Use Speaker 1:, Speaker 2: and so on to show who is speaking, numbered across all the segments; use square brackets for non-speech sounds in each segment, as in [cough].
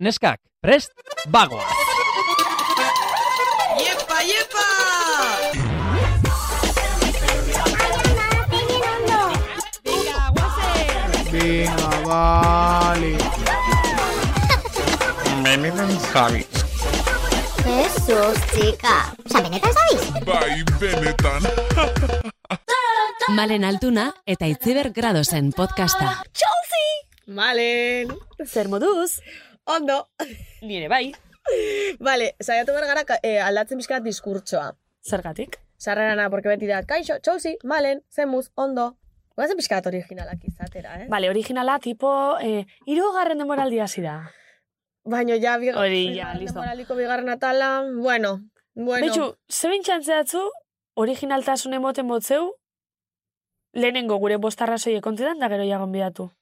Speaker 1: neskak, prest, bagoa!
Speaker 2: ¡Yepa, yepa!
Speaker 3: Venga, guazen.
Speaker 4: Venga, vale.
Speaker 5: Jesús, chica. Osa, benetan zabiz?
Speaker 6: Bai, benetan.
Speaker 7: Malen Altuna eta Itziber Gradosen podcasta.
Speaker 3: Malen.
Speaker 8: Zer moduz?
Speaker 3: Ondo.
Speaker 8: Nire bai.
Speaker 3: Vale, saiatu behar gara ka- eh, aldatzen pixka bat diskurtsoa.
Speaker 8: Zergatik?
Speaker 3: Sarrerana, porque beti da, kaixo, txolzi, malen, zemuz, ondo. Guazen pixka bat originalak izatera, eh?
Speaker 8: Bale, originala tipo eh, irugarren denboraldi hasi da.
Speaker 3: Baina ja, biga-
Speaker 8: Hori, ja,
Speaker 3: bigarren
Speaker 8: listo.
Speaker 3: denboraldiko bigarren atala, bueno, bueno.
Speaker 8: Betxu, zebin txantzeatzu, originaltasun emoten botzeu, lehenengo gure bostarrasoi ekontetan da gero jagon bidatu.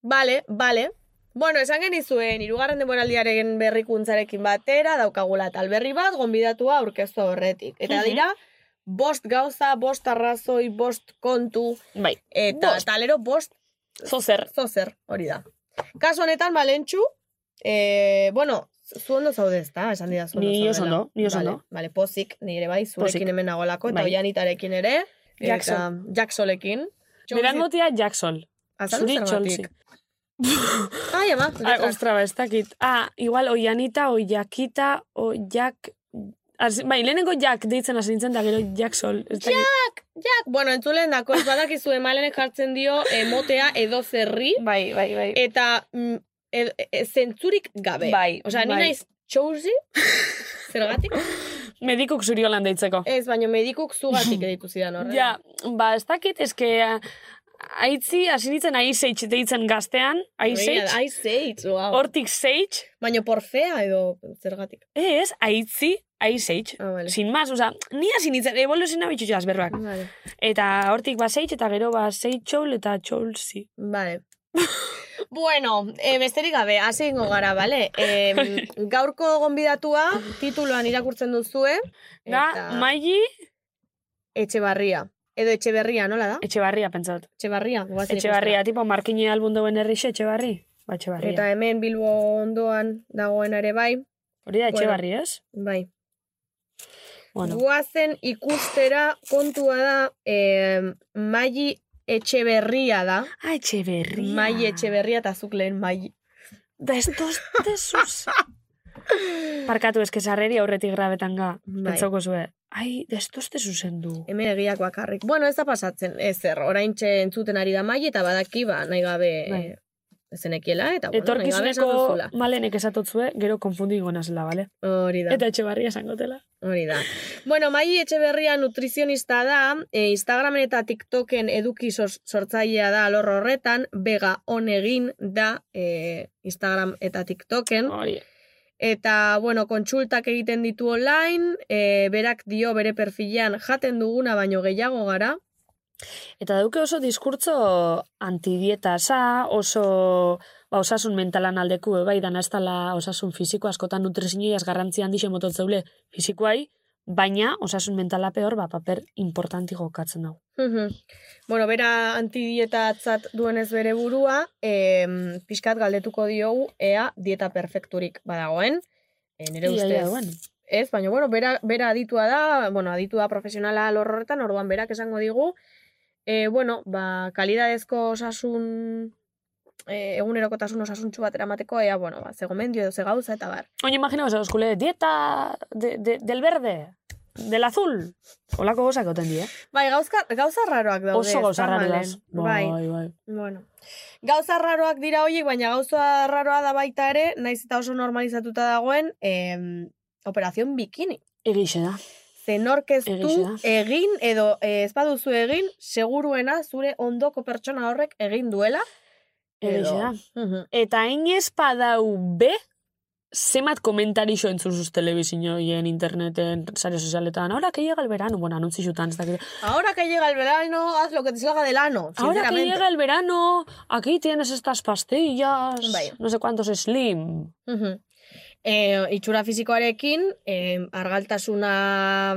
Speaker 3: Bale, bale. Bueno, esan genizuen, irugarren denboraldiaren berrikuntzarekin batera, daukagula tal berri bat, gonbidatua aurkeztu horretik. Eta
Speaker 8: Mhm.
Speaker 3: dira, bost gauza, bost arrazoi, bost kontu,
Speaker 8: Bai,
Speaker 3: eta
Speaker 8: Bost.
Speaker 3: talero bost
Speaker 8: zozer.
Speaker 3: zozer, hori da. Kasu honetan, balentxu, eh, bueno, zu ondo zaude ezta, esan dira zu ondo
Speaker 8: Ni oso
Speaker 3: zaudela.
Speaker 8: ondo, ni oso
Speaker 3: Bale,
Speaker 8: ondo.
Speaker 3: Bale, pozik, nire bai, zurekin
Speaker 8: Pozik.
Speaker 3: hemen nagolako, eta
Speaker 8: Bai.
Speaker 3: oianitarekin ere.
Speaker 8: Jackson.
Speaker 3: Eta Jacksonekin.
Speaker 8: Beran motia Jackson.
Speaker 3: Azaldu
Speaker 8: Zuri
Speaker 3: zergatik.
Speaker 8: txolzi.
Speaker 3: Ai, ama,
Speaker 8: Ai,
Speaker 3: letras.
Speaker 8: ostra, ba, ez dakit. Ah, igual, oianita, oiakita, oiak... Az, bai, lehenengo jak deitzen hasi nintzen, da gero jaksol. Ez dakit.
Speaker 3: Jak, bueno, entzulen dako, ez badakizu emalenek jartzen dio emotea edo zerri,
Speaker 8: Bai, bai, bai.
Speaker 3: eta mm, ed- e- zentzurik gabe.
Speaker 8: Bai,
Speaker 3: Osea, ni
Speaker 8: bai.
Speaker 3: naiz
Speaker 8: [laughs]
Speaker 3: txouzi, zergatik?
Speaker 8: Medikuk zuri holan deitzeko.
Speaker 3: Ez, baino medikuk
Speaker 8: [laughs]
Speaker 3: zugatik editu zidan horrela.
Speaker 8: Ja, ba, ez dakit, eske... ah, Aitzi, hasi nintzen aizeitz deitzen gaztean, aizeitz,
Speaker 3: Ai, oh. seitz, wow.
Speaker 8: hortik zeitz,
Speaker 3: Baina porfea edo zergatik.
Speaker 8: ez, aitzi, aizeitz.
Speaker 3: Ah, vale.
Speaker 8: Sin más, oza, ni hasi nintzen, evoluzina bitxutxo azberbak.
Speaker 3: Vale.
Speaker 8: Eta hortik ba zeitz, eta gero ba zeitz txol, eta txolzi. [laughs]
Speaker 3: Vale. bueno, e, besterik gabe, hasi egingo gara, bale? E,
Speaker 8: [laughs]
Speaker 3: gaurko gonbidatua tituloan irakurtzen duzue.
Speaker 8: Da, maili,
Speaker 3: etxe barria. Edo etxe berria, nola da?
Speaker 8: etxebarria pentsat.
Speaker 3: Etxe barria.
Speaker 8: Etxe barria, tipo, markine albun dauen herrixe, etxe barri? Ba, etxe barria.
Speaker 3: Eta hemen Bilbo ondoan dagoen ere bai.
Speaker 8: Hori da, etxe
Speaker 3: Bueno.
Speaker 8: barri, ez?
Speaker 3: Bai.
Speaker 8: Bueno,
Speaker 3: Guazen ikustera kontua da eh, maili etxe berria da.
Speaker 8: ah, etxe berria.
Speaker 3: Maili etxe berria eta zuk lehen maili.
Speaker 8: Da, ez dozte sus. Parkatu eske sarreri aurretik grabetan ga.
Speaker 3: Bai.
Speaker 8: Pentsauko zue. Ai, destoste zuzendu.
Speaker 3: Hemen egiak bakarrik. Bueno, ez da pasatzen, ezer, orain entzuten ari da maili eta badaki ba, nahi gabe
Speaker 8: Bai.
Speaker 3: eh, zenekiela, eta bueno, nahi gabe esan
Speaker 8: Etorkizuneko
Speaker 3: duzula.
Speaker 8: malenek esatotzue, gero konfundigo nazela, bale?
Speaker 3: Hori da.
Speaker 8: Eta etxe barria esangotela.
Speaker 3: Hori da. Bueno, Mai Etxeberria nutrizionista da, e, Instagramen eta TikToken eduki sos- sortzailea da alor horretan, bega honegin da e, Instagram eta TikToken.
Speaker 8: Hori.
Speaker 3: Eta, bueno, kontsultak egiten ditu online, e, berak dio bere perfilean jaten duguna baino gehiago gara.
Speaker 8: Eta duke oso diskurtzo antidietasa, oso ba, osasun mentalan aldeku, eh, bai, dana ez dala osasun fisiko askotan nutrizinoiaz garrantzi handixo mototzeule fisikoai, baina osasun mentala peor, ba, paper importanti jokatzen dago.
Speaker 3: Mhm. bueno, bera antidieta atzat duenez bere burua, e, pixkat galdetuko diogu ea dieta perfekturik badagoen. E, nire
Speaker 8: Ia,
Speaker 3: ustez,
Speaker 8: ia, bueno.
Speaker 3: Ez, baina, bueno, bera, bera aditua da, bueno, aditua profesionala alor horretan, orduan berak esango digu, e, bueno, ba, kalidadezko osasun, e, egunerokotasun osasuntxu bat eramateko, ea, bueno, ba, ze gomendio edo ze gauza, eta bar.
Speaker 8: Oin imaginaos, euskule, dieta de, de- del verde, del azul, olako gozak oten die, eh?
Speaker 3: Bai, gauzka, gauza raroak daude.
Speaker 8: Oso
Speaker 3: ezta,
Speaker 8: gauza raro
Speaker 3: Malen?
Speaker 8: daz.
Speaker 3: Bai,
Speaker 8: bai, bai.
Speaker 3: bueno. Gauza raroak dira horiek, baina gauza raroa da baita ere, naiz eta oso normalizatuta dagoen, em, operazion bikini.
Speaker 8: Egixe da.
Speaker 3: zenorkeztu
Speaker 8: Egixe da.
Speaker 3: egin edo eh, ez baduzu egin, seguruena zure ondoko pertsona horrek egin duela.
Speaker 8: Egixe
Speaker 3: Edo-
Speaker 8: da.
Speaker 3: Mhm.
Speaker 8: Eta hain espadau be, zemat komentarixo entzuzuz telebizinioien, interneten, sare sozialetan, ahora que llega el verano, bueno, anuntzizutan, ez dakit.
Speaker 3: Ahora que llega el verano, haz lo que te salga del ano,
Speaker 8: Ahora que
Speaker 3: sinceramente.
Speaker 8: llega el verano, aquí tienes estas pastillas,
Speaker 3: Bai.
Speaker 8: no sé cuántos slim.
Speaker 3: Mhm. Eh, itxura fisikoarekin, eh, argaltasuna,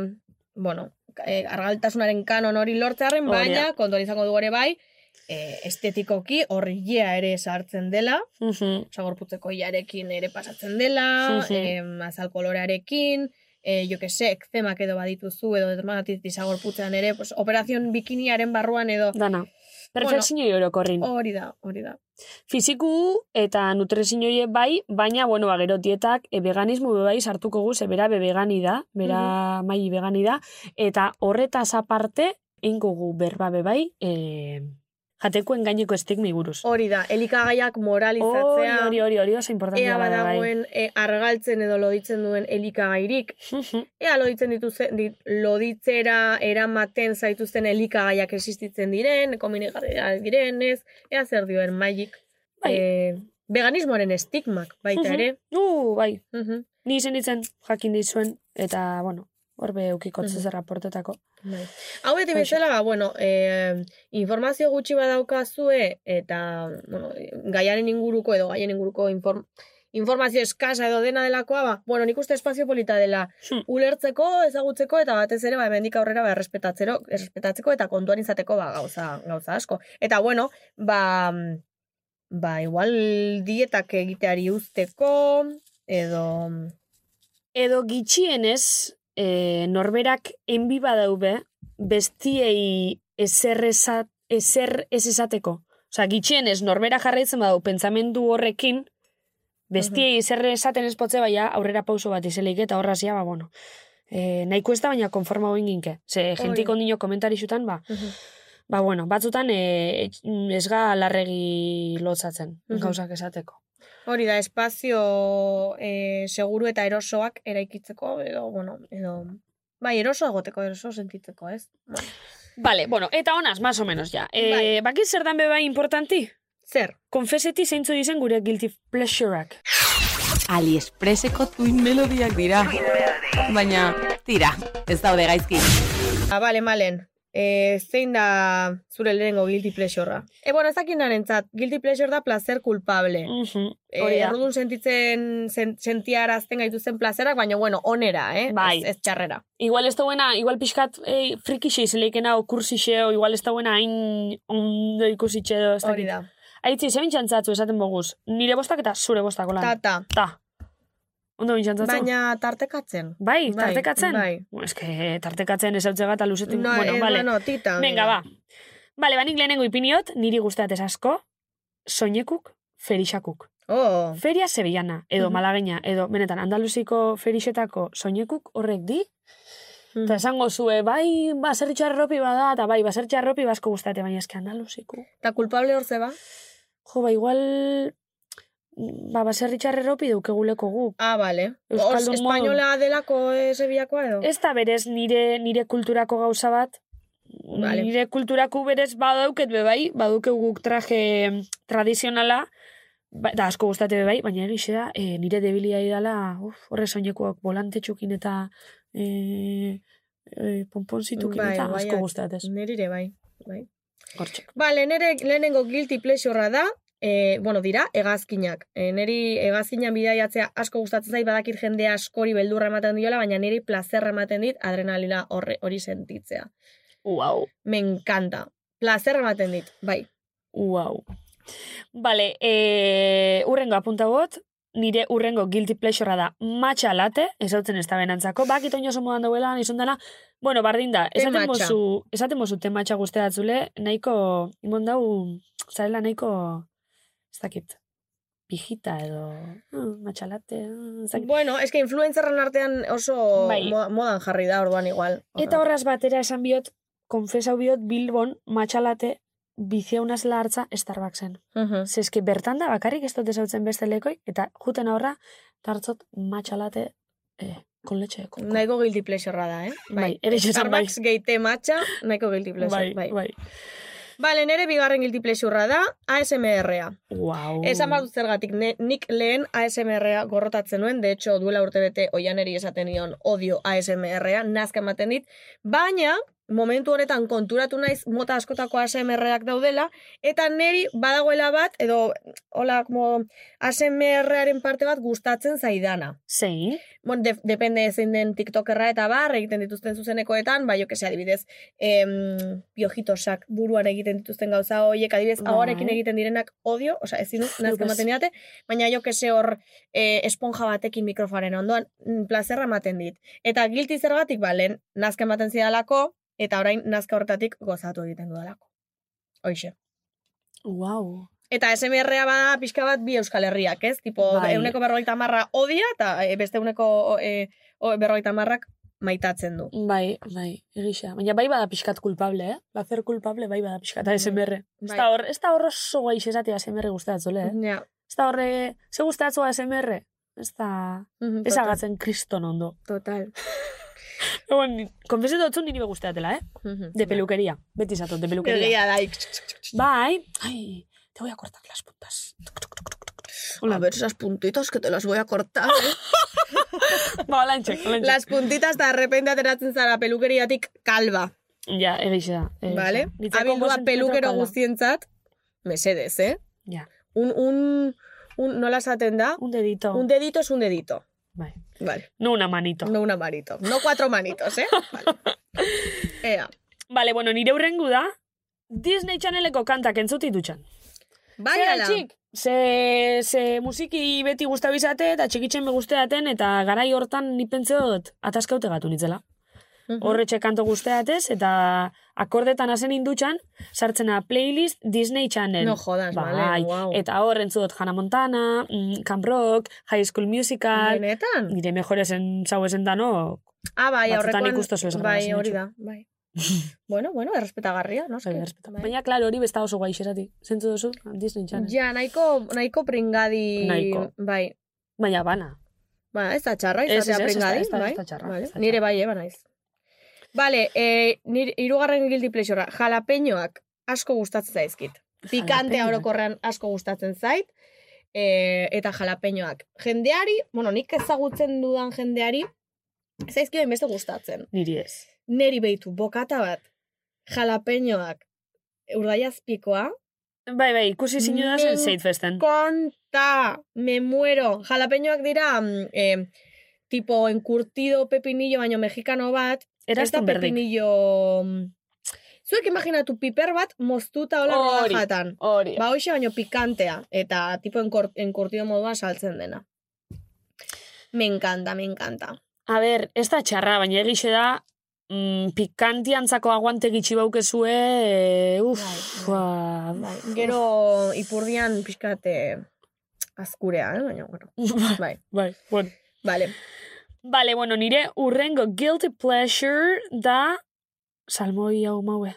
Speaker 3: bueno, eh, argaltasunaren kanon hori lortzearen,
Speaker 8: Hori da.
Speaker 3: baina kontuan izango dugu ere bai, eh, estetikoki horria ere sartzen dela,
Speaker 8: Mhm.
Speaker 3: Osa, gorputzeko iarekin ere pasatzen dela,
Speaker 8: Sí, sí.
Speaker 3: em, azal kolorearekin, eh, jo que se, ekzemak edo badituzu, edo dermatitisa gorputzean ere, pues, operazion bikiniaren barruan edo,
Speaker 8: Dana. Perfekzio orokorrin.
Speaker 3: hori da, hori da.
Speaker 8: Fiziku eta nutrizinoie bai, baina, bueno, ba, gero dietak e, veganismo be bai sartuko guz, e, bera be vegani da, bera mai vegani da, eta horretaz aparte, ingo gu berba be bai, e, jatekoen gaineko estigmi buruz.
Speaker 3: Hori da, elikagaiak
Speaker 8: Hori,
Speaker 3: moralizatzea,
Speaker 8: hori, hori, hori, oso importantia da,
Speaker 3: ea
Speaker 8: bai.
Speaker 3: badagoen e, argaltzen edo loditzen duen elikagairik, ea loditzen dituzten, dit, loditzera eramaten zaituzten elikagaiak existitzen diren, kominigarriak direnez, ea zer dioen maik.
Speaker 8: Bai.
Speaker 3: Eh, veganismoaren estigmak baita
Speaker 8: Mhm.
Speaker 3: ere.
Speaker 8: Nu, bai,
Speaker 3: Mhm.
Speaker 8: ni izen ditzen jakin dizuen, eta, bueno, horbe eukikotze
Speaker 3: Mhm.
Speaker 8: zer raportetako.
Speaker 3: Bai. Hau beti
Speaker 8: Hauxe.
Speaker 3: bezala, ba, bueno, eh, informazio gutxi badaukazue eta bueno, gaiaren inguruko edo gaien inguruko inform informazio eskasa edo dena delakoa, ba, bueno, nik uste espazio polita dela
Speaker 8: Hm.
Speaker 3: ulertzeko, ezagutzeko eta batez ere, ba, hemendik aurrera, ba, errespetatzero, errespetatzeko eta kontuan izateko, ba, gauza, gauza asko. Eta, bueno, ba, mm, ba, igual dietak egiteari uzteko, edo,
Speaker 8: Edo gitxienez, e, norberak enbi badaube, bestiei ezer, esa, ezer ez esateko. Osea, gitxienez, norbera jarraitzen badau, pentsamendu horrekin, bestiei ezer esaten espotze baina aurrera pauso bat izelik eta horra zia, ba, bueno. E, nahiko ez da, baina konforma hoin ginke. Ze, jentiko ondino komentarixutan, ba, ba, bueno, batzutan e, etx- ez ga larregi lotzatzen,
Speaker 3: Mhm.
Speaker 8: gauzak esateko.
Speaker 3: Hori da, espazio e, seguru eta erosoak eraikitzeko, edo, bueno, edo... Bai, eroso egoteko, eroso sentitzeko, ez? Bai.
Speaker 8: Vale, bueno, eta honaz, más o menos, ja. E, Bakit zer dan bebai importanti?
Speaker 3: Zer?
Speaker 8: Konfeseti zeintzu dizen gure guilty pleasureak.
Speaker 7: Aliexpreseko tuin melodiak dira. Baina, tira, ez daude gaizki.
Speaker 3: Ah, bale, malen. E, zein da zure lehenengo guilty pleasurea? E, bueno, ez dakin narentzat, guilty pleasure da placer culpable.
Speaker 8: Mhm,
Speaker 3: E,
Speaker 8: hori da.
Speaker 3: errudun sentitzen, sen, sentiarazten gaituzten placerak, baina, bueno, onera, eh?
Speaker 8: Bai.
Speaker 3: Ez, ez txarrera.
Speaker 8: Igual ez dauena, igual pixkat e, frikixe izeleikena o kursixe, o igual ez dauena hain ondo ikusitxe edo ez
Speaker 3: Hori
Speaker 8: dakit.
Speaker 3: da.
Speaker 8: Aitzi, ze bintxantzatzu esaten boguz? Nire bostak eta zure bostako lan.
Speaker 3: Tata,
Speaker 8: Ta. Ondo bintxantzatzu?
Speaker 3: baina tartekatzen.
Speaker 8: Bai,
Speaker 3: Bai,
Speaker 8: tartekatzen?
Speaker 3: bai.
Speaker 8: Bueno, Ez que tartekatzen ez hau bat aluzetik.
Speaker 3: No,
Speaker 8: bueno,
Speaker 3: eh,
Speaker 8: vale.
Speaker 3: bueno, tita.
Speaker 8: Venga, ba. Bale, banik lehenengo ipiniot, niri gustatez asko, soinekuk, ferixakuk.
Speaker 3: Oh,
Speaker 8: Feria sevillana, edo
Speaker 3: Mhm.
Speaker 8: malagueña, edo benetan andaluziko ferixetako soinekuk horrek di, eta esango zue, bai, baserritxo arropi bada, eta bai, baserritxo arropi basko gustate, baina eske andaluziko.
Speaker 3: eta culpable hor zeba?
Speaker 8: Jo, ba, igual, ba, baserritxo arropi daukeguleko guk.
Speaker 3: Ah, bale. Os,
Speaker 8: Euskaldun modu.
Speaker 3: espainola delako eh, Sevillakoa edo?
Speaker 8: Ez da berez nire, nire kulturako gauza bat,
Speaker 3: Vale.
Speaker 8: nire kulturako berez badauket be bai, baduke guk traje tradizionala, ba, da asko gustate be bai, baina egixe da, e, nire debilia dela, uf, horre soinekuak bolantetxukin eta e, e, pomponzitukin
Speaker 3: Bai,
Speaker 8: eta asko
Speaker 3: guaiak.
Speaker 8: gustatez.
Speaker 3: Nerire bai. bai.
Speaker 8: Hortxe.
Speaker 3: Bale, nere lehenengo guilty pleasurea da, e, bueno, dira, hegazkinak. E, neri hegazkinan bidaiatzea asko gustatzen zait, badakit jende askori beldurra ematen diola, baina niri plazerra ematen dit adrenalina horre hori sentitzea.
Speaker 8: Uau.
Speaker 3: Me encanta. Plazerra ematen dit, bai.
Speaker 8: Wow. Vale, e, urrengo apunta bot, nire urrengo guilty pleasurea da matxa late, ezautzen ez da benantzako, bakit oino oso modan dauela, izan dela, bueno, bardin da,
Speaker 3: Te
Speaker 8: esaten
Speaker 3: matcha.
Speaker 8: mozu, esaten mozu te matxa guztia atzule, nahiko, imon dau, zarela nahiko, ez dakit, pijita edo, uh, matxa late, mm, ez dakit.
Speaker 3: Bueno, eske influencerren artean oso
Speaker 8: Bai.
Speaker 3: mo- modan jarri da, orduan igual.
Speaker 8: Eta horraz batera esan biot, konfesau biot Bilbon matxa late, biziaunaz hartza Starbucksen.
Speaker 3: Mhm.
Speaker 8: Ze eske bertan da bakarrik ez dut ezautzen beste lekoi, eta juten aurra, tartzot matxalate eh, con leche de coco.
Speaker 3: Nahiko guilty pleasurea da, eh?
Speaker 8: bai, ere esan bai.
Speaker 3: Starbucks geite matxa, nahiko guilty pleasure.
Speaker 8: Bai, bai.
Speaker 3: Bale, nere Ba, bigarren guilty pleasurea da ASMR-a.
Speaker 8: Wow.
Speaker 3: Esan bat zergatik, ne- nik lehen ASMR-a gorrotatzen nuen, de hecho, duela urtebete oianeri esaten nion odio ASMR-a, nazka ematen dit, baina momentu honetan konturatu naiz mota askotako ASMR-ak daudela, eta niri badagoela bat, edo hola, como ASMR-aren parte bat gustatzen zaidana.
Speaker 8: Zein?
Speaker 3: Bon, de, depende zein den TikTokerra eta bar, egiten dituzten zuzenekoetan, bai, jo que se adibidez, em, piojitosak buruan egiten dituzten gauza horiek, adibidez,
Speaker 8: Bai.
Speaker 3: ahoarekin egiten direnak odio, osea, ezin dut, nazko
Speaker 8: bez.
Speaker 3: ematen didate, baina jo que se hor eh, esponja batekin mikrofoaren ondoan, mm, plazerra ematen dit. Eta gilti zergatik, ba, lehen, nazka ematen zidalako, eta orain nazka hortatik gozatu egiten dudalako. Hoxe.
Speaker 8: Wow.
Speaker 3: Eta SMR-a bada ba, pixka bat bi euskal herriak, ez? Tipo,
Speaker 8: Bai.
Speaker 3: euneko berrogeita marra odia, eta eh, beste euneko eh, o, berrogeita marrak maitatzen du.
Speaker 8: Bai, bai, egisa. Baina bai bada pixkat kulpable, eh? Placer kulpable bai bada pixkat,
Speaker 3: Mhm.
Speaker 8: ASMR. Ez
Speaker 3: Bai. Mhm.
Speaker 8: da hor, ez da hor oso guai esatea ASMR gustatzule, eh?
Speaker 3: Ja.
Speaker 8: Ez da horre, ze gustatzua ASMR? Ez da,
Speaker 3: Mhm,
Speaker 8: ez
Speaker 3: total,
Speaker 8: agatzen kriston ondo.
Speaker 3: Total.
Speaker 8: Egon, konfesetu dutzu niri begustatela, eh?
Speaker 3: Mhm.
Speaker 8: De peluquería, beti zatot, de peluquería.
Speaker 3: Egia da, ik.
Speaker 8: Bai, ai, te voy a cortar las
Speaker 3: [laughs]
Speaker 8: puntas.
Speaker 3: A ver esas puntitas que te las voy a
Speaker 8: [laughs]
Speaker 3: cortar. [laughs] eh.
Speaker 8: Ba, olantxek, olantxek.
Speaker 3: las puntitas de repente ateratzen zara pelukeriatik kalba,
Speaker 8: Ja, egisa da. egisa.
Speaker 3: vale?
Speaker 8: Nitzako
Speaker 3: Abildua
Speaker 8: gozen
Speaker 3: pelukero
Speaker 8: tropala.
Speaker 3: guztientzat, mesedez, eh?
Speaker 8: Ja,
Speaker 3: Un, un, un, nola esaten da?
Speaker 8: un dedito.
Speaker 3: Un dedito es un dedito.
Speaker 8: Bai.
Speaker 3: Vale.
Speaker 8: No una manito.
Speaker 3: No una manito. No cuatro
Speaker 8: [laughs]
Speaker 3: manitos, ¿eh? Vale. Ea.
Speaker 8: Vale, bueno, nire hurrengu da, Disney Channeleko kantak entzuti dutxan.
Speaker 3: Vaya la.
Speaker 8: txik? Ze, ze musiki beti guztu bizate eta txikitzen me guzteaten eta garai hortan ni pentsa dut ataskaute gatu nitzela.
Speaker 3: Mhm.
Speaker 8: Horretxe kanto guzteatez eta akordetan hasen indutxan sartzena playlist Disney Channel.
Speaker 3: No jodas,
Speaker 8: bai.
Speaker 3: vale, guau.
Speaker 8: Eta hor entzu dut Hannah Montana, mm, Camp Rock, High School Musical,
Speaker 3: Benetan?
Speaker 8: nire mejoresen zauesen dano,
Speaker 3: Ah, bai,
Speaker 8: Batzutan
Speaker 3: aurrekoan...
Speaker 8: ikustozu ez
Speaker 3: Bai,
Speaker 8: grabazio
Speaker 3: hori da,
Speaker 8: [laughs]
Speaker 3: bai. bueno, bueno, errespetagarria, no?
Speaker 8: bai,
Speaker 3: Eske,
Speaker 8: errespeta.
Speaker 3: bai.
Speaker 8: Baina, klaro, hori besta oso guai xerati. Zentzu duzu, Disney Channel.
Speaker 3: Ja, nahiko, nahiko pringadi...
Speaker 8: Bai, Nahiko.
Speaker 3: Bai.
Speaker 8: Baina bana.
Speaker 3: Ba, ez da txarra,
Speaker 8: Ez,
Speaker 3: izatea
Speaker 8: ez, ez, ez da-
Speaker 3: pringadi,
Speaker 8: ez da-
Speaker 3: bai.
Speaker 8: ez da txarra,
Speaker 3: Vale.
Speaker 8: ez da
Speaker 3: Nire
Speaker 8: txarra.
Speaker 3: bai, eba naiz. Vale, eh, nire, irugarren guilty pleasurea. Jalapeñoak asko gustatzen zaizkit. Pikantea
Speaker 8: Jalapeñoak.
Speaker 3: orokorrean asko gustatzen zait. Eh, eta jalapeñoak. Jendeari, bueno, nik ezagutzen dudan jendeari, zaizkio beste gustatzen.
Speaker 8: Niri ez.
Speaker 3: Neri beitu, bokata bat, jalapeñoak, urdaiazpikoa,
Speaker 8: Bai, bai, ikusi zinu da zen
Speaker 3: Men-
Speaker 8: Seid Festen.
Speaker 3: konta, me muero. Jalapeñoak dira, mm, eh, tipo encurtido pepinillo, baino mexikano bat. Ez da
Speaker 8: Eraztun berdik.
Speaker 3: pepinillo... mm, Zuek imaginatu piper bat moztuta hola
Speaker 8: Hori.
Speaker 3: rodajatan.
Speaker 8: Hori.
Speaker 3: Ba, hoxe baino pikantea, eta tipo encor- encurtido moduan saltzen dena. Me encanta, me encanta.
Speaker 8: A ber, ez da txarra, baina egixe da, mm, pikantiantzako aguante gitxi baukezue, e, uf,
Speaker 3: Bai,
Speaker 8: ba,
Speaker 3: Bai, gero ipurdian pixkate azkurea, eh? baina, bueno, bai.
Speaker 8: bai, bueno.
Speaker 3: Vale.
Speaker 8: Vale, bueno, nire urrengo guilty pleasure da salmoi hau maue,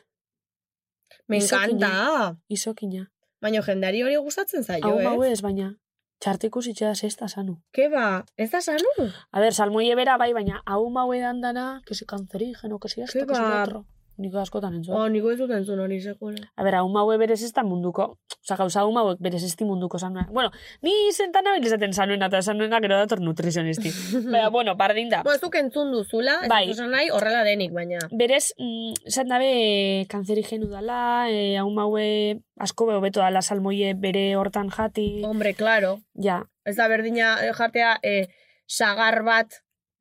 Speaker 3: Me
Speaker 8: Izokina.
Speaker 3: encanta.
Speaker 8: izokina.
Speaker 3: Baina jendari hori gustatzen zaio,
Speaker 8: Hau
Speaker 3: eh?
Speaker 8: maue ez, baina txartik usitxe da zesta sanu.
Speaker 3: Ke ba, ez da sanu?
Speaker 8: A ber, salmoi ebera bai, baina hau maue dandana, que si cancerígeno, que si
Speaker 3: Ke
Speaker 8: esto, que si
Speaker 3: ba.
Speaker 8: lo otro. Nik askotan entzun.
Speaker 3: Oh, niko ez dut entzun hori sekula.
Speaker 8: A ber, hauma hauek berez ez da munduko. Osa, gauza hauma hauek berez ez di munduko zanuen. Bueno, ni zentan abil esaten zanuen eta zanuen gero dator
Speaker 3: [laughs]
Speaker 8: nutrizionisti. Baina, bueno, bardin da.
Speaker 3: Ba, zuk entzun duzula, ez
Speaker 8: Ah. Bai.
Speaker 3: bai. nahi horrela denik, baina.
Speaker 8: Berez, mm, esan dabe kancerigenu dala, e, hauma haue asko behobeto dala salmoie bere hortan jati.
Speaker 3: Hombre, claro.
Speaker 8: Ja,
Speaker 3: Ez da berdina eh, jatea eh, sagar bat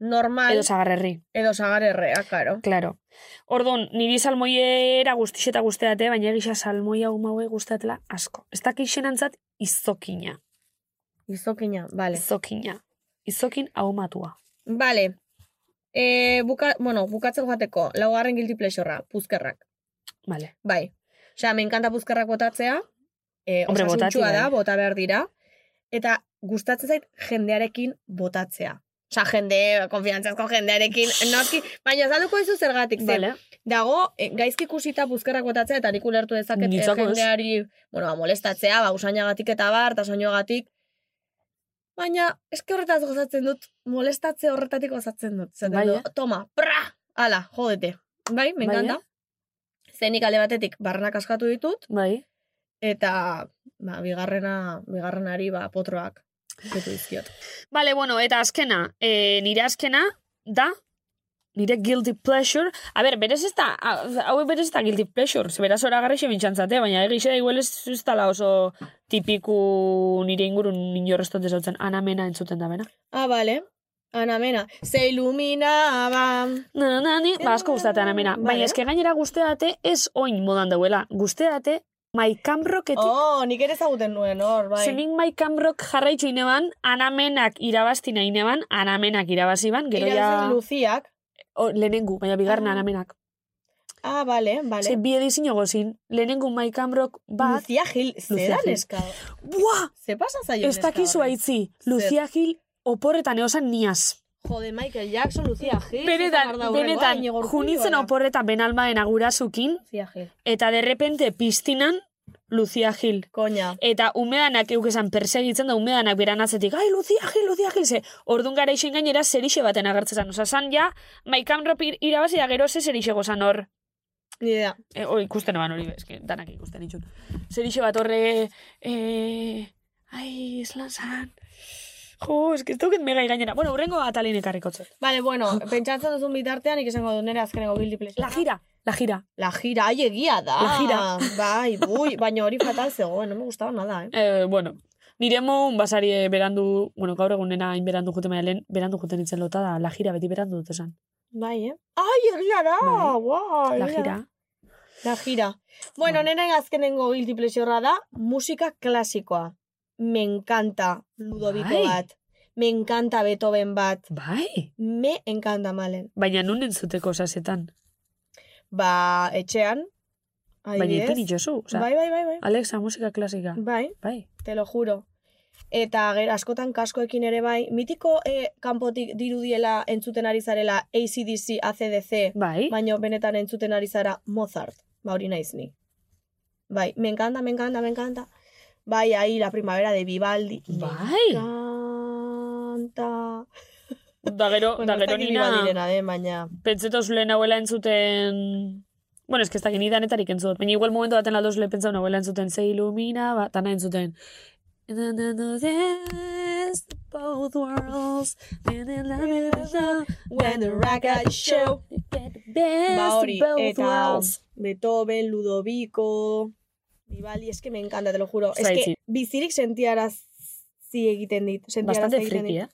Speaker 3: normal,
Speaker 8: edo
Speaker 3: edo,
Speaker 8: zagarrerri,
Speaker 3: sagar errea, karo.
Speaker 8: claro. Ordon, niri salmoie era guztix eta guzteate, baina egisa salmoia hauma haue guztatela asko. Ez dakixen antzat, izokina.
Speaker 3: Izokina, vale.
Speaker 8: Izokina. Izokin haumatua.
Speaker 3: Vale. E, buka, bueno, bukatzen joateko, laugarren guilty pleasurea, puzkerrak.
Speaker 8: Vale.
Speaker 3: Bai. Osea, me encanta puzkerrak botatzea. E,
Speaker 8: Hombre,
Speaker 3: osasuntxua
Speaker 8: botati,
Speaker 3: da,
Speaker 8: bai.
Speaker 3: bota behar dira. Eta gustatzen zait jendearekin botatzea. Osea, jende, konfiantzazko jendearekin, noski, baina zalduko dizu zergatik, ze,
Speaker 8: Vale.
Speaker 3: dago, eh, gaizki ikusita puzkerrak botatzea, eta nik ulertu dezaket eh,
Speaker 8: Nitzako ez.
Speaker 3: jendeari, bueno, ba, molestatzea, ba, usainagatik eta bar, eta soinuagatik, baina, eske horretaz gozatzen dut, molestatze horretatik gozatzen dut, zaten
Speaker 8: Bai,
Speaker 3: du,
Speaker 8: eh?
Speaker 3: toma, pra, ala, jodete, bai,
Speaker 8: Bai,
Speaker 3: me
Speaker 8: eh?
Speaker 3: encanta. Zenik alde batetik barrenak askatu ditut,
Speaker 8: Bai.
Speaker 3: eta, ba, bigarrena, bigarrenari, ba, potroak, betu dizkiot.
Speaker 8: Bale, bueno, eta azkena, e, nire azkena eh, da Nire guilty pleasure... A ber, berez ez da... Hau berez ez da guilty pleasure. Zeberaz horagarri xebintxantzate, baina egixe da igual ez ez dala oso tipiku nire ingurun inorrestot ezautzen anamena entzuten da bena.
Speaker 3: Ah, bale. Anamena. Se iluminaba.
Speaker 8: Na, na, na, ni, ba, asko gustatea anamena.
Speaker 3: Vale.
Speaker 8: Baina eske gainera gusteate ez oin modan dauela. Gusteate maikamroketik
Speaker 3: Oh, nik ere ezaguten nuen, hor, bai.
Speaker 8: Zenik Mike Amrok jarraitzu ineban, anamenak irabazti nahi neban, anamenak irabazi ban, gero ja...
Speaker 3: Irabazi Luziak.
Speaker 8: O, lehenengu, baina bigarren
Speaker 3: Ah,
Speaker 8: anamenak.
Speaker 3: Ah, bale, bale.
Speaker 8: Ze bi edizin ogozin, lehenengu Mike Amrok bat,
Speaker 3: Lucia Gil,
Speaker 8: Lucía
Speaker 3: zeda
Speaker 8: Gil.
Speaker 3: neska.
Speaker 8: buah,
Speaker 3: Ze pasa zaio
Speaker 8: ez
Speaker 3: neska
Speaker 8: dakizu
Speaker 3: horri?
Speaker 8: aitzi, Lucia Gil oporretan eosan niaz.
Speaker 3: Jode, Michael Jackson, Lucia
Speaker 8: Mm,
Speaker 3: Gil.
Speaker 8: Benetan, benetan, junitzen oporretan benalmaen agurasukin,
Speaker 3: Lucia Gil.
Speaker 8: eta derrepente piztinan Lucia Gil.
Speaker 3: Koña.
Speaker 8: Eta umedanak eukesan persegitzen da umedanak beran atzetik, ai, Lucia Gil, Lucia Gil, ze, orduan gara izen gainera zerixe baten agertzen Osa, zan ja, maikam rop irabazi da gero ze zerixe gozan hor.
Speaker 3: Ni idea.
Speaker 8: E, o, ikusten eban hori, eske, danak ikusten itxun. Zerixe bat horre, e, ai, eslan zan, jo, eske ez dauket megai gainera. Bueno, urrengo atalin ekarrikotzet.
Speaker 3: Vale,
Speaker 8: [laughs]
Speaker 3: bueno, pentsatzen duzun bitartean, nik esango dut nire azkeneko guilty pleasure.
Speaker 8: La gira, la gira.
Speaker 3: La gira, ai egia da.
Speaker 8: La gira.
Speaker 3: Bai, bui, baina hori fatal zegoen, no me gustaba nada, eh.
Speaker 8: E, bueno, nire mon basari eh, berandu, bueno, gaur egun nena hain berandu juten baina lehen, berandu juten nintzen lota da, la gira beti berandu dut esan.
Speaker 3: Bai, eh. Ai, egia da,
Speaker 8: Bai.
Speaker 3: guau.
Speaker 8: La
Speaker 3: egia da.
Speaker 8: gira.
Speaker 3: La gira. Bueno, nena azkenengo guilty pleasurea da musika klasikoa. Me encanta Ludoviko
Speaker 8: Bai.
Speaker 3: bat. Me encanta Beethoven bat.
Speaker 8: Bai.
Speaker 3: Me encanta malen.
Speaker 8: Baina nun entzuteko sasetan.
Speaker 3: Ba, etxean.
Speaker 8: Baina
Speaker 3: adibidez.
Speaker 8: eten itxosu. Osa,
Speaker 3: Bai, bai, bai, bai.
Speaker 8: Alexa, musika klasika.
Speaker 3: Bai,
Speaker 8: Bai.
Speaker 3: te lo juro. Eta gero askotan kaskoekin ere bai, mitiko eh, kanpotik dirudiela entzuten ari zarela ACDC, ACDC,
Speaker 8: Bai.
Speaker 3: baino benetan entzuten ari zara Mozart, ba hori naiz ni. Bai, me encanta, me encanta, me encanta. Bai, ahí la primavera de Vivaldi.
Speaker 8: Bai.
Speaker 3: Me encanta.
Speaker 8: Da gero,
Speaker 3: Bueno,
Speaker 8: da
Speaker 3: ez
Speaker 8: gero
Speaker 3: dakit
Speaker 8: nina,
Speaker 3: Vivaldirena, den, baina... ba,
Speaker 8: pentsetoz lehen hauela entzuten... Bueno, eske ez dakit nida netarik entzut. Baina igual momentu baten aldoz lehen pentsau nahuela entzuten ze ilumina, ba, tana entzuten. And I know there's both worlds, and I love you,
Speaker 3: When the rocket show.
Speaker 8: you get the best
Speaker 3: Ba
Speaker 8: of
Speaker 3: hori,
Speaker 8: both
Speaker 3: eta
Speaker 8: worlds.
Speaker 3: Beethoven, Ludovico, Vivaldi, es que me encanta, te lo juro. Es
Speaker 8: Zaitzi.
Speaker 3: que bizirik sentiarazi egiten dit.
Speaker 8: Bastante
Speaker 3: sentiarazi egiten
Speaker 8: friki,
Speaker 3: dit.
Speaker 8: eh?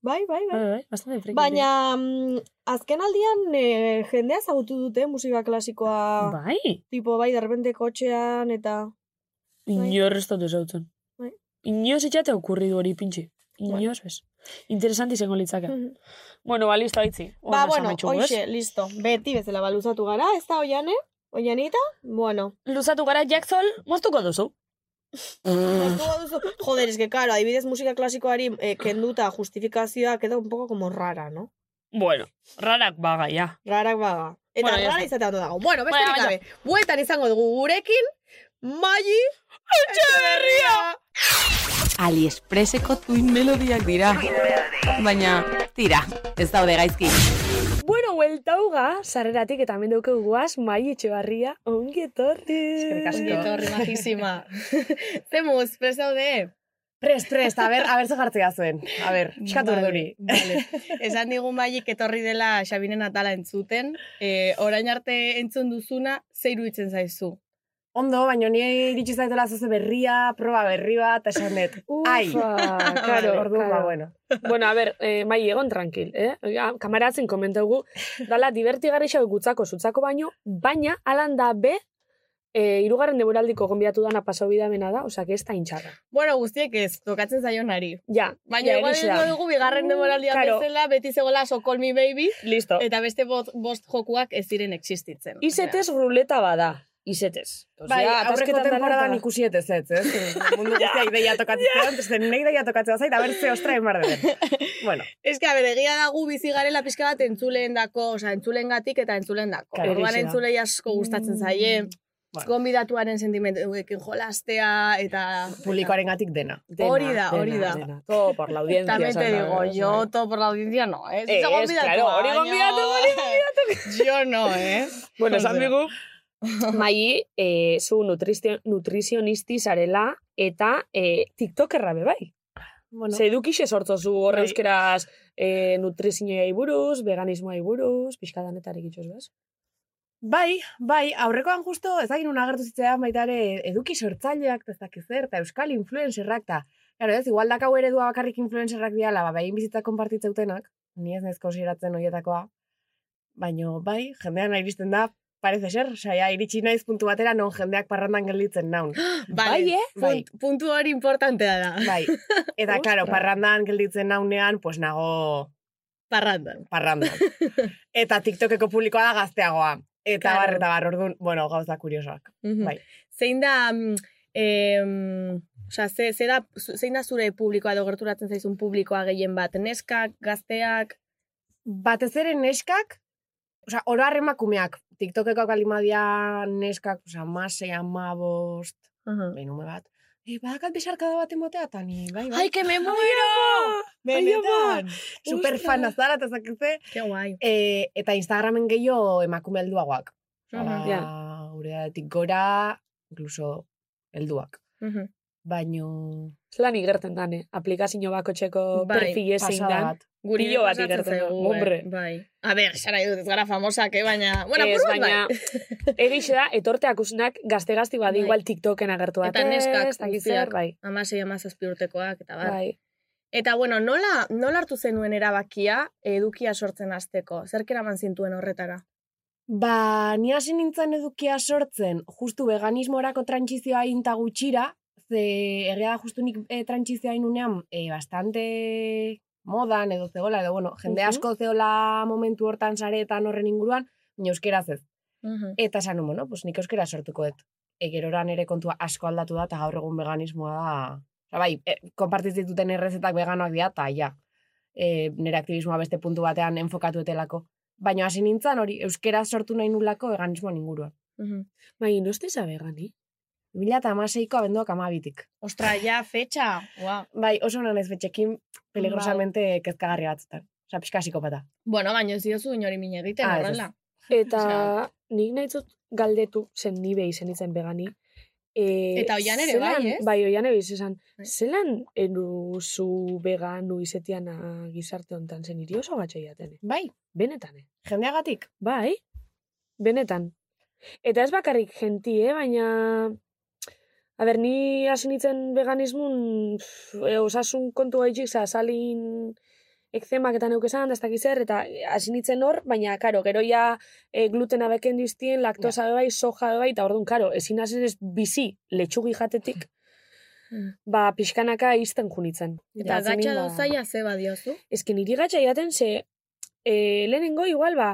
Speaker 3: Bai, bai, bai.
Speaker 8: Bai, bai, bastante friki.
Speaker 3: Baina, mm, azken aldian, eh, jendea zagutu dute musika klasikoa.
Speaker 8: Bai.
Speaker 3: Tipo, bai, derrepente kotxean, eta... Bai.
Speaker 8: Inor ez dut esautzen.
Speaker 3: Bai.
Speaker 8: Inoz etxate okurri hori pintxi. Inoz ez. Interesanti izango litzake. Bueno, ba, listo, haitzi.
Speaker 3: Hm. ba, bueno, hoxe, listo. Beti bezala baluzatu gara, ez da oiane? Oianita? Bueno.
Speaker 8: Luzatu gara jakzol, moztuko duzu.
Speaker 3: Hartuko duzu- Joder, eske, karo, adibidez musika klasikoari eh, kenduta justifikazioa queda un poco como rara, no?
Speaker 8: Bueno, rarak bagaia.
Speaker 3: Rarak baga. Eta
Speaker 8: Bueno, ya
Speaker 3: rara
Speaker 8: está.
Speaker 3: izatea ondo dago. Bueno, beste
Speaker 8: Bueno, baina-
Speaker 3: gabe. Bueltan izango dugu gurekin, Maji Etxeberria!
Speaker 7: Aliexpreseko tuin melodiak dira. Baina, tira, ez daude gaizki.
Speaker 8: Bueno, hueltauga, sarreratik eta hemen duke guaz, mai etxebarria, ongi etorri.
Speaker 3: Ongi etorri, [laughs] majísima. Zemuz, prez daude?
Speaker 9: Prest, prest, a ber, a ber ze jartzea zuen. A ber, eskatu
Speaker 3: Vale,
Speaker 9: urduri.
Speaker 3: Vale.
Speaker 10: [laughs]
Speaker 3: Esan digu maik etorri dela Xabinen atala entzuten. E, orain arte entzun duzuna, zeiru itzen zaizu.
Speaker 9: Ondo, baino ni iritsi zaitela zoze berria, proba berri bat, eta esan dut. Ai,
Speaker 8: claro,
Speaker 9: ordu, ba, bueno.
Speaker 8: Bueno, a ber, eh, mai egon tranquil, eh? Ja, Kamaratzen komentaugu, dala divertigarri xau gutzako, zutzako baino, baina alan da be, eh, irugarren deboraldiko gonbiatu dana pasau bidamena da, osea, que ez da intxarra.
Speaker 10: Bueno, guztiek ez, tokatzen zaionari.
Speaker 8: Ja,
Speaker 10: Baina
Speaker 8: ja,
Speaker 10: igual
Speaker 8: egixe
Speaker 10: egingo
Speaker 8: da.
Speaker 10: dugu bigarren demoraldia
Speaker 8: Claro.
Speaker 10: bezala, beti zegoela so call me baby,
Speaker 8: Listo.
Speaker 10: eta beste bost, bost jokuak ez diren existitzen.
Speaker 8: Izetez ruleta bada, izetez. Osea,
Speaker 9: Bai, aurreko
Speaker 8: atasketan dana
Speaker 9: temporadan
Speaker 8: eta-
Speaker 9: ikusi ez, ez? ez?
Speaker 8: [laughs]
Speaker 9: Mundu guztia ideia tokatzen, beste nahi ideia tokatzea zait, a ber ze ostra
Speaker 8: [laughs]
Speaker 9: emar den. Bueno,
Speaker 10: Ez que, a ber, egia dagu bizi garela pixka bat entzulen dako, oza, entzulen gatik eta entzulen dako.
Speaker 9: Claro,
Speaker 10: Orduan
Speaker 9: horixe da.
Speaker 10: entzulei asko gustatzen zaie,
Speaker 9: Bueno.
Speaker 10: gonbidatuaren sentimentuekin jolastea, eta...
Speaker 9: publikoaren gatik dena.
Speaker 8: Dena,
Speaker 10: Hori da, hori
Speaker 8: dena,
Speaker 10: da.
Speaker 8: dena. Todo por la audiencia.
Speaker 10: También te
Speaker 8: esan da,
Speaker 10: digo,
Speaker 8: ez,
Speaker 10: yo
Speaker 8: bai.
Speaker 10: todo por la audiencia no, eh?
Speaker 8: Ez, claro, hori gonbidatu, hori
Speaker 3: [laughs]
Speaker 10: gonbidatu. Yo no, eh?
Speaker 8: Bueno, esan [laughs]
Speaker 10: Osea.
Speaker 8: digu. Mai, eh, zu nutrizio- nutrizionisti zarela eta eh, tiktokerra be bai.
Speaker 11: Bueno.
Speaker 8: Ze edukixe sortzozu horre
Speaker 11: Bai.
Speaker 8: euskeraz e, nutrizinoi buruz, veganismoa buruz, pixka danetarik itxoz, bez?
Speaker 9: Bai, bai, aurrekoan justo ezagin una agertu zitzaidan baita ere eduki sortzaileak eta ez dakit zer eta euskal influencerrak ta. Claro, ez igual dakau eredua bakarrik influencerrak diala, ba behin bizitza konpartitzeutenak, ni ez naiz konsideratzen hoietakoa. Baino bai, jendean nahi iristen da, parece ser, saia iritsi naiz puntu batera non jendeak parrandan gelditzen naun.
Speaker 3: Vale,
Speaker 9: [gasps] Bai, eh? Bai. [laughs]
Speaker 3: Punt- puntu hori importantea [laughs] da.
Speaker 9: Bai. Eta claro, parrandan gelditzen naunean, pues nago
Speaker 3: Parrandan.
Speaker 9: [laughs] parrandan. Eta TikTokeko publikoa da gazteagoa. Eta
Speaker 3: Claro.
Speaker 9: bar, eta bar, orduan, bueno, gauza kuriosoak.
Speaker 3: Mhm.
Speaker 9: Bai.
Speaker 3: Zein da... mm, em, osea, ze, ze da, zu- zein da zure publikoa edo gerturatzen zaizun publikoa gehien bat? Neskak, gazteak,
Speaker 9: batez ere neskak, osea, oro har emakumeak, TikTokeko kalimadia neskak, osea, amasei, amabost,
Speaker 3: Aha.
Speaker 9: behin ume bat, e, badakat besarkada bat emotea, eta ni, bai, bai.
Speaker 3: ¡Ay, que me muero!
Speaker 8: bai,
Speaker 9: benetan! Superfan
Speaker 3: Ostras.
Speaker 9: azara, eta zakize.
Speaker 3: ¡Qué guay!
Speaker 9: E, eta Instagramen gehiago emakume helduagoak. Osea, ba,
Speaker 3: Aha.
Speaker 8: ja.
Speaker 9: gure datik gora, incluso helduak.
Speaker 3: Mhm.
Speaker 9: Baino,
Speaker 8: Zelan igerten dane, eh, aplikazio bako txeko
Speaker 3: Bai,
Speaker 8: perfile zein
Speaker 9: pasada
Speaker 8: dan.
Speaker 9: bat.
Speaker 3: Guri
Speaker 8: Pilo bat
Speaker 3: pasatzen
Speaker 8: ikertzen da,
Speaker 3: zaigu,
Speaker 8: hombre.
Speaker 3: eh, Bai. A ber, sara dut, ez gara famosak, eh, baina... Bueno,
Speaker 8: Ez,
Speaker 3: apur bat
Speaker 8: baina egixe da, etorte akusunak gazte-gazti badi
Speaker 3: Bai.
Speaker 8: igual TikToken agertu
Speaker 3: Eta
Speaker 8: batez.
Speaker 3: neskak
Speaker 8: ez dakit
Speaker 3: guztiak.
Speaker 8: zer, bai.
Speaker 3: Amasei, amazazpi urtekoak, eta bar.
Speaker 8: Bai.
Speaker 3: Eta, bueno, nola, nola hartu zenuen erabakia edukia sortzen hasteko? Zerk eraman zintuen horretara?
Speaker 9: Ba, ni hasi nintzen edukia sortzen, justu veganismorako trantsizioa inta gutxira, ze egia da justu nik e, trantsizioa inunean e, bastante modan edo zegola, edo bueno, jende
Speaker 8: Mhm.
Speaker 9: asko zeola momentu hortan sareetan horren inguruan, baina euskeraz ez.
Speaker 3: Mhm.
Speaker 9: Eta esan, bueno, pues nik euskera sortuko dut. Egerora nere kontua asko aldatu da, eta gaur egun veganismoa da... Osa, bai, e, konpartitzen dituten errezetak veganoak dira, eta ja, e, nire aktivismoa beste puntu batean enfokatu etelako. Baina hasi nintzen hori, euskera sortu nahi nulako veganismoa inguruan.
Speaker 3: Mhm.
Speaker 8: Bai, noste zabe gani?
Speaker 9: 2008ko abenduak amabitik.
Speaker 3: Ostra, ja, fetxa! Wow.
Speaker 9: Bai, oso honan ez betxekin peligrosamente kezkagarri batzutan. Osa, pixka psikopata.
Speaker 3: Bueno, baina ez diozu inori min egiten,
Speaker 9: Ah, ez,
Speaker 3: horrela.
Speaker 8: Eta
Speaker 3: [laughs] Osea-
Speaker 8: nik nahi dut galdetu, zen ni behi zen itzen vegani. E,
Speaker 3: Eta oian ere
Speaker 8: zelan-
Speaker 3: bai, ez?
Speaker 8: Bai, oian ere izan.
Speaker 3: Bai.
Speaker 8: Zelan enu zu veganu izetian ah, gizarte hontan zen hiri oso batxe jatene.
Speaker 9: Bai,
Speaker 8: Benetan, eh?
Speaker 9: jendeagatik.
Speaker 8: Bai, benetan. Eta ez bakarrik jenti, eh? baina... A ber, ni hasi nintzen veganismun pff, e, osasun kontu gaitxik, za, salin ekzemak eta neukesan, daztak zer, eta hasi nintzen hor, baina, karo, gero ja e, glutena beken diztien, laktosa be bai, soja be bai, eta orduan, karo, ezin hasi ez bizi letxugi jatetik, ba, pixkanaka izten junitzen.
Speaker 3: Eta
Speaker 8: azkenin,
Speaker 3: gatxa
Speaker 8: ba-
Speaker 3: dozaia zeba diozu?
Speaker 8: Ezken niri gatxa jaten ze, e, lehenengo igual, ba,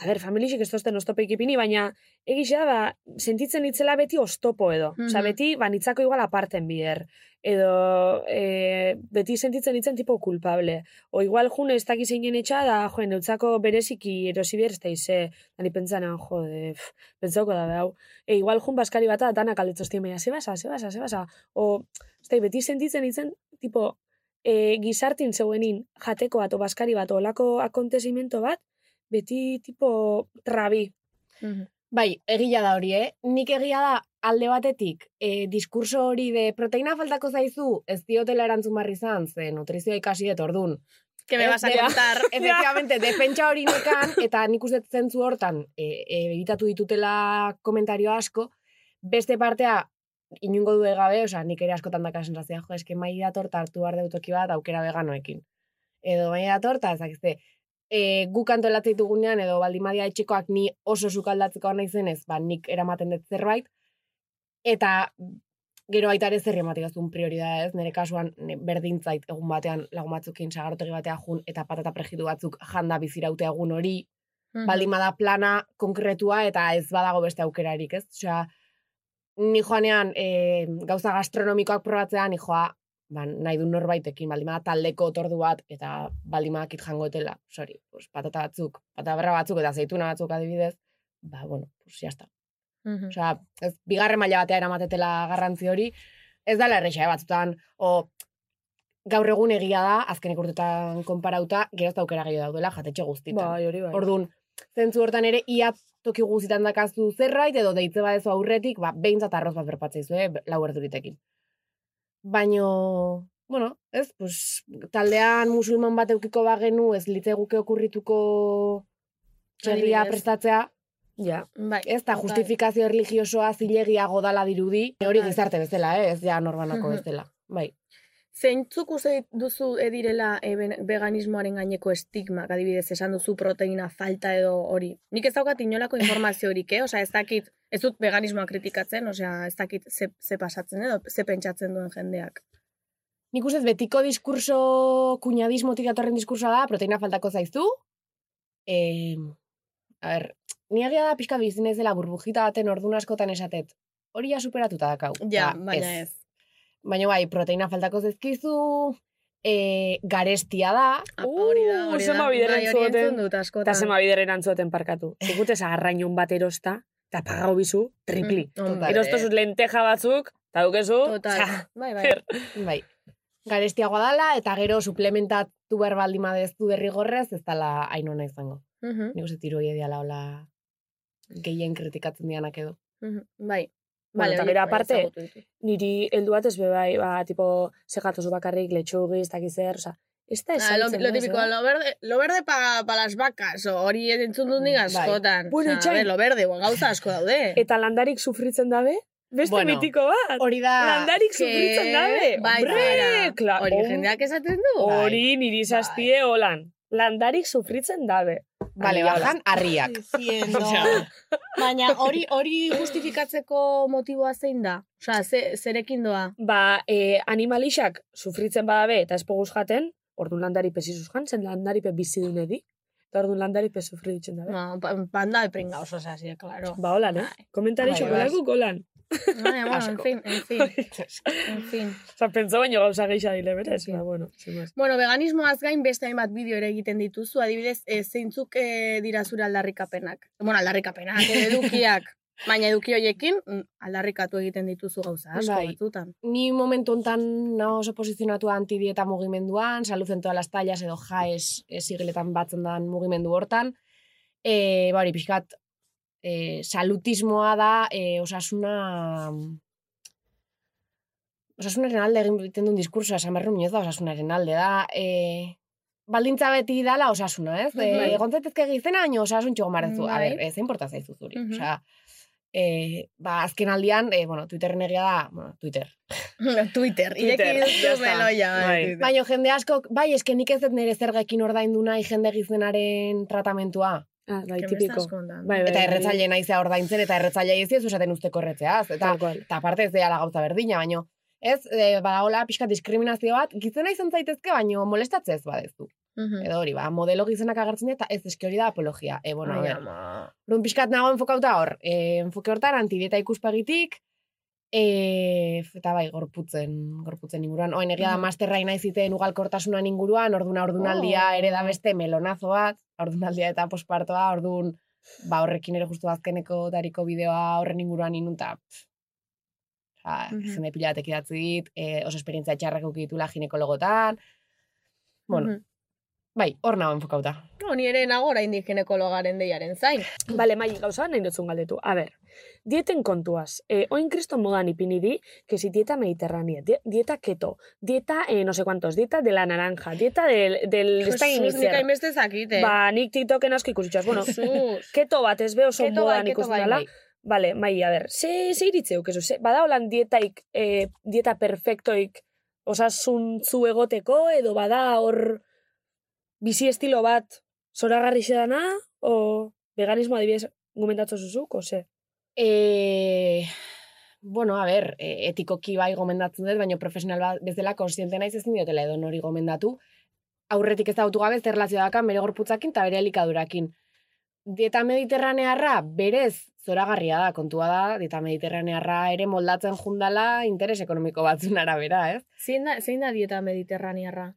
Speaker 8: a ber, familixik ez dozten oztopeik ipini, baina egisa, ba, sentitzen itzela beti oztopo edo.
Speaker 3: Mhm.
Speaker 8: Osa, beti, ba, nitzako igual aparten bider. Edo, e, beti sentitzen itzen tipo kulpable. O igual june ez dakiz zeinen etxa, da, joen, neutzako bereziki erosi bier ez da ize. Dani pentsanan, jode, pff, pentsauko da, hau. E, igual jun baskari bata, danak aletzoztien meia, zebasa, zebasa, zebasa. O, ez da, beti sentitzen itzen, tipo, e, gizartin zeuenin jateko bat, o baskari bat, olako akontezimento bat, beti tipo trabi.
Speaker 9: Bai, egia da hori, eh? Nik egia da alde batetik e, diskurso hori de proteina faltako zaizu, ez diotela erantzun barri izan, ze nutrizioa ikasi dut ordun.
Speaker 3: Que me
Speaker 9: Ez,
Speaker 3: vas a
Speaker 9: bera.
Speaker 3: contar. [laughs]
Speaker 9: Efectivamente, defentsa hori nekan, eta nik uste zentzu hortan e, e, egitatu ditutela komentario asko, beste partea inungo du gabe, osea, nik ere askotan daka sensazioa, jo, eske mai dator ta hartu behar dut toki bat aukera veganoekin. Edo mai dator ta ezakizte, e, guk antolatzen ditugunean edo baldimadia etxekoak ni oso sukaldatzeko naizenez, ba nik eramaten dut zerbait eta gero baita ere zer ematigazun prioridadea ez, nire kasuan ne, berdin zait egun batean lagun batzukin sagartegi batea jun eta patata prejitu batzuk janda bizirautea egun hori,
Speaker 3: Mhm.
Speaker 9: baldin bada plana konkretua eta ez badago beste aukerarik, ez? Osea, ni joanean e, gauza gastronomikoak probatzean, ni joa, ba, nahi du norbaitekin, baldin bada taldeko otordu bat, eta baldin badakit jango etela, sori, pues, patata batzuk, patata berra batzuk eta zeituna batzuk adibidez, ba, bueno, pues, jazta.
Speaker 3: Mhm.
Speaker 9: Osea, ez, bigarren maila batea eramatetela garrantzi hori, ez dala erresa, eh, batzutan, o, gaur egun egia da, azkenek urtetan konparauta, geroz eta aukera gehiago daudela jatetxe guztietan.
Speaker 8: Bai, hori bai.
Speaker 9: Orduan, zentzu hortan ere, ia toki guztietan dakazu zerbait, edo deitze badezu aurretik, ba, behintzat arroz bat berpatzeizu, eh, lau erduritekin. Baino, bueno, ez, pues, taldean musulman bat eukiko bagenu, ez litzeguke okurrituko txerria
Speaker 3: Adibidez.
Speaker 9: prestatzea, ja,
Speaker 3: Bai,
Speaker 9: ez, eta
Speaker 3: total.
Speaker 9: justifikazio erligiosoa zilegiago dala dirudi, hori
Speaker 3: Total.
Speaker 9: gizarte bezala, eh, ez, ja, norbanako
Speaker 3: Mhm.
Speaker 9: bezala, bai.
Speaker 3: Zeintzuk uste duzu eh, direla eh, ben- veganismoaren gaineko estigmak, adibidez, esan duzu proteina falta edo hori. Nik ez daukat
Speaker 8: [laughs]
Speaker 3: inolako informaziorik, eh? Osea, ez dakit, ez dut veganismoa kritikatzen, osea, ez dakit ze, ze pasatzen edo ze pentsatzen duen jendeak.
Speaker 9: Nik ustez betiko diskurso, kuñadismotik datorren diskursoa da, proteina faltako zaiztu. E, a ber, ni egia da pixka bizi naizela burbujita baten ordun askotan esatet. Hori ja superatuta dakau.
Speaker 3: Ja,
Speaker 8: Ba,
Speaker 9: Da,
Speaker 3: baina ez.
Speaker 9: Baina bai, proteina faltako zaizkizu, e, garestia da.
Speaker 3: Apa, hori da,
Speaker 8: Uh,
Speaker 3: hori da.
Speaker 8: zema bideren
Speaker 3: Bai, hori
Speaker 8: zuten.
Speaker 3: entzun dut
Speaker 8: Eta
Speaker 3: askotan.
Speaker 8: zema bideren antzueten
Speaker 9: [laughs]
Speaker 8: parkatu. Zikute esa arrainun bat erosta, eta pagau bizu, tripli.
Speaker 3: Mm, hombre.
Speaker 9: Mhm. Vale.
Speaker 8: Erostozuz lenteja batzuk, eta dukezu,
Speaker 3: Total.
Speaker 8: txa,
Speaker 3: Bai, bai.
Speaker 8: zer.
Speaker 9: Bai. Garestiagoa dala, eta gero suplementatu behar baldin badezu derrigorrez, ez dala hain ona izango.
Speaker 3: Mhm,
Speaker 9: Nik uste tiroia diala hola gehien kritikatzen dianak edo.
Speaker 3: mhm, Bai.
Speaker 8: Bueno, eta
Speaker 3: horiek
Speaker 8: gero
Speaker 3: bai,
Speaker 8: aparte,
Speaker 3: ezagutu ditut.
Speaker 8: niri heldu bat ez be bai, ba, tipo, segatozu bakarrik, letxugi, ez dakiz zer, oza, ez eh? da
Speaker 3: Ah, lo,
Speaker 8: esaltzen.
Speaker 3: lo típico, lo verde, lo verde para pa las vacas, o hori entzun dut nik
Speaker 9: Bai.
Speaker 3: askotan.
Speaker 8: Bueno,
Speaker 3: Osea, a
Speaker 8: itxain-
Speaker 3: ber, lo verde, ba, gauza asko [laughs] daude.
Speaker 8: Eta landarik sufritzen dabe, beste
Speaker 9: Bueno,
Speaker 8: mitiko bat.
Speaker 9: Hori da...
Speaker 8: landarik
Speaker 3: Ke-
Speaker 8: sufritzen dabe.
Speaker 3: Bai,
Speaker 8: hombre,
Speaker 3: zara.
Speaker 8: kla-
Speaker 3: Hori
Speaker 8: hom-
Speaker 3: jendeak esaten du.
Speaker 9: Bai.
Speaker 8: Hori niri zazpie holan. Landarik sufritzen dabe.
Speaker 9: Vale, ba,
Speaker 8: Arriola.
Speaker 9: bajan, [laughs] harriak.
Speaker 3: [laughs] Diciendo. Baina hori hori justifikatzeko motiboa zein da? Osea, ze, zerekin doa.
Speaker 8: Ba, e, animalixak sufritzen badabe eta ez poguz jaten, ordu landaripe zizuz jan, zen landaripe bizidunedi, eta ordu landaripe sufritzen dabe.
Speaker 3: Ba, pa- panda de pringa, oso así, claro.
Speaker 8: Ba, holan, eh? Komentari
Speaker 9: Bai,
Speaker 8: xokolakuk holan.
Speaker 3: Baina, bueno, en fin, en [laughs] fin, en fin.
Speaker 8: Osa, pentsa baino gauza geixa dile, berez?
Speaker 3: Sí.
Speaker 8: Ba, bueno, sin más.
Speaker 3: Bueno, veganismoaz gain beste hainbat bideo ere egiten dituzu, adibidez, e, zeintzuk e, dira zure aldarrikapenak. Bueno, aldarrikapenak, eh, edukiak. Baina eduki hoiekin mm, aldarrikatu egiten dituzu gauza asko
Speaker 9: Bai.
Speaker 3: batzutan.
Speaker 9: Ni momentu hontan nago oso posizionatua antidieta mugimenduan, salud en todas las tallas edo jaes e, sigletan batzen dan mugimendu hortan. E, ba hori, pixkat, e, salutismoa da e, osasuna... Osasunaren alde egin egiten duen diskursoa, esan berru minez da, osasunaren alde da. E, baldintza beti dala osasuna, ez? E,
Speaker 3: Bai.
Speaker 9: Egon zaitezke gizena, baina osasun txogo marezu. A
Speaker 3: Bai.
Speaker 9: ber, ez importa zaizu zuri.
Speaker 3: Mhm.
Speaker 9: Osea, e, ba, azken aldian, e, bueno, Twitterren egia da, bueno, Twitter,
Speaker 3: [laughs] Twitter,
Speaker 9: Twitter,
Speaker 3: ireki
Speaker 9: ya
Speaker 3: duzu
Speaker 9: está.
Speaker 3: meloia.
Speaker 8: Bai.
Speaker 3: Bai.
Speaker 9: Baina jende askok, bai, eske nik ez dut nire zergekin ordaindu nahi jende gizenaren tratamentua.
Speaker 8: Ah, bai,
Speaker 3: Que me
Speaker 8: tipiko.
Speaker 3: estás contando?
Speaker 8: Bai, bai,
Speaker 9: Eta
Speaker 8: bai.
Speaker 9: erretzaile naizea ordaintzen, eta erretzaile ez diezu esaten usteko erretzeaz. Eta,
Speaker 3: Bai.
Speaker 8: Tal cual.
Speaker 9: eta aparte ez dela gauza berdina, baino ez, e, ba, hola, pixka diskriminazio bat, gizena izan zaitezke, baino molestatzea ez badezu.
Speaker 3: Mhm.
Speaker 9: Edo hori, ba, modelo gizenak agertzen dira, eta ez eske hori da apologia. E, bueno,
Speaker 3: Ai,
Speaker 9: Ai, Orduan pixkat nago enfokauta hor. E, enfoke hortan antidieta ikuspegitik, e, eta bai, gorputzen, gorputzen inguruan. Oen egia da
Speaker 3: Mhm.
Speaker 9: masterra nahi ziten ugalkortasunan inguruan, orduna ordunaldia
Speaker 3: Oh.
Speaker 9: ere da beste melonazo bat, ordunaldia eta pospartoa, ordun ba horrekin ere justu azkeneko dariko bideoa horren inguruan inunta. Osa,
Speaker 3: Mhm.
Speaker 9: jende pila batek idatzi dit, e, oso esperientzia txarrak ukitula ginekologotan. Bueno,
Speaker 3: Mhm.
Speaker 9: bai, hor nago enfokauta.
Speaker 3: No, ni ere nago orain diginekologaren deiaren zain.
Speaker 8: Bale, mai, gauza bat nahi dutzun galdetu. A ber, dieten kontuaz. E, oin kriston modan ipini di, que si dieta mediterránea, die- dieta keto, dieta eh, no sé cuantos, dieta de la naranja, dieta del... del ez dakit
Speaker 3: Jesus,
Speaker 8: zer.
Speaker 3: nik hainbeste eh. zakite.
Speaker 8: Ba, nik TikToken asko ikusitxoaz. Bueno,
Speaker 9: [laughs]
Speaker 3: Jesus.
Speaker 8: keto bat ez be oso
Speaker 3: Keto Mm, bai,
Speaker 8: modan
Speaker 3: keto
Speaker 8: ikusten
Speaker 3: bai,
Speaker 8: dela. Vale, mai, a ber, ze, ze iritzeu, kezu, ze, bada holan dietaik, eh, dieta perfektoik osasuntzu egoteko, edo bada hor bizi estilo bat zoragarri xedana, o veganismo adibidez gomendatzo zuzuk, ose?
Speaker 9: E, bueno, a ber, e, etikoki bai gomendatzen dut, baina profesional bat bezala konsiente naiz ezin diotela edo nori gomendatu. Aurretik ez dautu gabe zer relazio dakan bere gorputzakin eta bere elikadurakin. Dieta mediterranearra berez zoragarria da, kontua da, dieta mediterranearra ere moldatzen jundala interes ekonomiko batzun arabera, ez?
Speaker 3: Zein da, zein da dieta mediterranearra?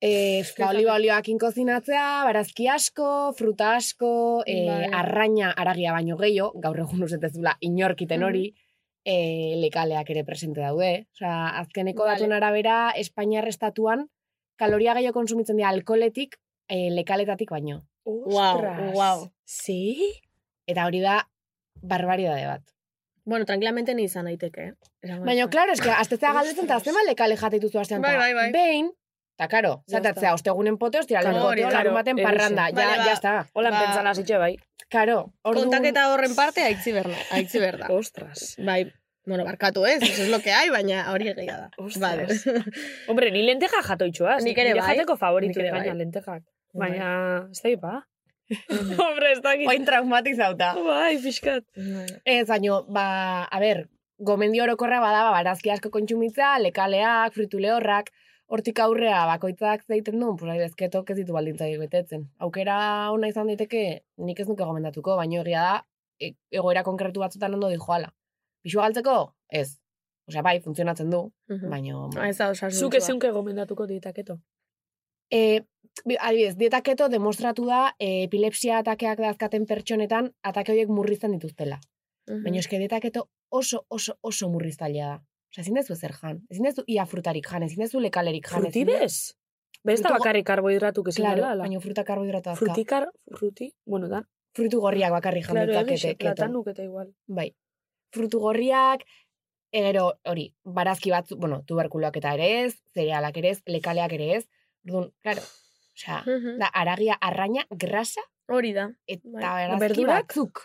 Speaker 9: E, ba, oliba olioakin kozinatzea, barazki asko, fruta asko, e,
Speaker 3: Bai.
Speaker 9: arraina aragia baino gehiago, gaur egun usetezula inorkiten hori, e, lekaleak ere presente daude. Osea, azkeneko
Speaker 3: Vale.
Speaker 9: datuen arabera, Espainiar estatuan, kaloria gehiago konsumitzen dira alkoletik, e, lekaletatik baino.
Speaker 8: Ostras.
Speaker 3: guau.
Speaker 8: Sí?
Speaker 9: Eta hori da, barbaridade bat.
Speaker 3: Bueno, tranquilamente ni izan daiteke. eh? Esango
Speaker 9: Baina,
Speaker 3: dizut.
Speaker 9: claro, eske, aztetzea galdetzen eta
Speaker 3: [laughs]
Speaker 9: azte male kale jate dituzu astean.
Speaker 3: Bai, bai, bai.
Speaker 9: Behin, eta karo,
Speaker 8: Ya
Speaker 9: zatatzea, ostegunen poteo, ostiralen
Speaker 3: Claro, hori,
Speaker 9: poteo, larun baten
Speaker 8: claro,
Speaker 9: parranda.
Speaker 3: eroso.
Speaker 9: Ja,
Speaker 3: Vale, ba.
Speaker 9: ja está.
Speaker 8: Hola,
Speaker 3: Ba.
Speaker 8: pentsan hasitxe bai.
Speaker 9: Karo, orduan...
Speaker 3: Kontaketa horren parte aitzi berna, aitzi berda.
Speaker 8: ba. Ostras.
Speaker 3: Bai, bueno, barkatu ez, eso es lo que hay, baina hori egia da.
Speaker 8: Ostras.
Speaker 3: Vale.
Speaker 8: Hombre, ni lenteja jatoitxoaz.
Speaker 3: Nik ere
Speaker 8: Nire
Speaker 3: bai.
Speaker 8: jateko
Speaker 3: Nik
Speaker 8: favoritu
Speaker 3: ere
Speaker 8: gaina
Speaker 3: bai.
Speaker 8: lentejak.
Speaker 3: Bai.
Speaker 8: Baina, ez da
Speaker 3: [laughs]
Speaker 8: ipa. Hombre, ez da
Speaker 9: Oain traumatizauta.
Speaker 8: Bai, pixkat.
Speaker 3: Bai.
Speaker 9: Ez, baino, ba, a ber, gomendio orokorra bada, ba, barazki asko kontsumitza, lekaleak, fritulehorrak, hortik aurrea bakoitzak zeiten duen, pues, adibidezketok ez ditu baldintzai betetzen. Aukera ona izan daiteke, nik ez nuke gomendatuko, baino egia da, e- egoera konkretu batzutan ondo dijoala. Bixua galtzeko? Ez. Osea, bai, funtzionatzen du, baino...
Speaker 3: Ah, ez da osasun.
Speaker 8: Zuk ezeunke gomendatuko ditaketo.
Speaker 9: E, bi- adibidez, dietak keto demostratu da e, epilepsia atakeak dazkaten pertsonetan atake horiek murrizten dituztela.
Speaker 8: Mm.
Speaker 9: Baina eske dietak keto oso, oso, oso murriztailea da. Osa, ezin dezu ezer jan, ezin dezu ia frutarik jan, ezin dezu lekalerik jan. ezin dezu-
Speaker 8: Frutibes? Bez da
Speaker 9: Frutu-
Speaker 8: bakarrik karbohidratuk ezin
Speaker 9: Claro,
Speaker 8: dela. ala.
Speaker 9: baina fruta karbohidratua azka.
Speaker 8: Frutikar, fruti, bueno da.
Speaker 9: Frutu gorriak bakarrik jan
Speaker 8: Claro,
Speaker 9: ditzakete
Speaker 8: egixe,
Speaker 9: keto.
Speaker 8: platanuk eta igual.
Speaker 9: Bai. Frutu gorriak, e, gero hori, barazki batzu, bueno, tuberkuloak eta ere ez, zerealak ere ez, lekaleak ere ez. Orduan, claro, osea,
Speaker 8: Mm.
Speaker 9: da aragia arraina grasa
Speaker 3: Hori da. Bai.
Speaker 9: eta barazki
Speaker 8: Berdurak?
Speaker 9: batzuk.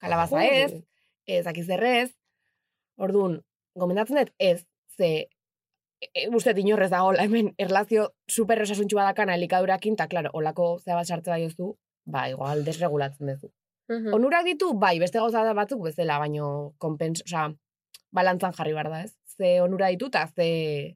Speaker 9: Kalabaza
Speaker 8: Joder.
Speaker 9: ez, ez dakiz derrez. Orduan, gomendatzen dut ez, ze e, e, uste dut inorrez da hola, hemen erlazio super osasuntxua dakana elikadurakin, eta klaro, olako zea bat sartze baiozu, ba, igual desregulatzen duzu.
Speaker 3: Hmm.
Speaker 9: Onurak ditu, bai, beste gauza da batzuk bezala, baino konpens, osea, balantzan jarri behar da, ez? Ze onura ditu eta ze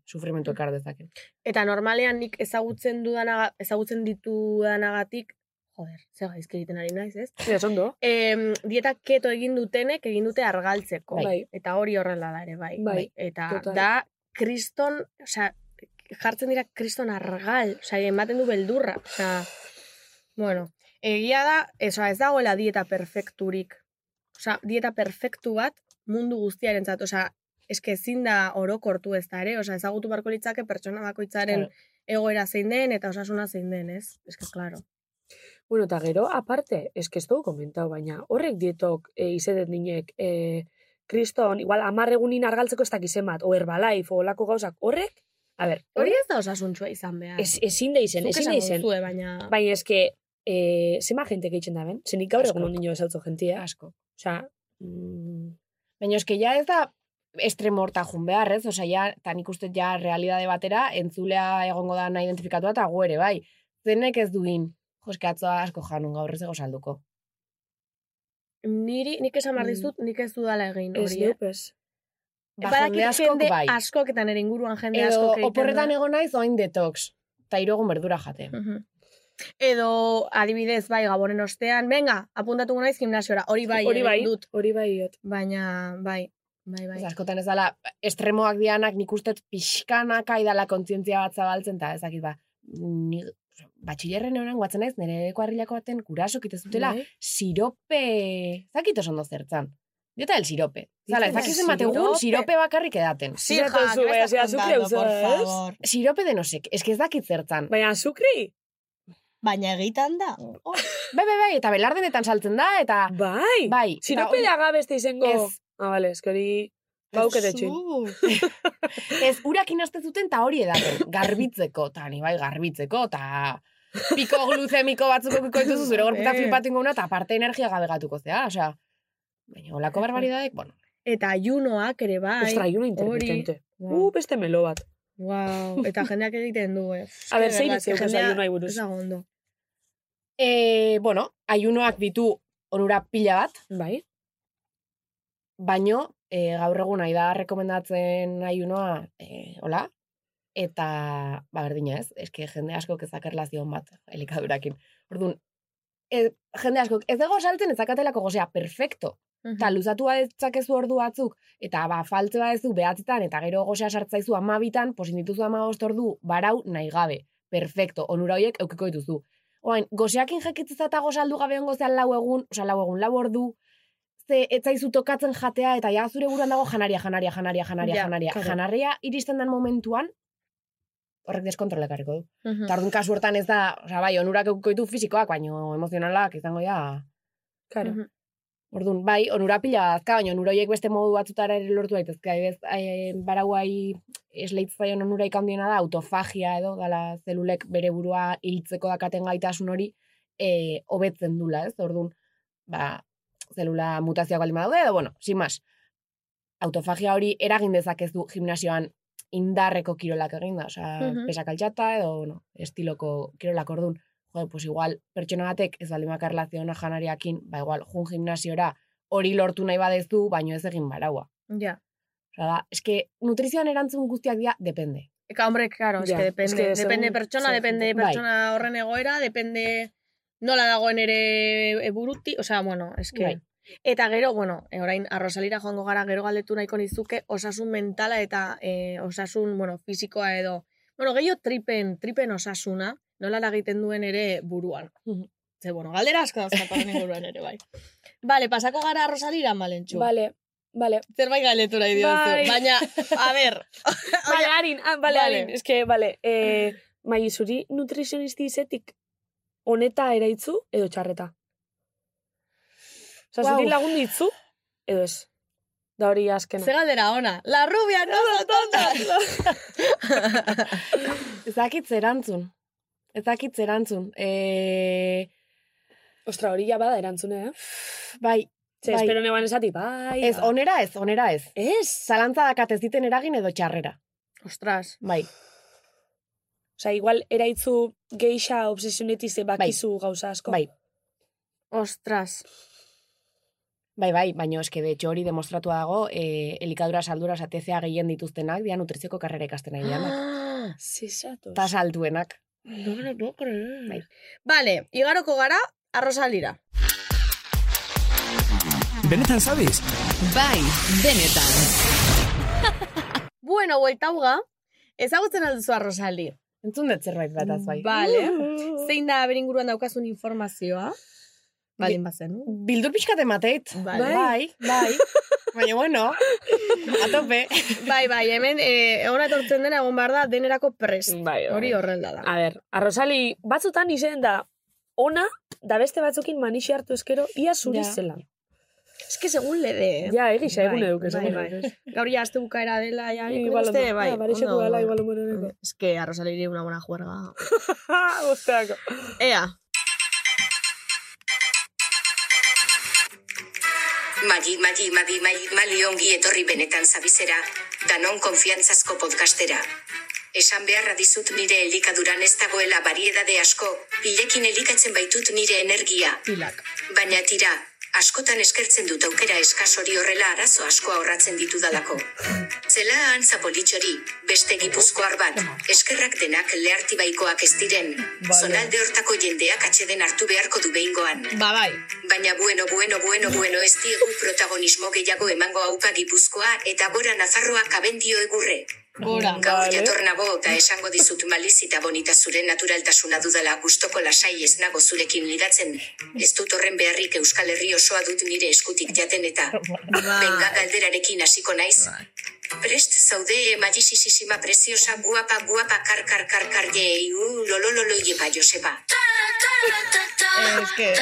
Speaker 9: sufrimentu ekar dezake.
Speaker 3: Eta normalean nik ezagutzen dudana, ezagutzen ditudanagatik, joder, ze gaizki egiten ari naiz, ez?
Speaker 8: Mira, sondo.
Speaker 3: Em, dieta keto egin dutenek egin dute argaltzeko.
Speaker 8: Bai. Bai.
Speaker 3: Eta hori horrela da ere, bai.
Speaker 8: Bai,
Speaker 3: Eta
Speaker 8: total.
Speaker 3: da kriston, osea, jartzen dira kriston argal, osea, ematen du beldurra, osea, bueno, egia da, osea, ez dagoela dieta perfekturik. Osea, dieta perfektu bat mundu guztiarentzat, osea, eske ezin da orokortu ez da ere, osea, ezagutu beharko litzake pertsona bakoitzaren egoera zein den eta osasuna zein den, ez? Eske, claro.
Speaker 8: Bueno, eta gero, aparte, eske ez dugu komentau, baina horrek dietok e, izeten dinek, e, kriston, igual amarregunin argaltzeko ez dakizen bat, o Herbalife, o olako gauzak, horrek, a ber,
Speaker 3: Hori
Speaker 8: hori
Speaker 3: ez da osasuntxua izan behar.
Speaker 8: ez, ezin da izen,
Speaker 3: Zuk eh,
Speaker 8: ezin da
Speaker 3: esango
Speaker 8: izen.
Speaker 3: duzue, baina...
Speaker 8: Baina eske, e, zema jente gehitzen da ben, zenik gaur egun ondino esaltzo jentia.
Speaker 9: Asko.
Speaker 8: Osa, mm,
Speaker 9: Baina eske ja ez da estremo horta jun behar, ez? Osea, ja, eta nik uste ja realidade batera, entzulea egongo da nahi identifikatua eta gu ere, bai. Zenek ez duin, joske atzoa asko janun gaur ez ego salduko.
Speaker 3: Niri, nik esan behar
Speaker 8: Mm.
Speaker 3: dizut, nik ez dudala egin
Speaker 8: ez
Speaker 3: hori. eh?
Speaker 8: leupes.
Speaker 9: Ba,
Speaker 3: E, Badakit
Speaker 9: jende askok
Speaker 3: jende
Speaker 9: bai.
Speaker 3: askok eta nire inguruan jende
Speaker 9: Edo
Speaker 3: askok egiten
Speaker 9: oporretan
Speaker 3: da.
Speaker 9: egon naiz oain detox. Eta irogun berdura jate.
Speaker 3: Mhm. Edo adibidez, bai, gabonen ostean, venga, apuntatuko naiz gimnasiora. Hori bai,
Speaker 8: Hori
Speaker 3: egin
Speaker 8: bai,
Speaker 3: dut.
Speaker 8: hori bai, iot.
Speaker 3: Baina, bai, bai, bai.
Speaker 9: Ez askotan ez dala, estremoak dianak nik uste dut pixkanaka idala kontzientzia bat zabaltzen, eta ezakit ba, ni, batxillerren euren guatzen naiz, nire kuarrilako baten kurasok ite zutela,
Speaker 8: Bai.
Speaker 9: sirope, ezakit oso ondo zertzan. Dieta el sirope. Zala,
Speaker 8: Dieta
Speaker 9: ezakit
Speaker 8: del
Speaker 9: emategun
Speaker 3: sirope.
Speaker 9: sirope bakarrik edaten.
Speaker 3: Sí,
Speaker 8: Zera
Speaker 3: ja,
Speaker 8: tozu,
Speaker 3: que me
Speaker 8: eh,
Speaker 3: estás
Speaker 8: zera zuk
Speaker 3: contando,
Speaker 8: leuza,
Speaker 3: por
Speaker 8: ez?
Speaker 3: favor.
Speaker 9: Sirope de nosek, eske ez dakit zertzan.
Speaker 8: Baina, sukri?
Speaker 3: Baina egitan da.
Speaker 9: Bai, bai, bai, eta belardenetan saltzen da, eta
Speaker 8: Bai.
Speaker 9: bai. eta
Speaker 8: Sirope Ba,
Speaker 9: hori-
Speaker 8: da gabe ez da izango.
Speaker 9: Ez.
Speaker 8: Ah, bale, eske hori baukete txin.
Speaker 9: [laughs] Ez, urak inazte zuten eta hori edaten, garbitzeko, eta ni bai garbitzeko, eta piko gluzemiko batzuk okiko dituzu zure gorputa
Speaker 3: Eh.
Speaker 9: flipatu inguna, eta aparte energia gabe gatuko zea, osea, baina olako barbaridadek, bueno.
Speaker 3: Eta ayunoak ere bai.
Speaker 8: Ostra, iuna intermitente. Uh,
Speaker 3: Wow.
Speaker 8: beste melo bat.
Speaker 3: wow. Eta jendeak egiten du, eh.
Speaker 8: A ber,
Speaker 3: Eske,
Speaker 8: zein
Speaker 3: verdad, eske
Speaker 8: ditzeu ez
Speaker 3: jendea
Speaker 8: aiun nahi buruz.
Speaker 3: Ez dago ondo.
Speaker 9: E, bueno, aiunoak ditu onura pila bat,
Speaker 8: Bai.
Speaker 9: baino e, gaur egun nahi da rekomendatzen aiunoa, e, hola, eta, ba, berdina ez, eske jende asko ezak erlazion bat elikadurakin. Orduan, e, jende askok ez dago saltzen ezakatelako gozea, perfecto. Eta luzatu badetzakezu ordu batzuk, eta ba, faltze badezu behatzetan, eta gero gozea sartzaizu amabitan, posin dituzu amabost ordu, barau nahi gabe. Perfecto, onura horiek eukiko dituzu. Oain, gozeakin jakitziz eta gozaldu gabe ongo zean lau egun, oza, lau egun, lau ordu, ze etzaizu tokatzen jatea, eta ja zure buruan dago janaria, janaria, janaria, janaria,
Speaker 3: Ja,
Speaker 9: janaria.
Speaker 3: claro.
Speaker 9: Janaria iristen den momentuan, horrek deskontrolekarriko du.
Speaker 3: Mhm.
Speaker 9: Eta orduan kasu hortan ez da, oza, bai, onurak eukiko ditu fizikoak, baino emozionalak izango ja,
Speaker 8: Claro.
Speaker 3: Mhm.
Speaker 9: Orduan, bai, onura pila badazka, baina onura horiek beste modu batzutara ere lortu daitezke. Adibidez, eh, barauai esleitzaion onura ikandiena da autofagia edo dala zelulek bere burua hiltzeko dakaten gaitasun hori eh hobetzen dula, ez? Orduan, ba, zelula mutazioak baldin badaude edo bueno, sin más. Autofagia hori eragin dezakezu gimnasioan indarreko kirolak eginda, osea,
Speaker 3: Mhm.
Speaker 9: pesakaltxata edo bueno, estiloko kirolak ordun joder, pues igual, pertsona batek ez baldin bakar laziona janariakin, ba igual, jun gimnasiora hori lortu nahi badezu, baino ez egin baraua.
Speaker 3: Ja.
Speaker 9: Osa da, eske, nutrizioan erantzun guztiak dira, depende.
Speaker 3: Eka, hombre, claro, es
Speaker 8: Ja,
Speaker 3: que depende.
Speaker 8: es que segun-
Speaker 3: depende pertsona,
Speaker 8: segun-
Speaker 3: depende
Speaker 9: bai.
Speaker 3: pertsona horren egoera, depende nola dagoen ere e, buruti, o sea, bueno, es que...
Speaker 9: Bai.
Speaker 3: Eta gero, bueno, e, orain arrosalira joango gara, gero galdetu nahiko nizuke osasun mentala eta e, osasun, bueno, fisikoa edo, bueno, gehiago tripen, tripen osasuna, nola eragiten duen ere buruan.
Speaker 9: Mhm.
Speaker 3: Ze, bueno, galdera asko dauzkatan inguruan
Speaker 8: [laughs]
Speaker 3: ere, bai. Vale, pasako gara arrosalira, malentxu.
Speaker 8: Vale, vale.
Speaker 3: Zerbait galdetu nahi diozu.
Speaker 8: Bai.
Speaker 3: Baina,
Speaker 8: [laughs]
Speaker 3: a [laughs] ber,
Speaker 8: Vale, harin, ah, vale,
Speaker 3: Vale.
Speaker 8: harin. Eske, vale. Eh, mai, zuri nutrizionisti izetik honeta eraitzu edo txarreta? Osa, zuri
Speaker 9: Guau.
Speaker 8: lagun ditzu edo ez? Da hori
Speaker 3: ze
Speaker 8: azkena.
Speaker 3: galdera ona. La rubia, no la tonta.
Speaker 9: Ez dakit erantzun. Ez dakit erantzun. E...
Speaker 8: Ostra, hori ja bada erantzune, eh?
Speaker 9: Bai,
Speaker 8: Ze,
Speaker 9: Bai.
Speaker 8: espero neban esatik, bai.
Speaker 9: ez, onera ez, onera ez.
Speaker 8: Ez?
Speaker 9: Zalantza dakat ez diten eragin edo txarrera.
Speaker 3: [laughs] Ostras.
Speaker 9: Bai,
Speaker 8: Osa, igual eraitzu geixa obsesionetik ze bakizu gauza asko.
Speaker 9: bai,
Speaker 3: Ostras.
Speaker 9: bai, bai, baina eske de hecho hori demostratu dago, e, elikadura saldura satezea gehien dituztenak, dia nutrizioko karrera ikasten nahi [gasps] dianak.
Speaker 3: Ah,
Speaker 8: Zizatu.
Speaker 9: Ta salduenak.
Speaker 3: no me lo puedo creer.
Speaker 9: Bai.
Speaker 3: Vale, igaroko gara, arrosalira.
Speaker 12: Benetan zabiz?
Speaker 7: Bai, benetan.
Speaker 3: Bueno, vuelta uga, ezagutzen alduzu arrosali.
Speaker 9: Entzun dut zerbait bataz bai.
Speaker 3: Vale. Zein da beringuruan daukazun informazioa? Balin bazen.
Speaker 9: Bildur pixkat emateit.
Speaker 3: Vale.
Speaker 9: Bai, bai. [laughs] Baina bueno, a tope.
Speaker 3: Bai, bai, hemen, eh, egon etortzen dena egon behar da, denerako prest.
Speaker 8: Bai,
Speaker 3: Hori horrela da.
Speaker 8: A ber, arrozali, batzutan izen da ona, da beste batzukin manixi hartu eskero, ia zuri
Speaker 9: Ja.
Speaker 8: zela.
Speaker 3: Es que segun lede.
Speaker 8: Ja, egisa, egun
Speaker 3: Bai,
Speaker 8: eduk,
Speaker 3: bai, bai. Gaur ya azte bukaera dela, ya, nik beste, bai.
Speaker 8: Barixeko
Speaker 3: ondo,
Speaker 8: Ah, dela,
Speaker 3: ondo.
Speaker 8: igual
Speaker 3: [laughs]
Speaker 8: umoreneko.
Speaker 3: Es que arrosaliri una buena juerga.
Speaker 8: Bosteako.
Speaker 3: Ea.
Speaker 13: Magi, magi, magi, magi, mali ongi etorri benetan zabizera, danon konfiantzazko podcastera. Esan beharra dizut nire elikaduran ez dagoela bariedade asko, pilekin elikatzen baitut nire energia.
Speaker 3: Pilak.
Speaker 13: Baina tira, askotan eskertzen dut aukera eskas hori horrela arazo asko ahorratzen ditudalako. Zela antza politxori, beste gipuzkoar bat, eskerrak denak leartibaikoak ez diren, zonalde hortako jendeak atxeden hartu beharko du behingoan.
Speaker 3: Ba, bai.
Speaker 13: Baina bueno, bueno, bueno, bueno, ez diegu protagonismo gehiago emango auka gipuzkoa eta gora nafarroa kabendio egurre.
Speaker 3: Gora.
Speaker 13: Gaur jator nago eta esango dizut maliz eta bonita zure naturaltasuna dudala gustoko lasai ez nago zurekin lidatzen. Ez dut horren beharrik Euskal Herri osoa dut nire eskutik jaten
Speaker 3: [laughs]
Speaker 13: eta benga galderarekin hasiko naiz. Prest zaude magixisisima preziosa guapa guapa kar kar kar kar ye, uh, lolololo yepa Josepa.
Speaker 3: Es que...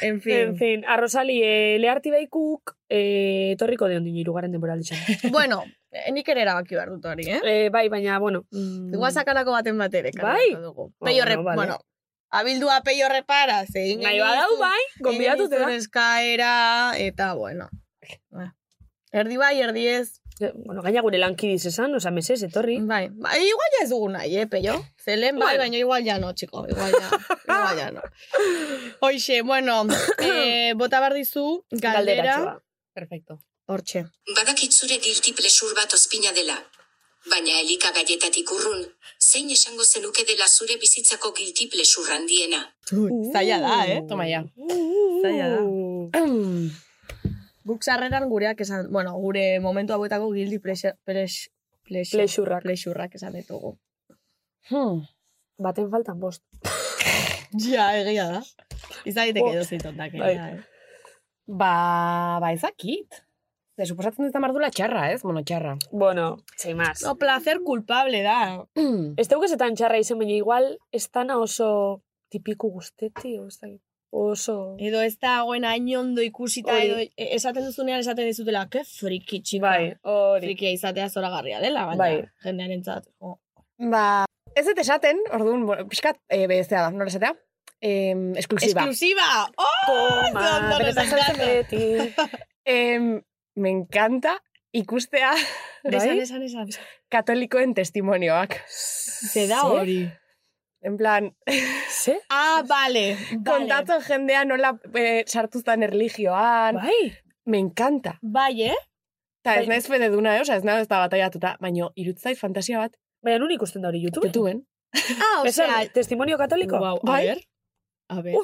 Speaker 3: En
Speaker 8: En
Speaker 3: fin.
Speaker 8: fin, arrozali, e, leharti baikuk, e, torriko deon dinu irugarren denbora
Speaker 3: [laughs] bueno, eh, nik ere erabaki behar dut hori, eh?
Speaker 8: e, bai, baina, bueno. Mm,
Speaker 3: Igual sakalako baten bat ere.
Speaker 8: Bai.
Speaker 3: kaleratuko dugu. Peio
Speaker 8: bueno,
Speaker 3: rep...
Speaker 8: vale.
Speaker 3: Bueno, abildua peio repara, zein.
Speaker 8: Nahi badau, bai, gonbidatu
Speaker 3: da.
Speaker 8: zera.
Speaker 3: eskaera, eta bueno. Eh, Erdi bai, erdi ez.
Speaker 8: Eh, Bueno, gaina gure lankidiz esan, osa, meses, etorri.
Speaker 3: Bai. Ba, igual ya ez dugu nahi, eh, peio? Zelen bai,
Speaker 8: Bueno.
Speaker 3: baina igual ya no, txiko. Igual
Speaker 8: [laughs]
Speaker 3: ya, igual ya no. Hoxe,
Speaker 8: [coughs]
Speaker 3: bueno, eh, bota behar dizu, galdera.
Speaker 8: Galderatxoa.
Speaker 9: Perfecto.
Speaker 3: Hortxe.
Speaker 13: Badakit zure guilty pleasure bat ozpina dela. Baina elika gaietatik urrun, zein esango zenuke dela zure bizitzako guilty pleasure handiena.
Speaker 3: Zaila da,
Speaker 8: Uh,
Speaker 3: eh?
Speaker 9: Toma ya.
Speaker 3: Zaila da.
Speaker 9: Mm.
Speaker 3: Guk sarreran gureak esan, bueno, gure momentu hauetako guilty pleasure, pleasure, pleasure,
Speaker 8: Plexurrak.
Speaker 3: plexurrak esan ditugu. [laughs]
Speaker 9: Hmm.
Speaker 8: Baten faltan bost.
Speaker 3: Ja, egia da. Izaiteke
Speaker 8: Oh.
Speaker 3: edo zeitontak.
Speaker 8: Bai.
Speaker 3: eh.
Speaker 9: Ba, ba ezakit. Ze, suposatzen dut amardula txarra, ez? Bueno,
Speaker 3: [clears throat]
Speaker 9: txarra.
Speaker 8: Bueno, zein maz.
Speaker 3: No, placer culpable da.
Speaker 8: Ez teuk esetan txarra izen, baina igual estana oso tipiku guzteti, o ez dakit. Oso.
Speaker 3: Edo ez dagoen ainondo ikusita,
Speaker 9: Hori.
Speaker 3: edo e- esaten duzunean esaten dizutela, ke friki txika.
Speaker 9: Bai, hori.
Speaker 3: Frikia izatea zoragarria dela, baina
Speaker 9: Bai.
Speaker 3: jendearen zat. Oh.
Speaker 9: Ba, ez dut esaten, orduan, bueno, pixkat, e, bezea da, nola esatea? Eh, esklusiba.
Speaker 3: ¡Exclusiva! ¡Oh!
Speaker 9: Toma,
Speaker 3: Ondo, ondo,
Speaker 9: pero
Speaker 3: nos
Speaker 9: está jartzen
Speaker 3: encanta.
Speaker 9: beti. Em, me encanta ikustea
Speaker 3: Esan,
Speaker 9: bai?
Speaker 3: esan, esan.
Speaker 9: katolikoen testimonioak.
Speaker 3: Se da
Speaker 9: Ze?
Speaker 3: hori.
Speaker 9: En plan,
Speaker 8: Ze?
Speaker 3: Ah, vale. vale.
Speaker 9: kontatzen jendea nola eh, sartuztan erligioan.
Speaker 3: Bai.
Speaker 9: Me encanta.
Speaker 3: Bai, eh?
Speaker 9: Ta ez
Speaker 3: Bai.
Speaker 9: naiz fededuna, eh? Osa, ez naiz ez da bataiatuta, baino irutzait fantasia bat,
Speaker 8: Baina, nun ikusten da hori YouTube?
Speaker 9: betuen.
Speaker 3: Ah, o
Speaker 8: Esan,
Speaker 3: sea...
Speaker 8: testimonio katoliko?
Speaker 3: Guau, a
Speaker 9: Bai.
Speaker 3: ver. A ver.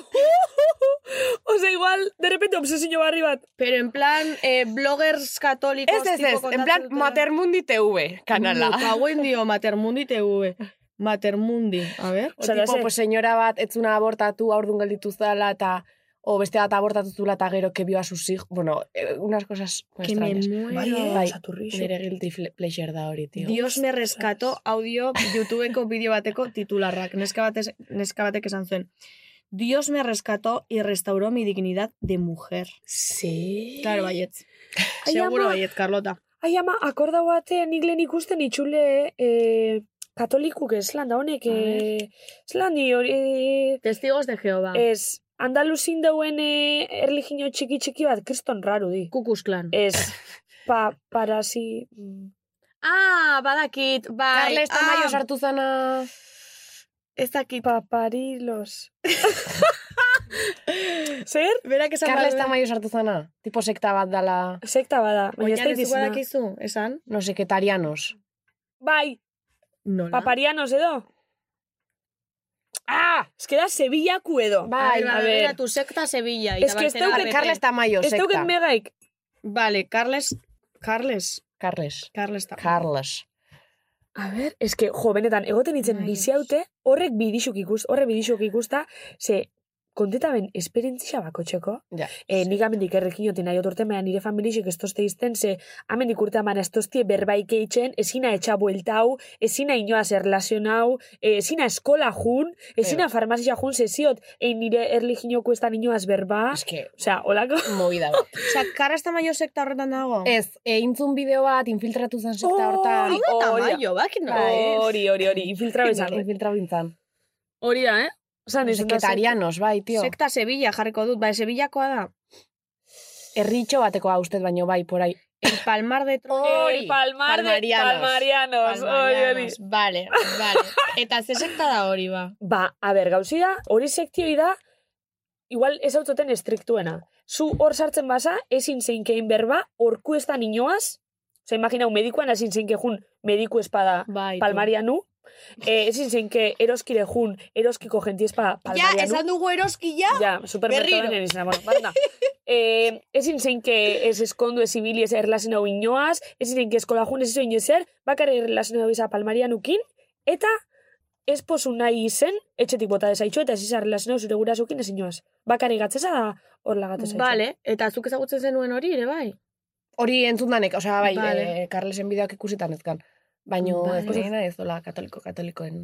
Speaker 8: Osa, igual, de repente, obsesio barri bat.
Speaker 3: Pero en plan, eh, bloggers katolikos...
Speaker 9: Ez, ez, ez, en plan, Matermundi TV
Speaker 3: Mm,
Speaker 9: kanala.
Speaker 3: Kauen dio, Matermundi TV. Matermundi. A ver.
Speaker 9: O
Speaker 8: Osa, da
Speaker 9: tipo,
Speaker 8: ze?
Speaker 9: pues, senyora bat, etzuna abortatu, aurdun gelditu zala, eta o beste bat abortatu zula, eta gero que vio a sus hijos. Bueno, eh, unas cosas muy
Speaker 3: Que me
Speaker 9: extrañas.
Speaker 3: muero.
Speaker 9: Bai,
Speaker 8: Saturrixo.
Speaker 9: nire guilty fle- pleasure da hori, tío.
Speaker 3: Dios me rescató audio YouTubeko bideo bateko titularrak. Neska, batez, neska batek esan zuen. Dios me rescató y restauró mi dignidad de mujer.
Speaker 9: Sí.
Speaker 3: Claro, bai. baietz.
Speaker 8: Ai,
Speaker 3: Seguro
Speaker 8: ama.
Speaker 3: baietz, Carlota.
Speaker 8: Ai, ama, akorda baten nik lehen ikusten itxule eh, katolikuk eslanda honek, eh, eslandi hori, eh,
Speaker 3: Testigos de Jehová.
Speaker 8: ez, andaluzin dauen eh, erligio txiki txiki bat, kriston raru di.
Speaker 3: Kukus Klan.
Speaker 8: Ez, pa, parasi... mm,
Speaker 3: ah, badakit, bai.
Speaker 9: Carles Tamayo sartu zana...
Speaker 3: Ez dakit. [laughs]
Speaker 8: Paparilos. Zer?
Speaker 3: Berak esan
Speaker 9: Carles Tamayo sartu zana. Tipo sekta bat dala,
Speaker 8: Sekta bada, baina ez da
Speaker 3: Oian ez
Speaker 8: izena.
Speaker 3: badakizu, esan?
Speaker 9: no sé, ketarianos.
Speaker 8: Bai,
Speaker 3: Nola?
Speaker 8: paparianos edo? Ah, ez que da Sevillaku edo.
Speaker 9: Bai,
Speaker 3: a
Speaker 8: a
Speaker 3: ver.
Speaker 8: ver.
Speaker 3: Tu sekta Sevilla.
Speaker 8: Ez que ez
Speaker 3: Itabaltera
Speaker 8: daukat
Speaker 3: PP.
Speaker 9: Carles Tamayo,
Speaker 8: Ez
Speaker 9: sekta.
Speaker 8: dauken megaik.
Speaker 3: Vale, Carles... Carles.
Speaker 9: Carles.
Speaker 3: Carles Tamayo.
Speaker 9: Carles.
Speaker 8: A ber, ez que, jo, benetan, egoten itzen
Speaker 3: Ai,
Speaker 8: bizi haute, horrek bidixuk ikust, horrek bidixuk ikusta, ze, konteta ben, esperientzia bako txeko.
Speaker 9: Ja.
Speaker 8: E, nik amendik errekin joten nahi otorten, baina nire familixek ez tozte izten, ze, amendik urte amana ez toztie berbaik eitzen, ezina etxa buelta hau, ezina inoaz erlazion hau, e, ezina eskola jun, ezina farmazia jun, ze ziot, e, nire erliginoko ez da inoaz berba,
Speaker 9: Es que,
Speaker 8: osea, olako...
Speaker 9: movida bat.
Speaker 3: Osa, Carles Tamayo sekta horretan dago.
Speaker 9: Ez, eintzun bideo bat, infiltratu zen sekta
Speaker 8: Oh,
Speaker 9: hortan.
Speaker 8: hori da Tamayo,
Speaker 3: bakit
Speaker 8: Hori, hori, hori, infiltrao izan.
Speaker 9: Infiltratu bintzan.
Speaker 8: Bai. Hori da, eh? Osa,
Speaker 9: No sé, ketarianos, bai, tío.
Speaker 3: Sekta Sevilla jarriko dut, bai, Sevillakoa da.
Speaker 9: Erritxo batekoa ustez baino bai, porai.
Speaker 3: El Palmar de Troya.
Speaker 8: Hori, palmar
Speaker 9: Palmarianos.
Speaker 8: palmarianos. palmarianos. hori, hori.
Speaker 3: Palmarianos. [laughs] Vale, vale. Oh. Eta ze sekta da hori, ba.
Speaker 8: Ba, a ber, gauzi da, hori sektioi da, igual ez autoten estriktuena. Zu hor sartzen basa, ezin zeinkein berba, horku ez da ninoaz, ze imaginau, medikuan ezin zeinke jun, mediku espada
Speaker 3: Bai. tu.
Speaker 8: palmarianu, e, ezin zeinke eroskire jun, eroskiko jenti espada
Speaker 3: Ja,
Speaker 8: palmarianu.
Speaker 3: esan dugu eroskila.
Speaker 8: [laughs] Ja, supermerkado
Speaker 3: Berriro.
Speaker 8: izena, bueno,
Speaker 3: [laughs]
Speaker 8: banda. eh, ezin zein que ez eskondu ez ibili ez erlazen hau inoaz, ezin zein que eskola jun ez izo inoezer, bakarri erlazen hau iza palmarian ukin, eta ez posu nahi izen, etxetik bota dezaitxo, eta ez izan erlazen hau zure gura ez inoaz. Bakarri gatzeza da hor lagatu zaitxo.
Speaker 3: Vale, eta zuk ezagutzen zenuen hori, ere bai.
Speaker 9: Hori entzundanek, osea, bai,
Speaker 3: Vale.
Speaker 9: eh, Carlesen bideoak ikusitan ezkan. Baino ez
Speaker 3: Vale.
Speaker 9: nena ez dola katoliko, katolikoen.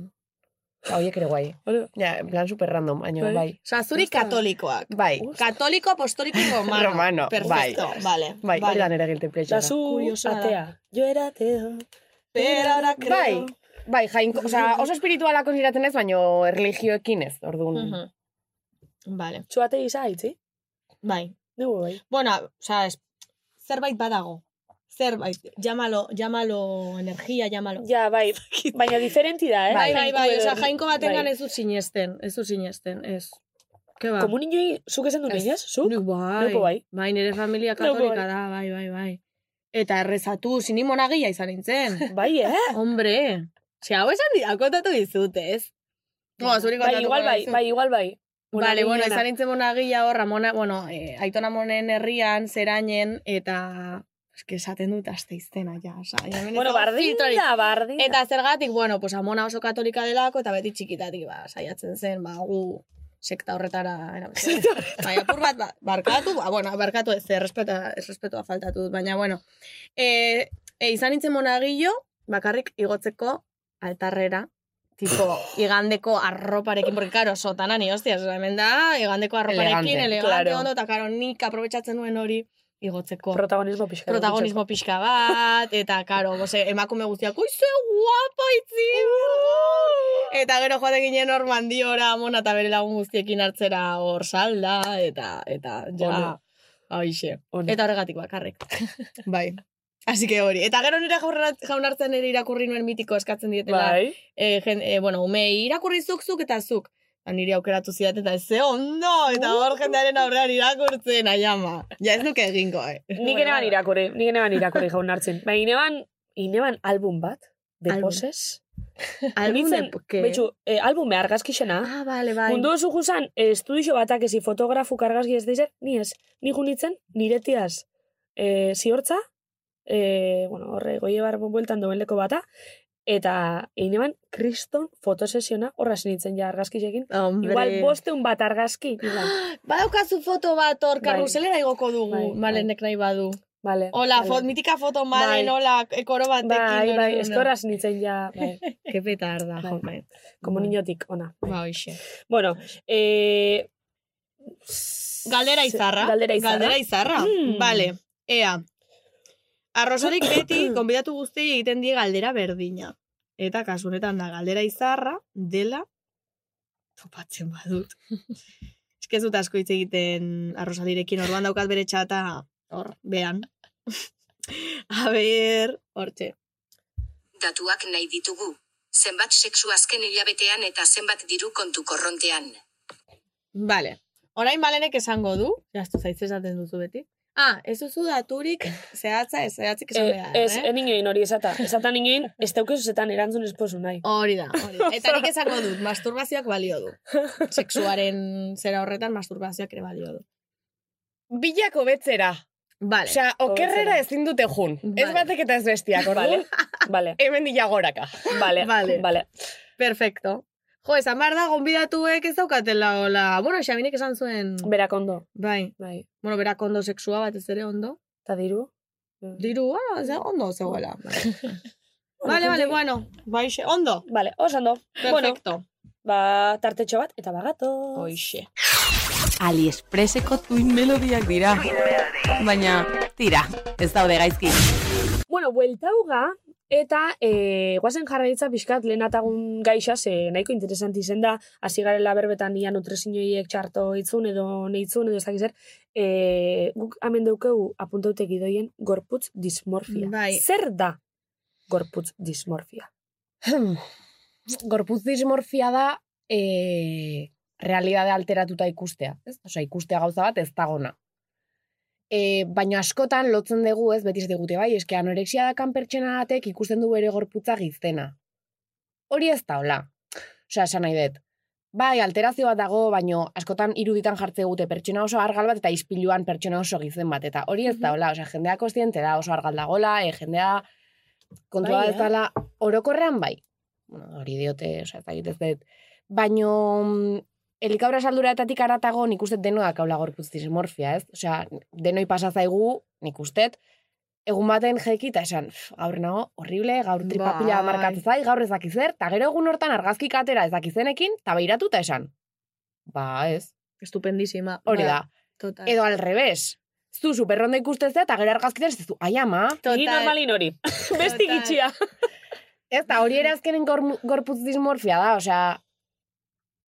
Speaker 9: Ba, horiek ere guai.
Speaker 8: Hori.
Speaker 9: Ja, en plan super random, baino
Speaker 8: Bai.
Speaker 9: bai.
Speaker 3: Sazuri katolikoak.
Speaker 9: Bai,
Speaker 3: Katoliko, apostoliko, y romano.
Speaker 9: Romano,
Speaker 3: Perfecto,
Speaker 9: bai.
Speaker 3: vale.
Speaker 9: bai, hori da
Speaker 3: vale.
Speaker 9: nere guilty
Speaker 8: Da
Speaker 9: pleasure.
Speaker 8: zu
Speaker 3: Kuriosa da.
Speaker 8: atea. Jo era ateo.
Speaker 3: Pero ahora creo.
Speaker 9: Bai, bai, jain, osea, oso espirituala konsideratzen ez, baino erligioekin ez, orduan.
Speaker 3: Mhm. Vale,
Speaker 8: Zu ate izaitzi?
Speaker 3: bai.
Speaker 8: Dugu bai.
Speaker 3: Bueno, o sea, es- zerbait badago. Zerbait, llámalo, llámalo energía, llámalo.
Speaker 8: Ja,
Speaker 3: [laughs]
Speaker 8: bai, baina diferenti da, eh?
Speaker 3: Bai, bai, bai, osea,
Speaker 8: Bai.
Speaker 3: jainko batengan
Speaker 8: Bai.
Speaker 3: ez dut sinesten, ez dut sinesten, ez. Ke ba?
Speaker 8: Komunioi, zuk esan du
Speaker 3: Ez.
Speaker 8: neinez? Zuk?
Speaker 3: Nik bai,
Speaker 8: Neuko bai.
Speaker 3: bai, nire familia
Speaker 8: Neuko
Speaker 3: katolika
Speaker 8: bai.
Speaker 3: da, bai, bai, bai. Eta errezatu, sini monagia izan
Speaker 8: [laughs]
Speaker 3: nintzen.
Speaker 8: Bai,
Speaker 3: [laughs]
Speaker 8: eh?
Speaker 3: Hombre, ze hau esan dira, kontatu dizut, ez? No, zuri
Speaker 8: Bai,
Speaker 3: kontatuko
Speaker 8: igual bai,
Speaker 3: dizut.
Speaker 8: bai, igual bai.
Speaker 3: Vale, bueno,
Speaker 8: Monagillana.
Speaker 3: izan nintzen monagilla hor, Ramona, bueno, eh, aitona monen herrian, zerainen, eta... Eske esaten dut aste iztena, ja, oza.
Speaker 8: Bueno, bardinda, bardinda.
Speaker 3: Eta zergatik, bueno, pues amona oso katolika delako, eta beti txikitatik, ba, saiatzen zen, ba, gu sekta horretara,
Speaker 9: [laughs]
Speaker 3: era, bai, apur bat, ba, barkatu, ba, bueno, barkatu ez, errespeta, errespetoa faltatu dut, baina, bueno, e, e, izan nintzen monagillo, bakarrik igotzeko altarrera,
Speaker 9: [laughs]
Speaker 14: tipo,
Speaker 3: igandeko arroparekin, porque, karo, sotanan, hostias, hemen da, igandeko arroparekin,
Speaker 9: Elegante,
Speaker 3: elegante,
Speaker 9: claro.
Speaker 3: ondo, eta karo, nik aprobetsatzen nuen hori igotzeko.
Speaker 8: Protagonismo pixka.
Speaker 3: protagonismo pixka bat, eta karo, bose, emakume guztiak, oi, ze guapa itzi! Eta gero joaten ginen Normandiora, mona eta bere lagun guztiekin hartzera hor salda, eta, eta, ja,
Speaker 9: Ono.
Speaker 3: haixe.
Speaker 9: Ono.
Speaker 3: Eta horregatik bakarrik. bai. Así que hori. Eta gero nire jaurra- jaunartzen ere irakurri nuen mitiko eskatzen dietela.
Speaker 9: Bai.
Speaker 3: E, jen, e, bueno, umei irakurri zuk zuk eta zuk. Ba, niri aukeratu zidat eta ze ondo, eta hor jendearen aurrean irakurtzen, aiama. Ja ez nuke egingo, eh.
Speaker 8: Nik eneban irakurri, nik eneban [laughs] irakurri jaun hartzen. Baina ineban, ineban album bat, de
Speaker 14: Album.
Speaker 8: poses.
Speaker 14: algún
Speaker 8: Nintzen,
Speaker 14: epoke.
Speaker 8: Betxu, eh, albume argazkixena.
Speaker 14: Ah, bale, bai.
Speaker 8: Mundu oso juzan, eh, estudixo batak ezi fotografu kargazki ez dizer, ni ez, ni junitzen, niretiaz eh, ziortza, eh, bueno, horre, goie barbo bueltan doen leko bata, eta ineban, kriston fotosesiona horra sinitzen ja argazkisekin.
Speaker 14: Hombre.
Speaker 8: Igual bosteun bat argazki. igual.
Speaker 14: [gasps]
Speaker 3: Badaukazu foto bat hor,
Speaker 8: Bai.
Speaker 3: karruselera igoko dugu,
Speaker 8: Bai, bai.
Speaker 3: malenek nahi badu.
Speaker 8: Vale.
Speaker 3: Hola,
Speaker 8: vale.
Speaker 3: fot, mitika foto malen,
Speaker 8: Bai.
Speaker 3: hola, ekoro batekin.
Speaker 8: Bai,
Speaker 3: hori,
Speaker 8: bai,
Speaker 3: bueno.
Speaker 8: ez que horra sinitzen ja,
Speaker 3: [laughs]
Speaker 8: bai,
Speaker 3: Ke petarda,
Speaker 8: Bai.
Speaker 3: jo, bai.
Speaker 8: como
Speaker 3: Bai.
Speaker 8: niñotik, ona. bai.
Speaker 3: Ba, hoxe.
Speaker 8: Bueno, eh...
Speaker 3: Galdera izarra.
Speaker 8: Galdera izarra.
Speaker 3: Galdera izarra.
Speaker 8: Mm.
Speaker 3: Vale, ea.
Speaker 8: [clears throat]
Speaker 3: Arrosarik beti, konbidatu guztiei egiten die galdera berdina. Eta kasunetan da, galdera izarra dela topatzen
Speaker 8: [laughs]
Speaker 3: badut. Ez que ez dut asko hitz egiten arrosalirekin, orduan daukat bere txata hor, bean. [laughs] A ber, hortxe.
Speaker 13: Datuak nahi ditugu. Zenbat sexu azken hilabetean eta zenbat diru kontu korrontean.
Speaker 3: Vale. Orain malenek esango du. Gastu zaitz esaten duzu beti. Ah, ez duzu
Speaker 8: [laughs]
Speaker 3: daturik zehatza, ez zehatzik esan
Speaker 8: Eh,
Speaker 3: behar,
Speaker 8: ez,
Speaker 3: eh?
Speaker 8: eh? inoin hori esata. Esata inoin, ez daukez zetan erantzun esposu nahi.
Speaker 3: Hori da, hori da. Eta nik esango dut, masturbazioak balio du. Sexuaren zera horretan masturbazioak ere balio du.
Speaker 9: Bilak hobetzera.
Speaker 3: Vale.
Speaker 9: Osea, okerrera ezin dute jun. Ez
Speaker 3: Vale.
Speaker 9: batek eta ez
Speaker 3: [laughs]
Speaker 9: bestiak, orduan.
Speaker 8: Vale, vale,
Speaker 9: Hemen dila goraka.
Speaker 8: vale,
Speaker 3: Oh, Vale.
Speaker 8: vale.
Speaker 3: perfecto. Jo, esan behar da, gonbidatuek ez daukatela, hola. Bueno, Xabinek esan zuen,
Speaker 8: Berak ondo,
Speaker 3: bai.
Speaker 8: bai.
Speaker 3: Bueno, berak ondo sexua batez ere ondo.
Speaker 8: Eta diru?
Speaker 3: Diru, bueno, ze ondo zegoela.
Speaker 9: Bai. [laughs]
Speaker 3: Vale, vale, bueno. Baixe, ondo.
Speaker 8: Vale, oso ondo. Bueno,
Speaker 3: Perfecto.
Speaker 8: ba, tartetxo bat, eta bagato.
Speaker 3: Hoixe.
Speaker 7: Aliexpreseko tuin melodiak dira. Baina, tira, ez daude gaizki.
Speaker 8: Bueno, bueltauga, eta e, guazen jarraitza pixkat lehenatagun gaixa, ze nahiko interesanti izen da, hasi garela berbetan ia nutrezinoiek txarto itzun edo neitzun edo ez dakiz zer, e, guk hemen daukegu apuntaute gidoien gorputz dismorfia.
Speaker 3: Bai.
Speaker 8: Zer da gorputz dismorfia?
Speaker 9: [clears throat] Gorputz dismorfia da e, realidade alteratuta ikustea. Ez? Osea, ikustea gauza bat ez dagona. E, baina askotan lotzen dugu ez betiz digute bai, eske anorexia dakan pertsena batek ikusten du bere gorputza giztena. Hori ez da hola. Osea, esan nahi dut. Bai, alterazio bat dago, baino askotan iruditan jartze dute pertsona oso argal bat eta ispiluan pertsona oso gizen bat. Eta hori ez da hola, osea, jendea kostiente da oso argal dagola, e, jendea kontua
Speaker 8: Bai,
Speaker 9: ez
Speaker 8: eh?
Speaker 9: dala orokorrean bai. Bueno, hori diote, osea, ez dakit ez dut. Baino, mm, elikabra salduratatik aratago nik uste denoak haula gorputz dismorfia, ez? Osea, denoi pasa zaigu, nik uste, egun baten jeki eta esan, "Pff, gaur nago, horrible, gaur tripapila
Speaker 3: Bai.
Speaker 9: markatzen zai, gaur ez dakizer, eta gero egun hortan argazkik atera ez dakizenekin, eta beiratu eta esan. Ba, ez,
Speaker 3: Estupendísima.
Speaker 9: hori
Speaker 3: Ba,
Speaker 9: da.
Speaker 3: Total.
Speaker 9: Edo al revés. Zu superronda ikustezea eta gero argazkitan ez du, ai ama,
Speaker 3: Total.
Speaker 8: Ni normalin hori. Beste
Speaker 3: Total.
Speaker 8: gitxia.
Speaker 9: Ez da, hori ere azkenen gormu- gorputz dismorfia da, osea,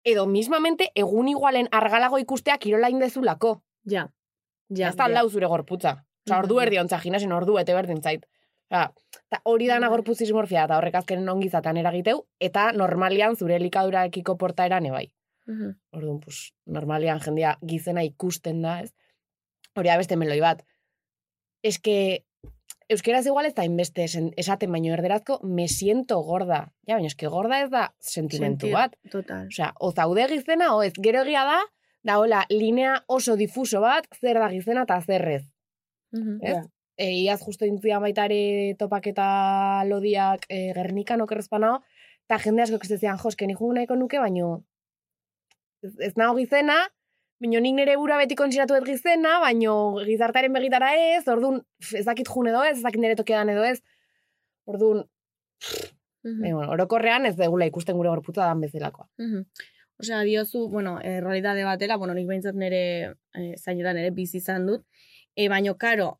Speaker 9: edo mismamente egun igualen argalago ikustea kirola indezulako.
Speaker 3: Ja. Ja,
Speaker 9: ez da lau zure gorputza. Osea, ordu
Speaker 3: Mhm.
Speaker 9: erdi ontza ginasen ordu ete berdin zait. Osea, eta hori dana
Speaker 3: Bai.
Speaker 9: gorputz dismorfia eta horrek azkenen ongizatan eragiteu, eta normalian zure elikadurakiko portaeran ebai.
Speaker 3: Mhm.
Speaker 9: Orduan, pues, normalian jendea gizena ikusten da, ez? Hori da beste meloi bat. Eske, euskeraz igual ez da inbeste esen- esaten baino erderazko, me siento gorda. Ja, baina eske gorda ez da sentimentu
Speaker 3: Sentir,
Speaker 9: bat.
Speaker 3: Total.
Speaker 9: Osea, o zaude gizena, o ez gero egia da, da hola, linea oso difuso bat, zer da gizena eta zerrez.
Speaker 3: Mhm.
Speaker 9: Ez?
Speaker 8: Ja.
Speaker 9: E, iaz justo intzia baitare topaketa lodiak e, gernikan okerrezpanao, eta jende asko kestezian, jo, eske ni jugu nahiko nuke, baino ez, ez nago gizena, baino nik nire bura beti konsideratu ez gizena, baino gizartaren begitara ez, orduan pf, ez dakit jun edo ez, ez dakit nire tokiadan edo ez, orduan
Speaker 3: Mhm.
Speaker 9: Baina, bueno, orokorrean ez degula ikusten gure gorputza dan bezalakoa.
Speaker 3: Mhm. Osea, diozu, bueno, eh, realidade batera, bueno, nik behintzat nire eh, zainetan ere bizi izan dut, e, baino, karo,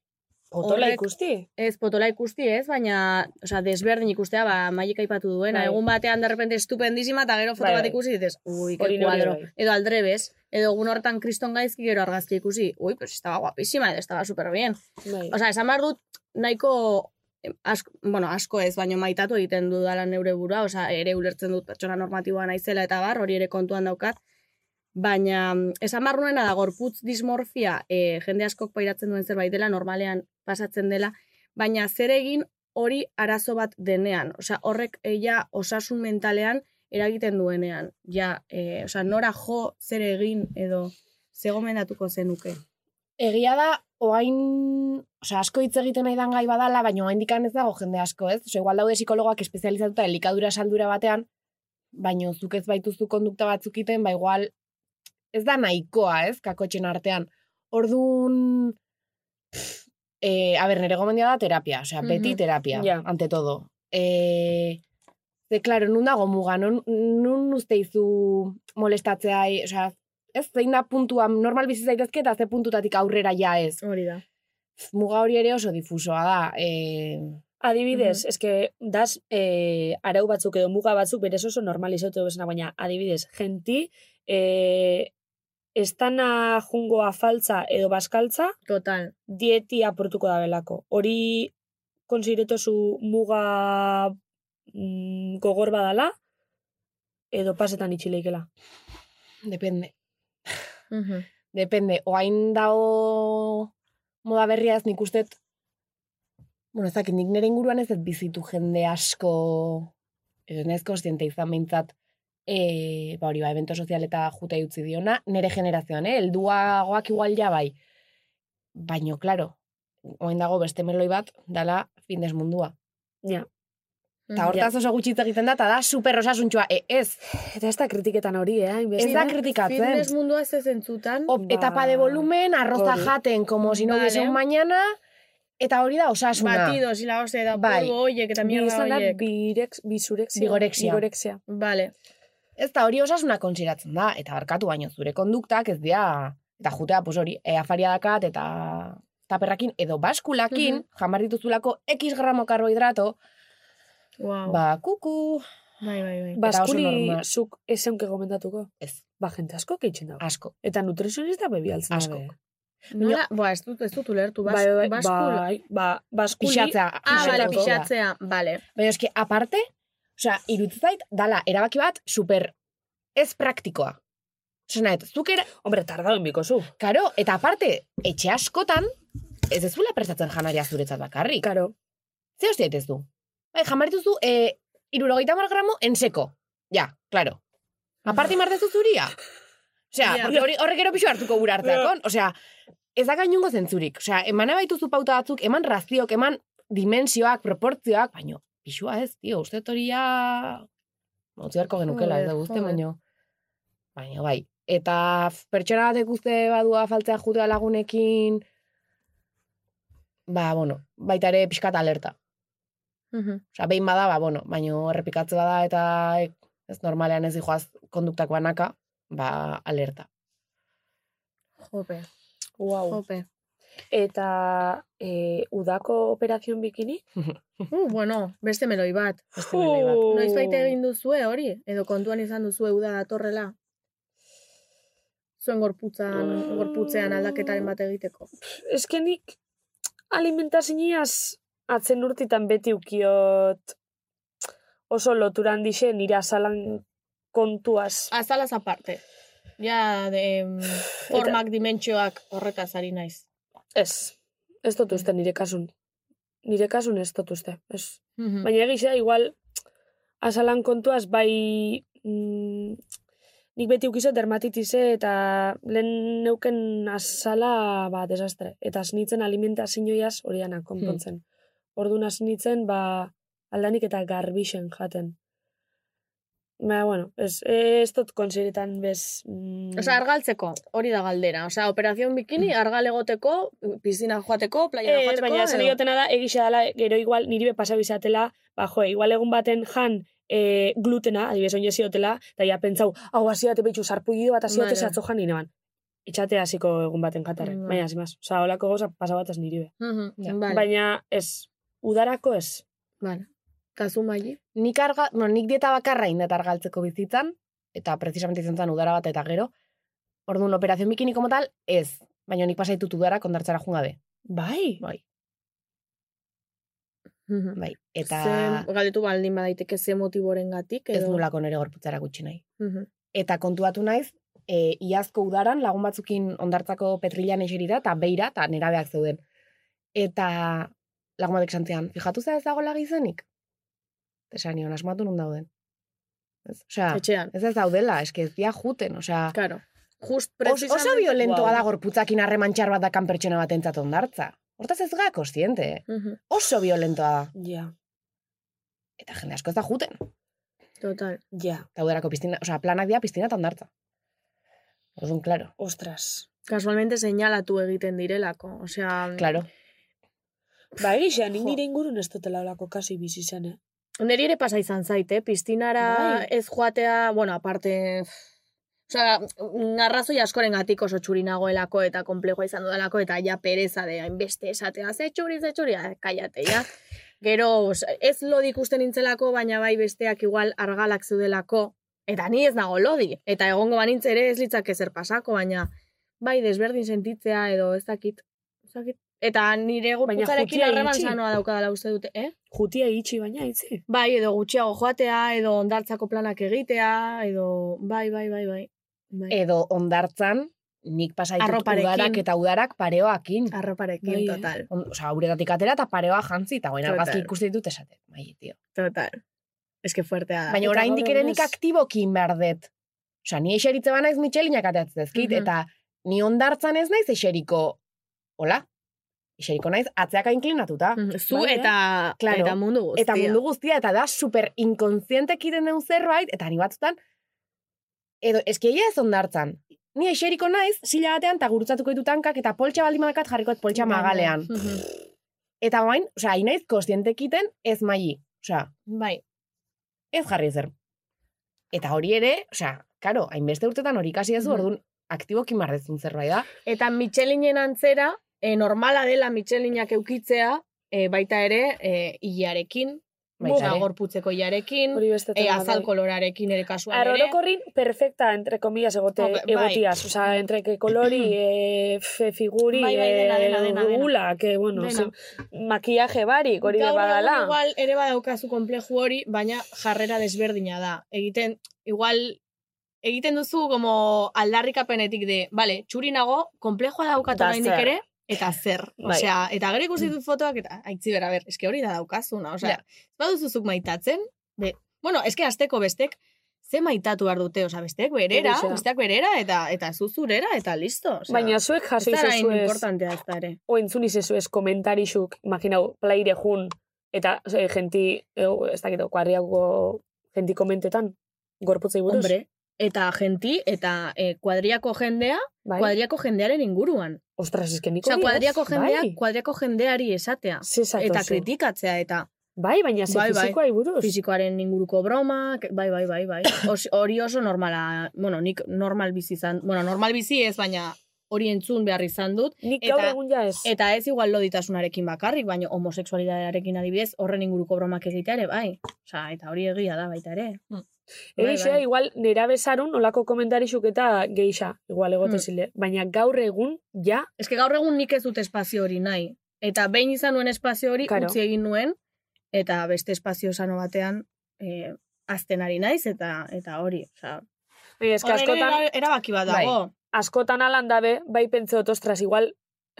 Speaker 8: Otola
Speaker 3: Horrek-
Speaker 8: ikusti?
Speaker 3: ez potola ikusti ez, baina, osea, desberdin ikustea, ba, maiek aipatu duena,
Speaker 9: Bai.
Speaker 3: egun batean derrepente estupendísima, eta gero foto
Speaker 9: Bai,
Speaker 3: bat
Speaker 9: bai.
Speaker 3: ikusi, ditez, ui,
Speaker 9: Hori
Speaker 3: que
Speaker 9: nori
Speaker 3: kuadro,
Speaker 9: bai.
Speaker 3: edo aldrebes, edo egun hortan kriston gaizki gero argazki ikusi, ui, pues estaba guapísima, edo estaba super bien.
Speaker 9: Bai.
Speaker 3: Osea, esan behar dut, nahiko, em, asko, bueno, asko ez, baino maitatu egiten dudala neure burua, osea, ere ulertzen dut pertsona normatiboa naizela eta bar, hori ere kontuan daukat, baina mm, esan behar nuena da gorputz dismorfia e, jende askok pairatzen duen zerbait dela, normalean pasatzen dela, baina zer egin hori arazo bat denean, osea, horrek eh, ja osasun mentalean eragiten duenean, ja, e, osea, nora jo zer egin edo ze gomendatuko zenuke.
Speaker 9: Egia da, oain, osea, asko hitz egiten nahi dan gai badala, baina oain dikan ez dago jende asko, ez? Osea, igual daude psikologoak espezializatuta elikadura saldura batean, baina zuk ez baituzu kondukta batzuk iten, ba igual, ez da nahikoa, ez, kakotxen artean. Orduan, pff, e, a ber, nire gomendia da terapia, osea, beti
Speaker 3: Mhm.
Speaker 9: terapia,
Speaker 8: Ja.
Speaker 9: ante todo. E, ze, klaro, nun dago muga, nun, nun uste izu molestatzea, e, osea, ez, zein da puntua, normal bizi zaitezke eta ze puntutatik aurrera ja ez
Speaker 3: Hori da.
Speaker 9: muga hori ere oso difusoa da. E,
Speaker 8: Adibidez, eske, das, eh, arau batzuk edo muga batzuk berez oso normalizatu bezana, baina adibidez, genti, eh, estana jungoa faltza edo baskaltza,
Speaker 3: Total.
Speaker 8: dieti apurtuko da belako. Hori konsideretozu muga mm, gogor badala, edo pasetan itxileikela.
Speaker 9: depende.
Speaker 3: Mhm.
Speaker 9: Depende. Oain dao moda berria ez nik uste bueno, ez dakit, nik nire inguruan ez ez bizitu jende asko edo ez kostiente izan behintzat e, ba hori ba, evento sozial eta juta utzi diona, nire generazioan, eh? Elduagoak igual ja bai. Baino, klaro, oain dago beste meloi bat, dala fitness mundua.
Speaker 8: Ja.
Speaker 3: Mm,
Speaker 9: Eta hortaz oso gutxi hitz egiten da, eta da super osasuntxua, e, ez,
Speaker 8: Eta ez da kritiketan hori, eh?
Speaker 9: ez
Speaker 8: hainbeste.
Speaker 9: da kritikatzen.
Speaker 3: Fitness mundua ez zentzutan.
Speaker 9: Op,
Speaker 8: Ba,
Speaker 9: etapa de volumen, arroza
Speaker 8: hori.
Speaker 9: jaten, como si no
Speaker 3: Vale.
Speaker 9: hubiese un mañana, eta hori da osasuna.
Speaker 3: Batidos y la hostia da
Speaker 9: Bai.
Speaker 3: polvo oiek eta
Speaker 8: Bi
Speaker 3: mierda
Speaker 8: izan da,
Speaker 3: oiek.
Speaker 8: birex, bizurexia.
Speaker 9: Bigorexia.
Speaker 8: Bigorexia.
Speaker 3: Vale.
Speaker 9: Ez da hori osasuna konsideratzen da, eta barkatu baino zure konduktak ez dira, eta jutea, pues hori, e, afaria dakat, eta taperrakin edo baskulakin, jamar dituzulako X gramo karbohidrato,
Speaker 3: Wow.
Speaker 9: ba, kuku,
Speaker 3: Bai, bai, bai.
Speaker 9: Eta oso
Speaker 8: Baskuli
Speaker 9: normal.
Speaker 8: Ba, zuk esenke gomendatuko?
Speaker 9: Ez.
Speaker 8: Ba, jente asko keitzen dago.
Speaker 9: asko.
Speaker 8: Eta nutrizionista bebialtzen
Speaker 9: Asko.
Speaker 8: dago.
Speaker 3: Nola, ba, ez dut, ez dut ulertu. Bas,
Speaker 8: Bai, bai,
Speaker 3: baskula.
Speaker 8: bai, ba, baskuli.
Speaker 9: Pixatzea.
Speaker 3: Ah,
Speaker 8: Pixatzea.
Speaker 3: bale,
Speaker 9: pixatzeko.
Speaker 3: pixatzea. Bale.
Speaker 9: Baina eski, aparte, osea, irutzu zait, dala, erabaki bat, super, ez praktikoa. Osea, nahet, zuk era,
Speaker 8: Hombre, tarda biko zu.
Speaker 9: Karo, eta aparte, etxe askotan, ez dezula prestatzen janaria zuretzat bakarrik.
Speaker 8: Karo.
Speaker 9: Ze hostia ez du? Bai, jamarituzu, e, irurogeita mar gramo enseko. Ja, claro. Aparte imartezu zuria. Osea,
Speaker 3: Ja.
Speaker 9: porque hori, horrek gero pixu hartuko gura hartzakon. Osea, ez da gainungo zentzurik. Osea, emana baituzu pauta batzuk, eman raziok, eman dimensioak, proportzioak, baino, pixua ez, tio, uste dut hori ja... Utzi beharko genukela, ez da
Speaker 3: Joder,
Speaker 9: guzti,
Speaker 3: joder.
Speaker 9: baino. Baina, bai. Eta f- pertsona batek uste badua faltzea jutea lagunekin, ba, bueno, baita ere pixkat alerta.
Speaker 3: Mhm.
Speaker 9: Osa, behin bada, ba, bueno, baino errepikatze bada eta ek- ez normalean ez dijoaz konduktak banaka, ba, alerta.
Speaker 3: Jope,
Speaker 8: Wow.
Speaker 3: jope.
Speaker 8: Eta e, udako operazion bikini?
Speaker 3: Uh, bueno, beste meloi bat.
Speaker 9: Beste meloi bat.
Speaker 8: Jo.
Speaker 3: Noiz baita egin duzue hori? Edo kontuan izan duzue uda datorrela? Zuen gorputzan, gorputzean aldaketaren bat egiteko.
Speaker 8: Eske nik alimentaziniaz atzen urtitan beti ukiot oso loturan dixe nire azalan
Speaker 9: Ah.
Speaker 8: kontuaz.
Speaker 3: Azalaz aparte. Ja, de, [sighs] em, formak dimentsioak horretaz ari naiz.
Speaker 8: Ez. Ez dut uste nire kasun. Nire kasun ez dut uste. Ez.
Speaker 3: Mhm.
Speaker 8: Baina egizea, igual, azalan kontuaz, bai, mm, nik beti ukizo dermatitise eta lehen neuken azala, ba, desastre. Eta asnitzen alimentazioiaz hori dana konpontzen. Orduan asnitzen, ba, aldanik eta garbixen jaten. Ba, bueno, ez, ez dut konsideretan bez... Mm,
Speaker 3: Osa, argaltzeko, hori da galdera. Osa, operazion bikini, argal egoteko, pizina joateko, playara
Speaker 8: ez,
Speaker 3: joateko.
Speaker 8: Eh, baina esan
Speaker 3: edo-
Speaker 8: diotena da, egisa dela, gero igual niri pasau izatela, ba, jo, igual egun baten jan e, glutena, adibidez oin ziotela, da ja pentsau, hau hasi bat epeitu sarpugido bat hasi bat
Speaker 3: Vale.
Speaker 8: esatzo jan ineban. Itxate hasiko egun baten jatarren,
Speaker 3: Vale.
Speaker 8: baina zimaz, oza, holako goza pasau bat ez niri be.
Speaker 3: Mhm,
Speaker 9: Ja.
Speaker 3: Vale,
Speaker 8: Baina ez, udarako ez.
Speaker 3: vale. Kazu maili.
Speaker 9: nik, arga, no, nik dieta bakarra indat argaltzeko bizitzan, eta precisamente izan zen udara bat eta gero, orduan operazio bikini como tal, ez. Baina nik pasaitut udara kondartzara jungabe.
Speaker 8: Bai,
Speaker 9: Bai,
Speaker 3: Mhm.
Speaker 9: bai. Eta
Speaker 3: Ze, galdetu baldin badaiteke ze motiboren gatik.
Speaker 9: ez
Speaker 3: Edo...
Speaker 9: nulako nire gorputzara gutxi nahi.
Speaker 3: Mhm.
Speaker 9: Eta kontuatu naiz, e, iazko udaran lagun batzukin ondartzako petrilan eseri da, eta beira, eta nerabeak zeuden. Eta lagun batek santzian, fijatu zea ez dago lagi izanik? Esan nion, asmatu nun dauden. Ez, osea,
Speaker 3: Etxean,
Speaker 9: ez ez daudela, eske ez dia juten, osea,
Speaker 3: karo. Just
Speaker 9: os, oso
Speaker 3: precisamente-
Speaker 9: violentoa
Speaker 3: Wow.
Speaker 9: da gorputzakin harremantxar bat dakan pertsona batentzat ondartza. Hortaz ez gara kostiente, eh?
Speaker 3: Mhm,
Speaker 9: oso violentoa da.
Speaker 8: ja,
Speaker 9: Eta jende asko ez da juten.
Speaker 3: Total.
Speaker 8: ja,
Speaker 9: Eta udarako piztina, osea, planak dira piztina eta ondartza. Orduan, claro,
Speaker 8: ostras.
Speaker 3: Kasualmente seinalatu egiten direlako. Osea,
Speaker 9: claro.
Speaker 8: Ba, egisa, nik
Speaker 3: Jo.
Speaker 8: nire ingurun ez dutela holako kasi bizi izan, eh?
Speaker 3: Neri ere pasa izan zait, eh? Piztinara
Speaker 8: Bai.
Speaker 3: ez joatea, bueno, aparte... Osa, arrazoi askoren gatik oso txuri nagoelako eta komplejoa izan dudalako eta ja pereza de hainbeste esatea, ze txuri, ze txuri, ah, kaiate, ja. Gero, os- ez lodi ikusten nintzelako, baina bai besteak igual argalak zeudelako, eta ni ez nago lodi, eta egongo banintz ere ez litzak ezer pasako, baina bai desberdin sentitzea edo ez dakit, ez dakit. Eta nire gorputzarekin
Speaker 8: jutia
Speaker 3: harreman
Speaker 8: iritsi.
Speaker 3: sanoa daukadala uste dute, eh?
Speaker 8: Jutia itxi baina, itzi.
Speaker 3: Bai, edo gutxiago joatea, edo ondartzako planak egitea, edo bai, bai, bai, bai. bai.
Speaker 9: edo ondartzan, nik pasaitut
Speaker 3: Arroparekin. Ah.
Speaker 9: udarak eta udarak pareoakin.
Speaker 3: Arroparekin,
Speaker 8: Bai, eh.
Speaker 3: total,
Speaker 9: On, Osa, uretatik atera eta pareoa jantzi, eta goen
Speaker 3: Total.
Speaker 9: argazki ikusten ditut esate. Bai, tio.
Speaker 3: total. Es que fuertea.
Speaker 9: Baina
Speaker 8: eta
Speaker 9: oraindik
Speaker 8: gaur
Speaker 9: ere
Speaker 8: egunez-
Speaker 9: nik aktibokin behar dut. Osa, ni ba eseritze banaiz mitxelinak atatzen dezkit,
Speaker 3: Mhm.
Speaker 9: eta ni ondartzan ez naiz eseriko, hola, eseriko naiz atzeaka inklinatuta.
Speaker 3: Mm, Zu
Speaker 8: Bai, eh.
Speaker 3: eta,
Speaker 9: Claro.
Speaker 3: eta mundu guztia.
Speaker 9: Eta mundu guztia, eta da super inkonziente egiten den zerbait, eta ni batzutan, edo eskeia ez ondartzan. Ni eseriko naiz, zila batean, eta gurutzatuko ditut hankak, eta poltsa baldin badakat jarrikoet poltsa
Speaker 3: Baina,
Speaker 9: magalean.
Speaker 3: mhm.
Speaker 9: Eta bain, osea, inaiz kostiente egiten ez maili. Osea,
Speaker 3: Bai,
Speaker 9: ez jarri zer. Eta hori ere, osea, karo, hainbeste urtetan hori ikasi duzu,
Speaker 3: Mhm.
Speaker 9: orduan, aktiboki mardezun zerbait da.
Speaker 3: eta Michelinen antzera, e, normala dela Michelinak eukitzea, e, baita ere, e, iarekin,
Speaker 9: Baita
Speaker 3: muga
Speaker 9: ere.
Speaker 3: gorputzeko iarekin,
Speaker 8: Hori beste
Speaker 3: e,
Speaker 8: tema,
Speaker 3: azal
Speaker 8: bai.
Speaker 3: kolorarekin ere kasuan ere.
Speaker 8: Arorokorrin perfecta, entre comillas, egote,
Speaker 3: Ok, bai.
Speaker 8: egotiaz. Osa, entre que
Speaker 3: [clears throat]
Speaker 8: kolori, e, fe, figuri,
Speaker 3: Bai, bai, dena, dena, dena, dena.
Speaker 8: gula, que, bueno, ze,
Speaker 3: Dena.
Speaker 8: makillaje barik, hori
Speaker 3: Gaur
Speaker 8: badala.
Speaker 3: egun igual ere badaukazu kompleju hori, baina jarrera desberdina da. Egiten, igual, egiten duzu como aldarrikapenetik de, bale, txuri nago, komplejoa daukat
Speaker 8: Da
Speaker 3: oraindik
Speaker 8: zer.
Speaker 3: ere, eta zer.
Speaker 8: [laughs] Bai.
Speaker 3: Osea, eta gero ikusi dut fotoak, eta aitzi bera, ber, eske hori da daukazuna. Osea, ez baduzuzuk maitatzen, be, bueno, eske asteko bestek, ze maitatu behar dute, osea, bestek berera,
Speaker 8: Horixe.
Speaker 3: besteak berera, eta eta zuzurera, eta listo. Osea,
Speaker 8: Baina zuek jaso
Speaker 3: ez da hain
Speaker 8: izezu ez,
Speaker 3: importantea ez da ere.
Speaker 8: o entzun izezu ez komentarixuk, imaginau, plaire jun, eta e, genti, e, ez dakit, kuadriago genti komentetan, gorputzei buruz.
Speaker 3: Hombre, eta genti, eta eh, kuadriako jendea,
Speaker 8: bai?
Speaker 3: kuadriako jendearen inguruan.
Speaker 8: Ostras, ez que niko
Speaker 3: Osea,
Speaker 8: hori ez,
Speaker 3: kuadriako jendea,
Speaker 8: bai.
Speaker 3: kuadriako jendeari esatea.
Speaker 8: Ze zatozu.
Speaker 3: Eta kritikatzea, eta
Speaker 8: Bai, baina ze
Speaker 3: Bai, bai.
Speaker 8: fizikoa buruz.
Speaker 3: fisikoaren inguruko bromak, bai, bai, bai, bai. Os- Hori oso normala, bueno, nik normal bizi izan, bueno, normal bizi ez, baina hori entzun behar izan dut.
Speaker 8: Nik
Speaker 3: Eta-
Speaker 8: gaur egun ja ez.
Speaker 3: Eta ez igual loditasunarekin bakarrik, baina homosexualidadearekin adibidez, horren inguruko bromak egitea ere, bai. Osea, eta hori egia da baita ere.
Speaker 8: Bai,
Speaker 3: Bai, bai.
Speaker 8: igual nera bezarun olako komentarixuk eta geisha, igual egote
Speaker 3: Mm.
Speaker 8: zile. Baina gaur egun, ja,
Speaker 3: Ez que gaur egun nik ez dut espazio hori nahi. Eta behin izan nuen espazio hori
Speaker 8: Claro.
Speaker 3: utzi egin nuen, eta beste espazio sano batean eh, azten ari naiz, eta eta hori. Osa,
Speaker 8: baina eske askotan, Bai,
Speaker 3: erabaki bat dago.
Speaker 8: askotan alan dabe, bai pentsa dut, ostras, igual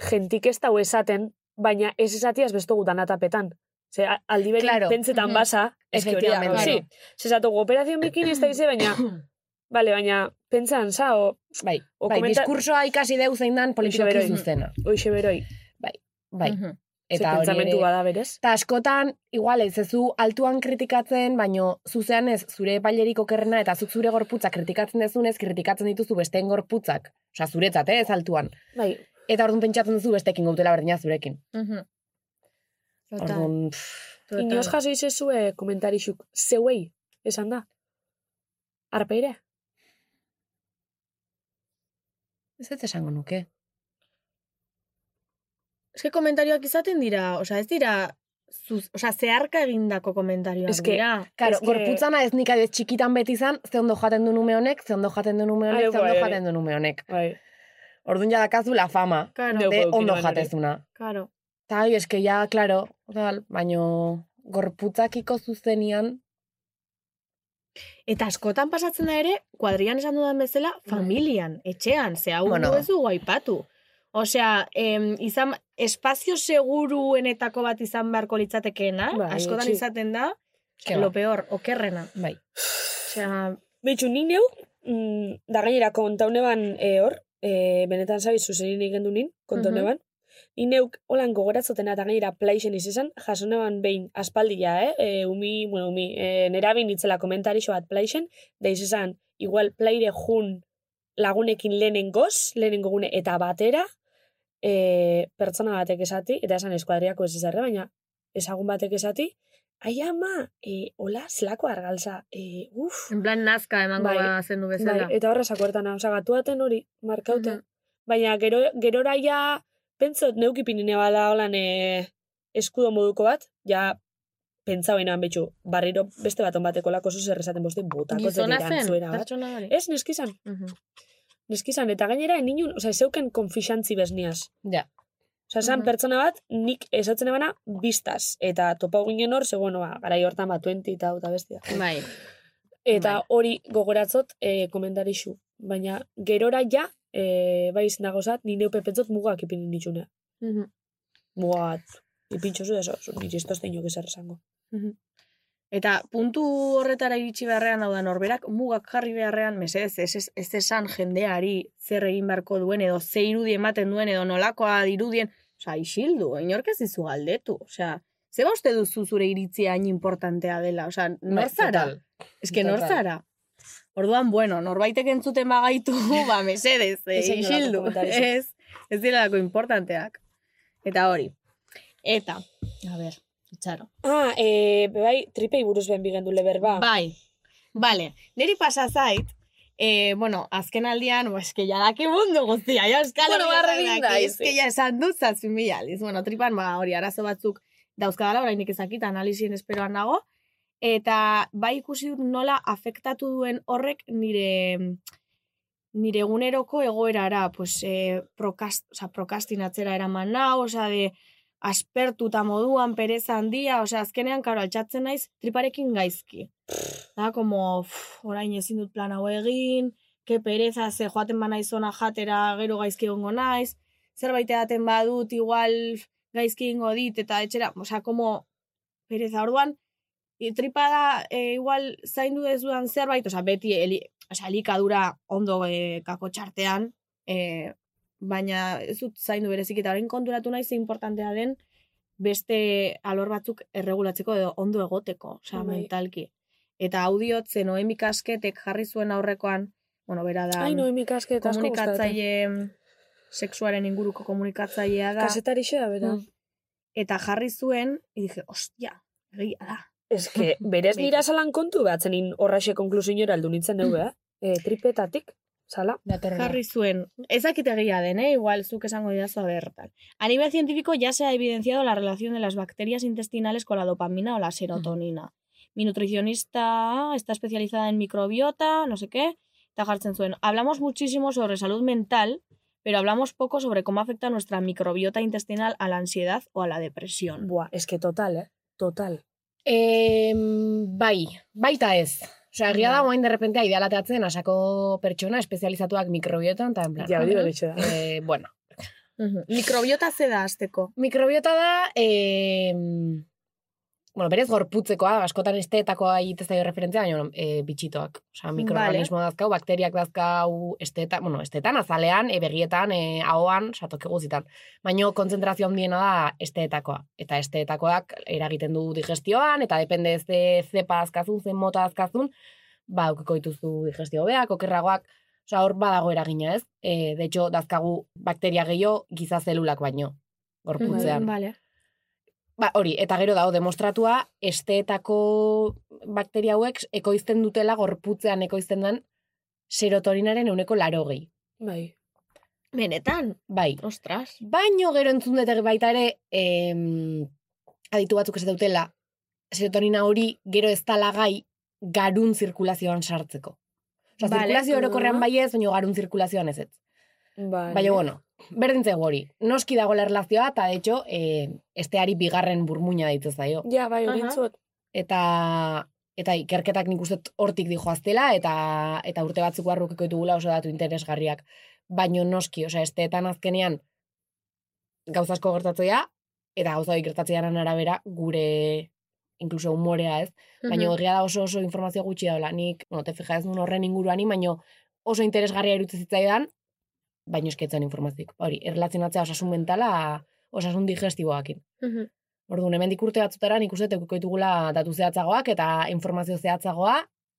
Speaker 8: jentik ez dau esaten, baina ez esatiaz besto gutan atapetan. Ze, a- aldi berin
Speaker 9: Claro.
Speaker 8: pentsetan
Speaker 3: Mhm.
Speaker 8: basa, ez que hori da,
Speaker 9: Efectivamente.
Speaker 8: sí. Ze zatogu, operazio bikin ez da ize, baina, bale, baina, pentsan, sa, o,
Speaker 9: Bai,
Speaker 8: O
Speaker 9: bai
Speaker 8: komenta-
Speaker 9: diskursoa ikasi deu zein dan politikoki
Speaker 8: beroi.
Speaker 9: zuzena.
Speaker 8: oixe beroi.
Speaker 9: Bai,
Speaker 3: Mhm.
Speaker 8: Eta
Speaker 9: Eta hori ere-
Speaker 8: pentsamentu bada berez.
Speaker 9: Eta askotan, igual, ez ezu altuan kritikatzen, baino zuzean ez zure epailerik okerrena eta zuk zure gorputza kritikatzen dezunez, kritikatzen dituzu besteen gorputzak. Osa, zuretzat, eh, ez altuan.
Speaker 3: Bai.
Speaker 9: Eta orduan pentsatzen duzu bestekin gautela berdina zurekin. Orduan, pff,
Speaker 8: Inoz jaso izezue komentarixuk zeuei, esan da. Arpeire.
Speaker 9: ez ez esango nuke.
Speaker 3: Ez que komentarioak izaten dira, osea, ez dira, zuz, osea, zeharka egindako komentarioak
Speaker 8: Ez que-
Speaker 3: dira.
Speaker 9: Karo,
Speaker 8: Ez que-
Speaker 9: gorputzana ez nik adez txikitan beti izan, ze ondo jaten du nume honek, ze ondo jaten du nume honek,
Speaker 8: Ai,
Speaker 9: ze ondo
Speaker 8: bai,
Speaker 9: jaten du nume honek.
Speaker 8: Bai.
Speaker 9: Orduan jadakazu la fama,
Speaker 3: Karo,
Speaker 8: Deu.
Speaker 9: de
Speaker 8: eduki
Speaker 9: ondo
Speaker 8: nuen hori.
Speaker 9: jatezuna.
Speaker 3: karo.
Speaker 9: Ta hoi, eske ja, klaro, tal, baino gorputzakiko zuzenian,
Speaker 3: Eta askotan pasatzen da ere, kuadrian esan dudan bezala, familian, etxean, ze hau
Speaker 9: Bueno.
Speaker 3: bueno. ez dugu aipatu. Osea, em, izan, espazio seguruenetako bat izan beharko litzatekeena,
Speaker 8: Bai,
Speaker 3: askotan
Speaker 8: etxe-
Speaker 3: izaten da,
Speaker 9: eske
Speaker 3: lo
Speaker 9: ba,
Speaker 3: peor, okerrena.
Speaker 9: bai.
Speaker 3: Osea,
Speaker 8: Betxu, ni neu, mm, da gainera kontaune ban e, hor, e, benetan zabi zuzenin egin du nin, kontaune
Speaker 3: Mhm.
Speaker 8: ban. Ni neuk holan gogoratzotena eta gainera plaixen izan, jasone ban behin aspaldia, eh? E, umi, bueno, umi, e, nera bin itzela komentarixo bat plaixen, da izan, igual plaire jun lagunekin lehenen goz, lehenen gune eta batera, e, pertsona batek esati, eta esan eskuadriako ez ezerre, baina ezagun batek esati, ai ama, e, hola, zelako argalza, e, uf,
Speaker 3: en plan nazka emango
Speaker 8: Bai.
Speaker 3: bai. zendu bezala.
Speaker 8: Bai, eta horra sakuertan, oza, gatuaten hori, markauten.
Speaker 3: Mhm.
Speaker 8: Baina gero, gerora ja, pentsot, neukipinine bala holan e, eskudo moduko bat, ja, pentsa behinan betxu, barriro beste baton bateko lako zuz errezaten boste botako
Speaker 3: Gizona
Speaker 8: zetiran
Speaker 3: zen,
Speaker 8: zuera bat.
Speaker 3: pertsona hori.
Speaker 8: Ez, neskizan,
Speaker 3: Mhm.
Speaker 8: neskizan, eta gainera, eninun, oza, zeuken konfixantzi bezniaz.
Speaker 9: Ja.
Speaker 8: Osa, esan
Speaker 3: Mhm.
Speaker 8: pertsona bat, nik esatzen ebana, biztaz. Eta topau ginen hor, ze, bueno, ba, garai hortan bat, 20 eta eta bestia.
Speaker 7: Bai.
Speaker 8: Eta hori gogoratzot e, komentarixu. Baina gerora ja, e, bai izan dagozat, ni neu pepentzot mugak ipinin ditxunea.
Speaker 3: Mhm.
Speaker 8: Mugak ipintxozu da zozu, nire ez dozte inok ezer esango.
Speaker 3: Eta puntu horretara iritsi beharrean hau da norberak mugak jarri beharrean mesedez ez, ez, ez esan jendeari zer egin beharko duen edo ze irudi ematen duen edo nolakoa dirudien, osea, isildu, inork ez dizu galdetu, osea, ze ba uste duzu zure iritzia hain importantea dela, osea, nor zara?
Speaker 9: Bai, Total.
Speaker 3: Eske nor
Speaker 9: total.
Speaker 3: zara? Orduan, bueno, norbaitek entzuten bagaitu, [laughs] ba, mesedez, eh,
Speaker 8: Ez egin horrelako
Speaker 3: isildu.
Speaker 8: komentarizo.
Speaker 3: Ez, ez direlako importanteak. Eta hori. Eta, a ber, itxaro.
Speaker 8: Ah, e, be bai, tripei buruz ben bigendu leber, ba.
Speaker 3: Bai. Bale, niri pasa zait, eh, bueno, azken aldian, ba, eske ja daki mundu guztia, ja euskal
Speaker 9: Bueno,
Speaker 3: Herrian
Speaker 9: barre
Speaker 3: daki,
Speaker 9: egin da,
Speaker 3: eske ja esan dut zazpi mila aldiz. Bueno, tripan, ba, hori, arazo batzuk dauzkadala, oraindik ezakit, analizien esperoan nago, eta bai ikusi dut nola afektatu duen horrek nire nire eguneroko egoerara, pues, eh, prokast, oza, prokastinatzera eraman nau, oza, de aspertuta moduan, pereza handia, oza, azkenean, karo, altxatzen naiz, triparekin gaizki. Da, como, pff, orain ezin dut plan hau egin, ke pereza, ze joaten ba naizona jatera, gero gaizki egongo naiz, zerbait edaten badut, igual pff, gaizki egingo dit, eta etxera, oza, como, pereza, orduan, i- tripa da, e, igual, zaindu ez dudan zerbait, oza, beti, eli, oza, elikadura ondo e, kako txartean, e, baina ez dut zaindu berezik, eta orain konturatu naiz ze importantea den, beste alor batzuk erregulatzeko edo ondo egoteko, oza,
Speaker 8: Bai.
Speaker 3: mentalki. Eta audiot, ze Noemi kasketek jarri zuen aurrekoan, bueno, bera da,
Speaker 8: Ai, noemi kasket asko gustatzen.
Speaker 3: komunikatzaile, sexuaren inguruko komunikatzailea da,
Speaker 8: Kasetarixe da, bera.
Speaker 3: Mm. eta jarri zuen, i dije, ostia, egia da.
Speaker 8: Ez que, berez
Speaker 3: Beitu.
Speaker 8: nira salan kontu bat, zenin horraxe konklusiñora aldu nintzen neu, eh? E, tripetatik, sala.
Speaker 9: Datorrela.
Speaker 3: Jarri zuen, ezakit egia den, eh? igual zuk esango didazu bertan. A nivel científico ya se ha evidenciado la relación de las bacterias intestinales con la dopamina o la serotonina. Mi nutricionista ah, está especializada en microbiota, no sé qué, eta jartzen zuen. Hablamos muchísimo sobre salud mental, pero hablamos poco sobre cómo afecta nuestra microbiota intestinal a la ansiedad o a la depresión.
Speaker 8: Buah, ez que total, eh? Total.
Speaker 9: Eh, bai, baita ez. Osea, egia da, guain derrepentea idealateatzen asako pertsona espezializatuak mikrobiotan, eta en plan.
Speaker 8: Ja, hori beretxe da.
Speaker 9: Eh, bueno,
Speaker 3: Microbiota zeda azteko.
Speaker 9: mikrobiota da, eh, bueno, berez gorputzekoa, askotan esteetakoa egitez daio referentzia, baina e, bitxitoak. Osa, mikroorganismo vale. dazkau, bakteriak dazkau, esteta, bueno, estetan, azalean, e, begietan, e, ahoan, satoke guzitan. Baina kontzentrazio handiena da esteetakoa. Eta esteetakoak eragiten du digestioan, eta depende ze zepa azkazun, zen mota azkazun, ba, aukiko dituzu digestio beak, okerragoak, Osa, hor badago eragina, ez? E, de hecho, dazkagu bakteria gehiago giza zelulak baino,
Speaker 3: Bai,
Speaker 9: gorputzean.
Speaker 3: Vale.
Speaker 9: Ba, hori, eta gero dago demostratua, esteetako bakteria hauek ekoizten dutela gorputzean ekoizten den serotoninaren euneko laro gehi.
Speaker 3: Bai. Benetan?
Speaker 9: Bai.
Speaker 3: Ostras.
Speaker 9: Baino gero entzun dut baita ere, em, aditu batzuk ez dutela, serotonina hori gero ez gai garun zirkulazioan sartzeko. Osa,
Speaker 3: Vale,
Speaker 9: zirkulazio
Speaker 3: mhm.
Speaker 9: orokorrean bai ez, baina garun zirkulazioan ez ez.
Speaker 3: Bai.
Speaker 9: Baina, bueno, berdin zego hori. Noski dago la erlazioa, eta, de hecho, eh, esteari bigarren burmuina deituz zaio.
Speaker 3: Ja, bai, hori
Speaker 11: Aha.
Speaker 3: entzut.
Speaker 9: Eta eta ikerketak nik uste dut hortik dijoaztela, eta, eta urte batzuk barrukiko ditugula oso datu interesgarriak. Baino noski, osea, esteetan azkenean gauza asko gertatzea, eta gauza hori gertatzearen arabera gure inkluso humorea ez, Baina egia da oso oso informazio gutxi daula. Nik, bueno, te fija ez nun horren inguruan, baina oso interesgarria irutze zitzaidan, baina esketzen informazioik. Hori, erlazionatzea osasun mentala, osasun digestiboakin.
Speaker 3: Mhm.
Speaker 9: Orduan, hemendik urte batzutara nik uste dut edukiko ditugula datu zehatzagoak eta informazio zehatzagoa,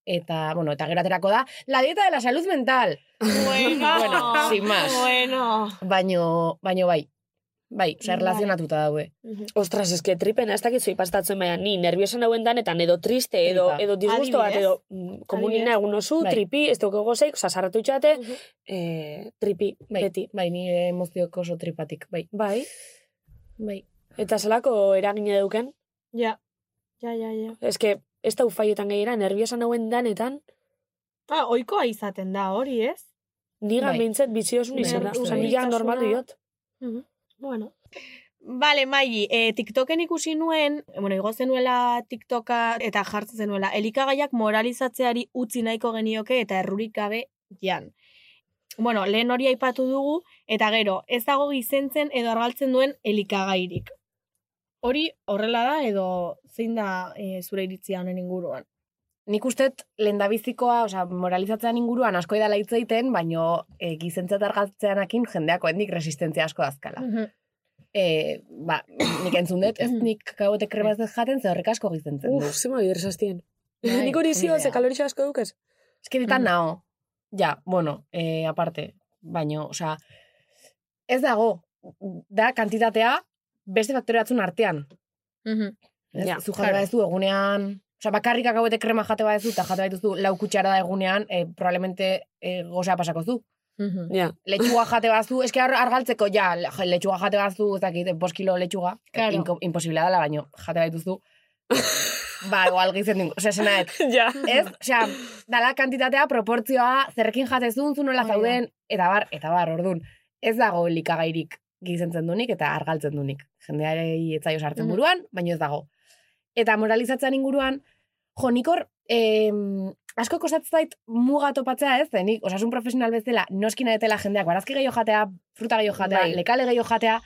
Speaker 9: eta, bueno, eta gero aterako da, la dieta de la salud mental.
Speaker 3: [laughs] Bueno,
Speaker 9: Bueno, sin más.
Speaker 3: Bueno.
Speaker 9: Baino, baino bai, bai, osa,
Speaker 3: Bai.
Speaker 9: erlazionatuta daue.
Speaker 8: Ostras, eske tripen, ez dakit zui pastatzen baina, ni nerviosan hauen danetan, edo triste, edo,
Speaker 9: Tripa.
Speaker 8: edo disgusto bat,
Speaker 3: Adibidez.
Speaker 8: edo mm, komunina egun oso,
Speaker 9: Bai.
Speaker 8: tripi, ez dugu gozeik, oza, sarratu itxate,
Speaker 3: Mhm.
Speaker 8: eh, tripi,
Speaker 9: Bai,
Speaker 8: beti.
Speaker 9: bai, nire emozioko oso tripatik, bai.
Speaker 8: Bai,
Speaker 9: Bai.
Speaker 8: eta zelako eragina deuken,
Speaker 3: Ja. Ja, ja, ja.
Speaker 8: eske ez da ufaietan gehiera, nerviosan hauen danetan,
Speaker 3: Ah, oikoa izaten da hori, ez?
Speaker 8: nigan
Speaker 9: Bai.
Speaker 8: behintzet biziosun
Speaker 9: Bai,
Speaker 8: izan da.
Speaker 9: uste
Speaker 8: Osa,
Speaker 9: dut.
Speaker 8: nila normal
Speaker 3: Urritasuna.
Speaker 8: diot.
Speaker 3: Bueno. Vale, Maili, e, TikToken ikusi nuen, eh, bueno, igo zenuela TikToka eta jartzen zenuela, elikagaiak moralizatzeari utzi nahiko genioke eta errurik gabe jan. Bueno, lehen hori aipatu dugu, eta gero, ez dago gizentzen edo argaltzen duen elikagairik. Hori horrela da edo zein da e, zure iritzia honen inguruan.
Speaker 9: Nik ustet lehendabizikoa, osea, moralizatzean inguruan asko edala hitz egiten, baino e, gizentzat argatzeanakin jendeako hendik resistentzia asko dazkala.
Speaker 3: Mm.
Speaker 9: E, ba, nik entzun dut, ez nik kagote kremaz dut jaten, ze horrek asko gizentzen du.
Speaker 8: Uf, zima biderzaztien.
Speaker 9: Bai,
Speaker 8: [laughs] Nik hori
Speaker 9: ni
Speaker 8: zio, ze
Speaker 9: idea.
Speaker 8: kalorixo asko dukez.
Speaker 9: Ez que ditan nao. Ja, bueno, e, aparte, baino, osea, ez dago, da kantitatea beste faktore batzun artean. Ez,
Speaker 8: Ja,
Speaker 9: zu jate badezu egunean, osea, bakarrik akabete krema jate badezu, eta jate baituzu lau kutsara da egunean, e, probablemente e, gozea pasako zu.
Speaker 8: [laughs] Ja,
Speaker 9: Lechuga jate bazu, eske ar- argaltzeko ja, le- lechuga jate bazu, ez dakit, bost kilo lechuga,
Speaker 3: Claro.
Speaker 9: inko, imposibilea dela, baino, jate baituzu, ba, igual gizen dugu, osea, esena ez,
Speaker 8: ja.
Speaker 9: ez, osea, dala kantitatea, proportzioa, zerrekin jatezun, zu nola
Speaker 3: Hori da.
Speaker 9: zauden, eta bar, eta bar, ordun ez dago likagairik gizentzen dunik eta argaltzen dunik. Jendeari etzaio sartzen
Speaker 3: Mhm.
Speaker 9: buruan, baino ez dago. Eta moralizatzean inguruan, jo, nik hor, em, asko kostatzen zait muga topatzea ez, ze nik osasun profesional bezala, noski nahetela jendeak barazki gehiago jatea, fruta gehiago jatea,
Speaker 8: Bai.
Speaker 9: lekale gehiago jatea,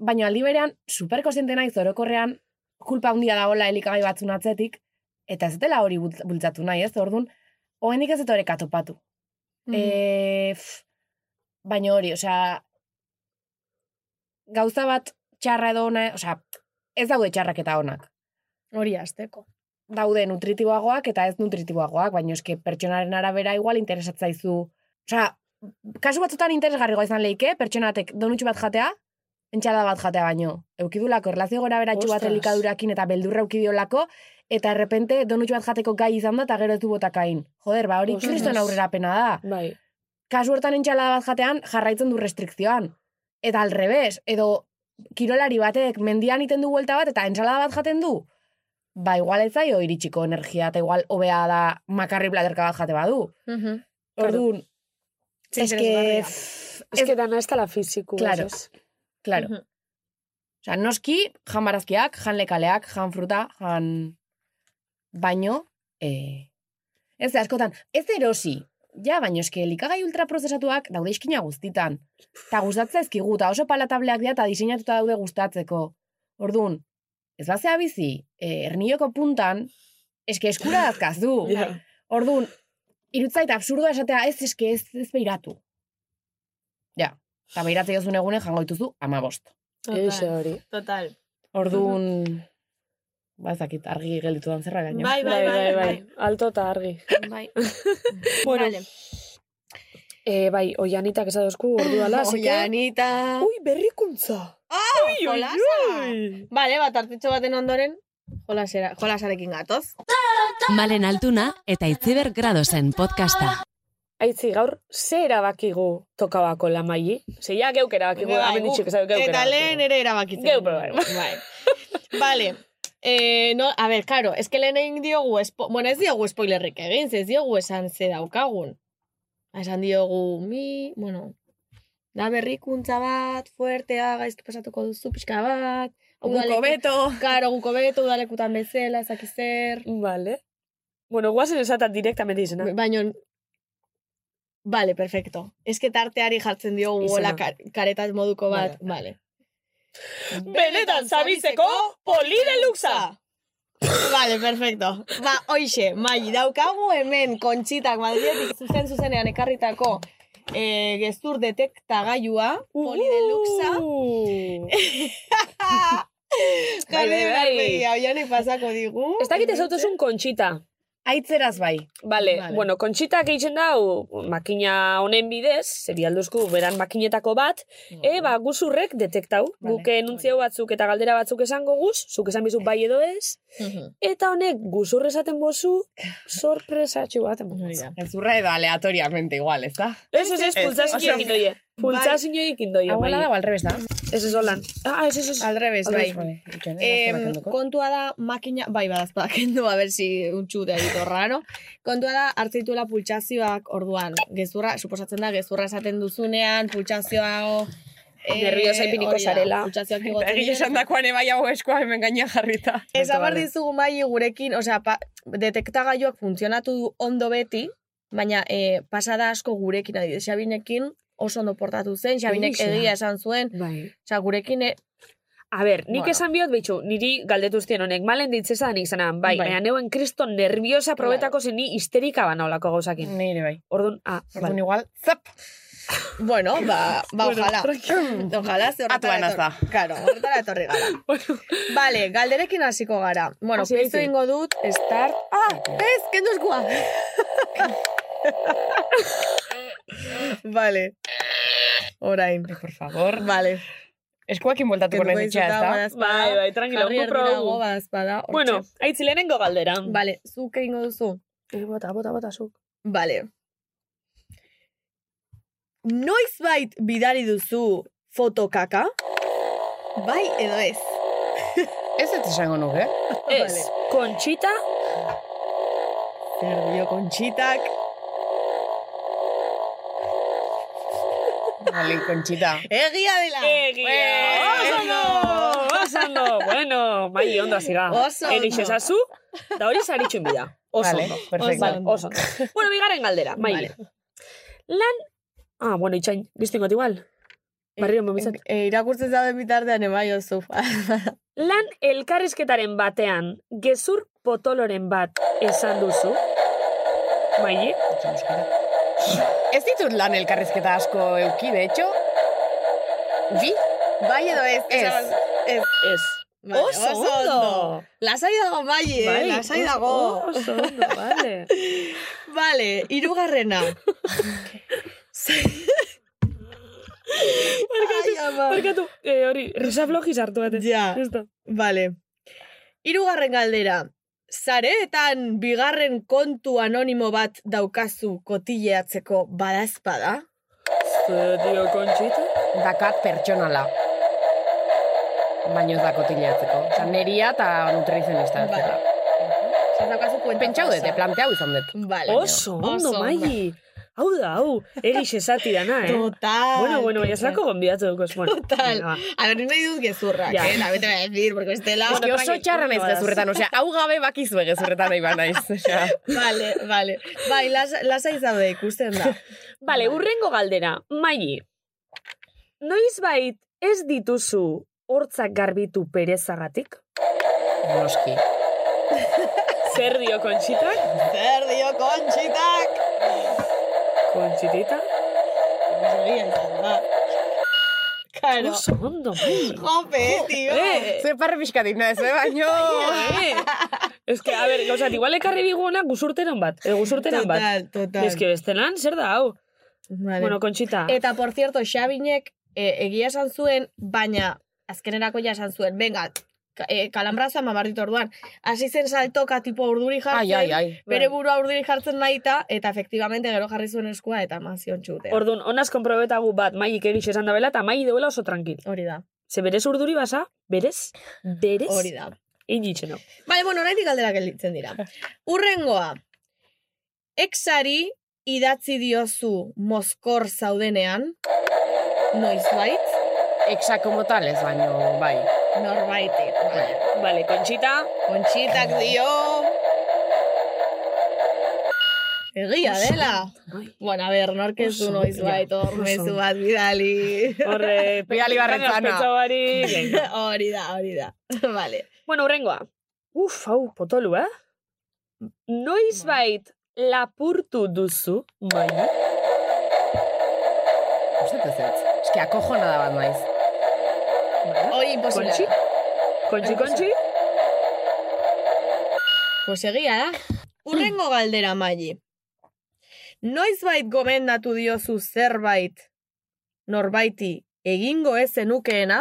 Speaker 9: baina aldi berean, superkosiente naiz orokorrean, kulpa handia dagoela elikagai batzun atzetik, eta ez dela hori bult- bultzatu nahi, ez? Orduan, hoendik ez dut oreka topatu. E, pff, baina hori, osea, gauza bat txarra edo ona, osea, ez daude txarrak eta onak.
Speaker 3: Hori azteko.
Speaker 9: Daude nutritiboagoak eta ez nutritiboagoak, baina eske pertsonaren arabera igual interesatzaizu. Osea, kasu batzutan interesgarrigoa izan leike, pertsonatek donutxu bat jatea, entxalada bat jatea baino. Eukidulako, erlazio gora beratxu bat
Speaker 8: Ostras.
Speaker 9: elikadurakin eta beldurra eukidiolako, eta errepente donutxu bat jateko gai izan da eta gero ez du botakain. Joder, ba hori
Speaker 8: Ostras.
Speaker 9: kriston aurrerapena da
Speaker 8: Bai.
Speaker 9: kasu hortan entxalada bat jatean jarraitzen du restrikzioan. Eta al revés, edo kirolari batek mendian iten du vuelta bat eta entxalada bat jaten du. Ba, igual ez zaio iritsiko energia eta igual hobea da makarri platerka bat jate badu. Orduan, eske...
Speaker 3: Interesgarria.
Speaker 9: pff,
Speaker 8: Ez
Speaker 9: Ez,
Speaker 8: que dana ez dela fiziku.
Speaker 9: Claro.
Speaker 8: ez?
Speaker 9: claro. Osa, noski, jan barazkiak, jan lekaleak, jan fruta, jan... Baino, eh... ez da, askotan, ez erosi. Ja, baino eske likagai ultraprozesatuak daude iskina guztitan. Ta gustatzen ezkigu, ta oso palatableak dira eta diseinatuta daude gustatzeko. Orduan, ez bazea bizi, eh, erniloko puntan, eske eskura dazkazu.
Speaker 3: Ja.
Speaker 9: Orduan, irutzait absurdoa esatea, ez, eske ez, ez behiratu. Ja, eta behiratzei dozun egunen jango dituzu amabost.
Speaker 8: Eixe hori.
Speaker 3: Total.
Speaker 9: Orduan, ba ezakit, argi gelditu dan zerra gaino.
Speaker 3: Bai, bai, bai, bai.
Speaker 8: Alto eta argi.
Speaker 3: bai.
Speaker 8: Bueno.
Speaker 3: Vale.
Speaker 8: E, bai, oianitak esadozku
Speaker 3: [laughs]
Speaker 8: orduala, así que...
Speaker 3: Oianita.
Speaker 8: Ui, berrikuntza!
Speaker 3: Ui, jolasa. Bale, bat artitxo baten ondoren, jolasera, jolasarekin gatoz.
Speaker 15: Malen Altuna eta Itziber Gradosen podcasta.
Speaker 8: Aitzi, gaur, ze erabakigu tokabako lamaili? Ze ja geuk erabakigu,
Speaker 3: Bai,
Speaker 8: hemen
Speaker 3: guk-
Speaker 8: ditxik esan geuk
Speaker 3: Eta lehen ere erabakitzen.
Speaker 8: Geu
Speaker 3: dugu.
Speaker 8: proba.
Speaker 3: Bai. vale. Eh, no, a ver, claro, es que lehen egin diogu, espo, bueno, ez diogu spoilerrik egin, ze ez diogu esan ze daukagun. Esan diogu, mi, bueno, da berrikuntza bat, fuertea, gaizki pasatuko duzu pixka bat,
Speaker 9: Guko
Speaker 3: udaleku-
Speaker 9: beto.
Speaker 3: Karo, guko beto, udalekutan bezala, ezakizer.
Speaker 8: Vale. Bueno, guazen esatan direktamente izena.
Speaker 3: Baina, Vale, perfecto. Es que tarteari jartzen diogu
Speaker 8: Izena.
Speaker 3: gola karetaz moduko bat. Vale.
Speaker 8: Benetan zabitzeko polideluxa!
Speaker 3: Vale, perfecto. Ba, hoxe, mai, daukagu hemen kontxitak Madridetik zuzen zuzenean ekarritako eh, gezur detektagailua, polideluxa.
Speaker 8: Uh! Bai,
Speaker 3: Jarri
Speaker 8: bai, bai.
Speaker 3: berbegia, oianek pasako digu.
Speaker 8: Ez dakit ez autozun kontxita.
Speaker 9: Aitzeraz bai.
Speaker 8: Vale,
Speaker 3: Vale.
Speaker 8: bueno, kontxita gehitzen dau makina honen bidez, zebialduzku beran makinetako bat, e, ba, guzurrek detektau.
Speaker 9: Vale,
Speaker 8: Guk enuntzio batzuk eta galdera batzuk esango guz, zuk esan bizu bai edo ez,
Speaker 3: Mhm.
Speaker 8: eta honek guzurre esaten bozu, sorpresatxu bat emango
Speaker 3: Hori
Speaker 8: dizu.
Speaker 3: da.
Speaker 9: Gezurra edo aleatoriamente igual, ez da?
Speaker 8: Ez, ez, ez,
Speaker 4: Ez,
Speaker 8: pultzazinoik
Speaker 4: oso-
Speaker 8: indoie. Pultzazinoik indoie.
Speaker 9: Hau
Speaker 8: bai.
Speaker 9: ala dago alrebes da.
Speaker 8: Ez ez holan. Ah, ez ez ez.
Speaker 3: Alrebez, bai.
Speaker 9: Itxoin,
Speaker 3: Eh,
Speaker 9: azken batenduko.
Speaker 3: kontua da makina, bai badazpada kendu, a ver si un chute edito raro. Kontua da hartzituela pultsazioak orduan, gezurra, suposatzen da gezurra esaten duzunean, pultsazioa eh,
Speaker 8: Nerviosa ipiniko
Speaker 3: hori da,
Speaker 8: zarela.
Speaker 3: Pultsazioak
Speaker 9: Eta
Speaker 3: igotzen
Speaker 9: Bai, Egia
Speaker 3: dira.
Speaker 9: esan dakoan ebai hau eskoa hemen gaina jarrita.
Speaker 3: Esa bar dizugu mai gurekin, osea, pa, detektagailuak funtzionatu du ondo beti, baina eh, pasada asko gurekin, adibidez, Xabinekin oso ondo portatu zen, Xabinek
Speaker 8: Egia.
Speaker 3: egia esan zuen,
Speaker 8: Bai.
Speaker 3: osea, gurekin eh,
Speaker 8: A ber, nik
Speaker 3: Bueno.
Speaker 8: esan biot behitxu, niri galdetuztien honek, malen ditzesa nik zenan, bai,
Speaker 9: Bai.
Speaker 8: baina neuen kriston nerviosa probetako zen ni histerika bana olako gauzakin.
Speaker 9: Nire bai.
Speaker 8: Orduan, ah,
Speaker 9: Orduan
Speaker 8: bai.
Speaker 9: igual, zap!
Speaker 3: Bueno, ba, ba ojalá. [clears throat] ojalá ze horretara
Speaker 9: Atuanaz da.
Speaker 3: etor- Claro, horretara
Speaker 8: [laughs]
Speaker 3: etorri gara. Vale, galderekin hasiko gara. Bueno,
Speaker 8: Hasi
Speaker 3: piztu
Speaker 8: daiteke.
Speaker 3: ingo dut, start... Ah, ez, kendu eskua! vale. Orain.
Speaker 9: Por favor.
Speaker 3: Vale.
Speaker 9: Eskuakin bueltatuko nahi dutxea, ez da?
Speaker 8: Bai, bai, tranquilo,
Speaker 3: ba, Jarri
Speaker 8: gu
Speaker 3: erdirago,
Speaker 8: probu.
Speaker 3: badazpada. hortxe. Bai.
Speaker 8: Bueno, aitzi lehenengo galdera.
Speaker 3: Vale, zuk egingo duzu.
Speaker 8: Bota, bota, bota, zuk.
Speaker 3: Vale. Noizbait bidali duzu fotokaka? Bai edo ez?
Speaker 9: Ez ez esango nuke.
Speaker 8: Ez, kontxita,
Speaker 3: Zer dio kontxitak?
Speaker 9: Vale, kontxita.
Speaker 3: Egia dela!
Speaker 8: egia. Osando, osando. Bueno, mai ondo azira.
Speaker 3: Oso ondo.
Speaker 8: Erixe ezazu, da hori zaritxun bida. Oso
Speaker 9: Vale,
Speaker 8: ondo.
Speaker 9: perfecto.
Speaker 8: Vale, oso ondo. bueno, bigaren galdera, mai.
Speaker 3: Vale.
Speaker 8: Lan, ah, bueno, itxain, biztingot igual. Barriro mamizat.
Speaker 3: E, irakurtzen zauden bitartean ebai oso.
Speaker 8: Lan elkarrizketaren batean, gezur potoloren bat esan duzu. Bai,
Speaker 9: Ez ditut lan elkarrizketa asko euki, de hecho. Bi?
Speaker 3: bai edo ez?
Speaker 9: Ez.
Speaker 3: esan- Ez.
Speaker 8: ez.
Speaker 3: Vale, Lasai dago bai, eh?
Speaker 8: Bai,
Speaker 3: Lasai
Speaker 8: oso-
Speaker 3: dago.
Speaker 8: Oso ondo, vale.
Speaker 3: Vale, irugarrena. Ai, ama.
Speaker 8: Barkatu, eh, hori, risa flojiz hartu baten.
Speaker 3: Ja.
Speaker 8: Justo.
Speaker 3: Vale. Hirugarren galdera. Zareetan bigarren kontu anonimo bat daukazu kotileatzeko badazpada?
Speaker 8: Ze dio kontxita?
Speaker 9: Dakat pertsonala. Baino ez dako tileatzeko. Osa, neria eta nutrizionista.
Speaker 3: Vale.
Speaker 9: Vale.
Speaker 3: Zer daukazu kuenta
Speaker 9: Pentsau dut,
Speaker 3: falsa.
Speaker 9: eh, planteau izan dut.
Speaker 3: Vale.
Speaker 8: Oso, ondo,
Speaker 3: ondo.
Speaker 8: maili. Hau da, hau, egiz esati dana, eh?
Speaker 3: Total.
Speaker 8: Bueno, bueno, baina zelako gombiatu dukoz, bueno.
Speaker 3: Total.
Speaker 8: venga, va.
Speaker 3: A ver, nahi dut gezurrak,
Speaker 8: Ja.
Speaker 3: eh? Dabe te voy a decir, porque bestela...
Speaker 8: Bueno,
Speaker 9: Eske oso
Speaker 8: tranqui,
Speaker 9: txarra naiz
Speaker 8: ondo badaz.
Speaker 9: gezurretan, osea, hau gabe bakizue gezurretan nahi banaiz.
Speaker 7: [laughs]
Speaker 9: Osea,
Speaker 3: Vale, vale. Bai, lasa, lasa izan da ikusten da.
Speaker 8: [laughs] Vale, urrengo galdera, maili. Noiz bait ez dituzu hortzak garbitu perezagatik?
Speaker 7: noski.
Speaker 8: Zer dio kontxitak?
Speaker 7: Zer dio kontxitak!
Speaker 8: Kontxitita?
Speaker 7: Egia izan da. Karo.
Speaker 8: Oso ondo, mi.
Speaker 7: Jope, tio.
Speaker 3: Ze parre pixkatik nahez, eh, baino. [laughs]
Speaker 8: Eh, Ez que, a ber, gauzat, igual ekarri biguona guzurteran bat, edo guzurteran bat.
Speaker 7: Total, total.
Speaker 8: Ez que bestelan, zer da, hau?
Speaker 3: Vale. Eh,
Speaker 8: Bueno, kontxita.
Speaker 3: Eta, por cierto, Xabinek e, egia esan zuen, baina azkenerako ja esan zuen, venga, ka, e, kalambrazoa mamarritu orduan. Hasi zen saltoka tipo urduri jartzen,
Speaker 7: Ai, ai, ai.
Speaker 3: bere burua urduri jartzen nahi eta, eta efectivamente gero jarri zuen eskua eta eman zion txute.
Speaker 8: Orduan, honaz konprobetagu bat, maik egitxe esan da bela, eta mai deuela oso tranquil.
Speaker 3: Hori da,
Speaker 8: Ze berez urduri basa, berez, berez,
Speaker 3: hori da.
Speaker 8: inditxeno.
Speaker 3: Bale, bueno, oraindik galdera gelditzen dira. Urrengoa, exari idatzi diozu mozkor zaudenean, noizbait,
Speaker 7: Exa como tal ez baino, bai.
Speaker 3: norbaitik. Vale.
Speaker 8: Vale, kontxita,
Speaker 3: Bai, Kontxitak dio... Egia dela. Bueno, a ber, nork ez du noiz bai, tormezu bat bidali. [laughs]
Speaker 8: horre...
Speaker 7: Bidali barrezana.
Speaker 8: pentsa barik, eh, venga.
Speaker 3: hori da, hori da. [laughs] vale.
Speaker 8: Bueno, urrengoa. Uf, hau, potolu, eh? Noiz bait lapurtu duzu, maia?
Speaker 7: Uste ez. Ez que akojona da bat maiz.
Speaker 3: Hori imposible.
Speaker 8: Kontxi? Kontxi, kontxi?
Speaker 3: Pues egia da. Urrengo galdera, Maili. Noizbait gomendatu diozu zerbait norbaiti egingo ez zenukeena?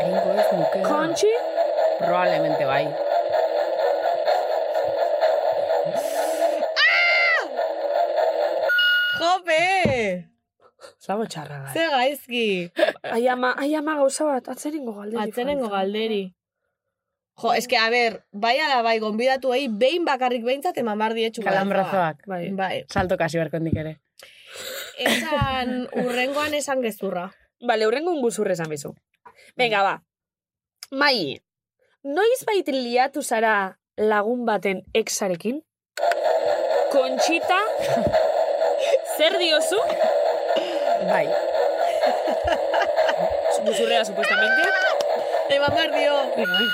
Speaker 7: Egingo ez nuke.
Speaker 8: Kontxi?
Speaker 7: Probablemente bai.
Speaker 3: Jope!
Speaker 8: Zago txarra gara.
Speaker 3: Ze gaizki!
Speaker 8: Ai ama, ai ama gauza bat, atzerengo galderi.
Speaker 3: Atzenengo galderi. Jo, eske, a ber, bai ala bai, gonbidatu ahi, behin bakarrik behintzat eman bar dietxu.
Speaker 7: Kalambrazoak.
Speaker 8: Bai.
Speaker 3: Bai.
Speaker 7: Salto kasi berkondik ere. [laughs]
Speaker 3: Esan, urrengoan esan gezurra.
Speaker 8: Ba, Bale, urrengo unguzurre esan bizu. Venga, ba. Mai, noiz bait liatu zara lagun baten exarekin? [laughs] Kontxita? Zer diozu?
Speaker 7: Bai.
Speaker 8: Guzurrea, supuestamente.
Speaker 3: Eman behar dio.
Speaker 8: Venga, venga.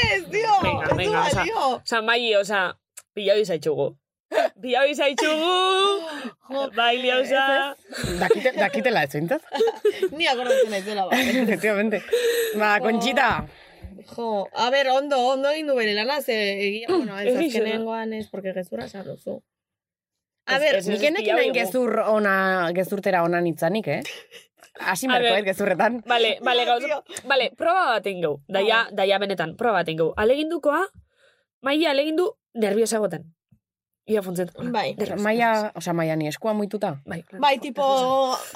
Speaker 3: Ez, dio!
Speaker 8: Venga,
Speaker 3: ez du
Speaker 8: venga, osa.
Speaker 3: balio!
Speaker 8: Osa, mai, osa, pila hori [laughs] zaitxugu. Pila hori zaitxugu. Bai, liauza.
Speaker 7: Dakite, dakitela ez
Speaker 9: [laughs]
Speaker 7: zintzat.
Speaker 3: Ni akordatzen ez dela, bai.
Speaker 7: Efectivamente. Ba,
Speaker 9: Oh.
Speaker 7: kontxita.
Speaker 3: Jo, a ber, ondo, ondo egin du bere lana, ze [clears throat] egia, bueno, ez
Speaker 8: Egia da.
Speaker 3: azkenengoan ez, porque gezurra esan duzu. A
Speaker 8: Ez-
Speaker 3: ber,
Speaker 8: ez-
Speaker 7: Nik enekin hain gezur ona, gezurtera ona nitzanik, eh? Hasi
Speaker 8: A
Speaker 7: marko,
Speaker 8: ber.
Speaker 7: ez gezurretan.
Speaker 8: Vale, vale, gauz. Vale, proba bat egin gau. Daia, daia benetan, proba bat egin gau. Alegindukoa, maia alegindu nerviosa egoten. Ia funtzen.
Speaker 3: Bai.
Speaker 8: Nervios, nervios.
Speaker 7: Maia, osea, maia ni eskua muituta.
Speaker 8: Bai,
Speaker 3: Bai, tipo,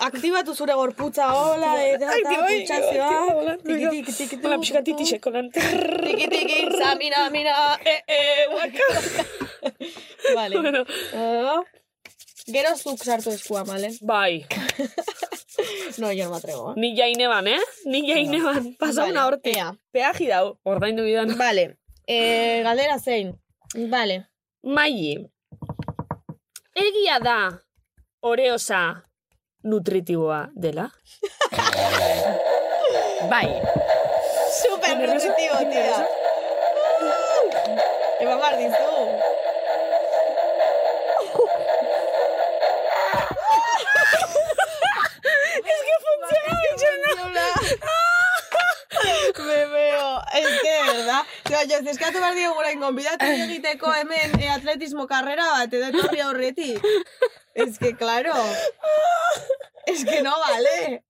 Speaker 3: aktibatu zure gorputza, hola, eta, eta, pultsazioa. Tiki, tiki, tiki,
Speaker 8: Hola, pixka titisek, holan. Trrrr.
Speaker 3: Tiki, tiki, za, mira, mira, eh, eh, waka. vale.
Speaker 8: Bueno,
Speaker 3: Ah, gero zuk sartu eskua, vale?
Speaker 8: bai,
Speaker 3: No, yo no me atrevo. eh.
Speaker 8: nik jaine ban, eh? Nik jaine ban, pasauna
Speaker 3: Vale,
Speaker 8: horte.
Speaker 3: ea.
Speaker 8: Peaji dau, ordaindu bidan.
Speaker 3: Vale. Eh, galdera zein. Vale.
Speaker 8: Maili, egia da oreosa nutritiboa dela?
Speaker 7: Bai.
Speaker 3: Super nutritivo, tía. Eva Martín, tú. es que funciona, Me veo, es que, de verdad. Yo, yo, es que behar diogu orain gonbidatu egiteko hemen eh, atletismo karrera bat, edo etorri aurretik. Es que, claro. Es que no vale.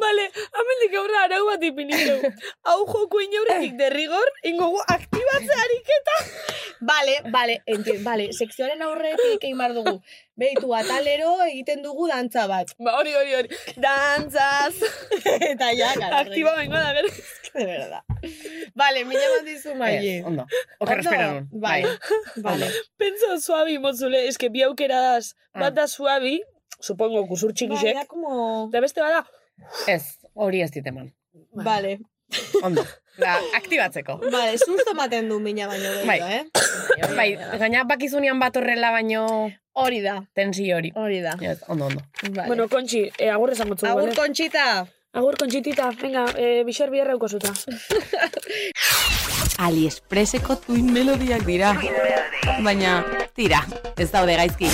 Speaker 8: Vale, amendik aurra arau bat
Speaker 3: [laughs]
Speaker 8: ipinitu. Hau joko inauretik derrigor, ingogu aktibatzea ariketa.
Speaker 3: Vale, vale, enti, vale, sekzioaren aurretik egin behar dugu. Beitu atalero egiten dugu dantza bat.
Speaker 8: Ba, hori, hori, hori. Dantzaz.
Speaker 3: [laughs] Eta ja, gara.
Speaker 8: Aktiba bengo da, gero.
Speaker 3: De verdad. Vale, mi llaman dizu
Speaker 7: Eh,
Speaker 3: maile.
Speaker 7: ondo. Oker
Speaker 3: Ondo?
Speaker 7: espero nun.
Speaker 3: Bai, [laughs] vale.
Speaker 8: Pentsa suabi, motzule, eske bi aukera daz.
Speaker 7: Ah.
Speaker 8: Bat da suabi, supongo, kusur
Speaker 3: Mm. Bai, da
Speaker 8: txikisek.
Speaker 3: como...
Speaker 8: Eta beste bada,
Speaker 7: Ez, hori ez diteman.
Speaker 3: Vale,
Speaker 9: [laughs]
Speaker 7: Ondo. La, aktibatzeko.
Speaker 3: vale, susto maten du mina baino gero,
Speaker 7: Bai.
Speaker 3: eh?
Speaker 7: Bai, gaina bakizunean bat horrela baino
Speaker 3: Hori da,
Speaker 7: tensio hori.
Speaker 3: hori da.
Speaker 7: Ez, ondo, ondo.
Speaker 3: Vale.
Speaker 8: bueno, kontxi, e, agurre esango txugu,
Speaker 3: Agur
Speaker 8: bale?
Speaker 3: kontxita.
Speaker 8: Agur, kontxitita, venga, e, bixer biherreuko zuta.
Speaker 7: Aliexpreseko tuin melodiak dira. Baina, tira, ez daude gaizki.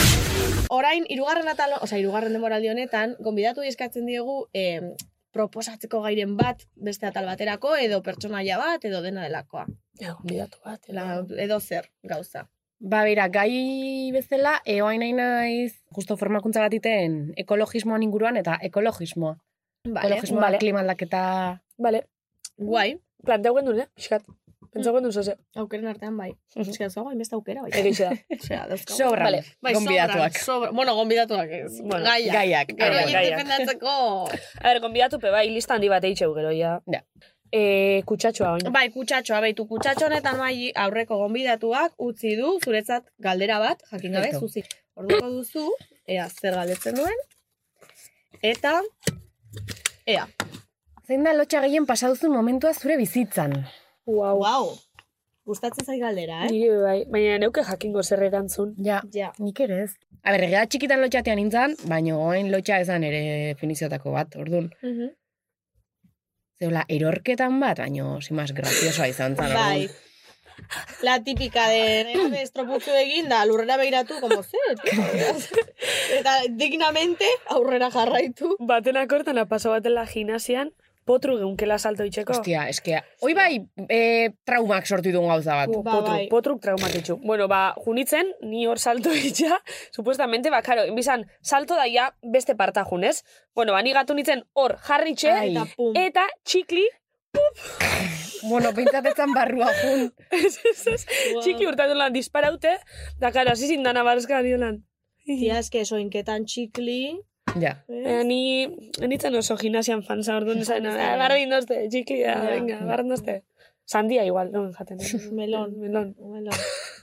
Speaker 3: Orain, irugarren atal, oza, irugarren denboraldi honetan, gonbidatu eskatzen diegu em, proposatzeko gairen bat beste atal baterako, edo pertsonaia bat, edo dena delakoa.
Speaker 8: Ja, bidatu bat.
Speaker 3: La, edo zer, gauza.
Speaker 9: Ba, bera, gai bezala, eoain nahi naiz, justo formakuntza bat iten ekologismoan inguruan eta ekologismoa.
Speaker 3: Vale.
Speaker 9: Ekologismoa,
Speaker 8: Vale.
Speaker 9: klima aldaketa...
Speaker 8: Bale,
Speaker 3: Guai,
Speaker 8: planteu gendun, eh? Piskat.
Speaker 3: Mm.
Speaker 8: Pentsau gendun zoze.
Speaker 3: aukeren artean bai.
Speaker 8: Mhm.
Speaker 3: Ez que dauzkagu hainbeste aukera bai. [laughs]
Speaker 8: Egixe da.
Speaker 3: Osea, dauzkagu.
Speaker 9: Sobran,
Speaker 8: Vale.
Speaker 3: Bai,
Speaker 9: gonbidatuak.
Speaker 3: sobran, sobran. Bueno, gonbidatuak ez.
Speaker 9: Bueno,
Speaker 3: gaiak.
Speaker 9: gaiak, bai.
Speaker 3: Gero
Speaker 9: gaiak,
Speaker 3: horiek
Speaker 9: gaiak. [laughs]
Speaker 3: defendatzeko.
Speaker 8: A ber, konbidatu pe bai, lista handi bat eitxeu gero, ja.
Speaker 9: Ja.
Speaker 8: E, kutsatxoa, oin.
Speaker 3: Bai, kutsatxoa, baitu kutsatxo honetan bai aurreko gonbidatuak utzi du zuretzat galdera bat, jakin gabe
Speaker 9: Eto.
Speaker 3: zuzi. Orduko duzu, ea zer galdetzen duen. Eta ea.
Speaker 9: Zein da lotxa gehien pasaduzun momentua zure bizitzan?
Speaker 8: Wow.
Speaker 3: Wow. Gustatzen zai galdera, eh?
Speaker 8: Nire bai, baina neuke jakingo zer erantzun.
Speaker 9: Ja,
Speaker 3: Ja.
Speaker 9: nik ere ez. A ber, gea txikitan lotxatean nintzen, baina oain lotxa ezan ere definiziotako bat, orduan. Zeola, erorketan bat, baina simas graziosoa izan zen.
Speaker 3: Bai. La típica de nire estropuzu egin da, lurrera begiratu, como zer. tío?" Eta dignamente aurrera jarraitu.
Speaker 8: Batena kortana paso batela gimnasian, potru geunkela salto itxeko.
Speaker 9: Ostia, eske, hoi bai, e, traumak sortu dugun gauza bat.
Speaker 8: Potru,
Speaker 3: Ba, bai.
Speaker 8: potruk traumatitxu. Bueno, ba, junitzen, ni hor salto [laughs] itxa, supuestamente, ba, karo, enbizan, salto daia beste parta junez. Bueno, ba, ni gatu nitzen hor jarritxe,
Speaker 9: Ai.
Speaker 3: Eta pum.
Speaker 8: eta txikli,
Speaker 9: Bueno, pentsatetzen barrua jun.
Speaker 8: ez, ez, ez, txikli urtatu lan disparaute, da, karo, hasi zindana barzka diolan.
Speaker 3: Tia, eske soinketan txikli.
Speaker 9: Ja.
Speaker 8: Eh, ni, nitzen oso gimnasian fansa, orduan esan, "Ah, barra indozte, txikli, da,
Speaker 3: Ja.
Speaker 8: ah, venga, barra indozte. Sandia igual, non [laughs] jaten.
Speaker 3: [laughs] Melon.
Speaker 8: Melon.
Speaker 3: Bueno,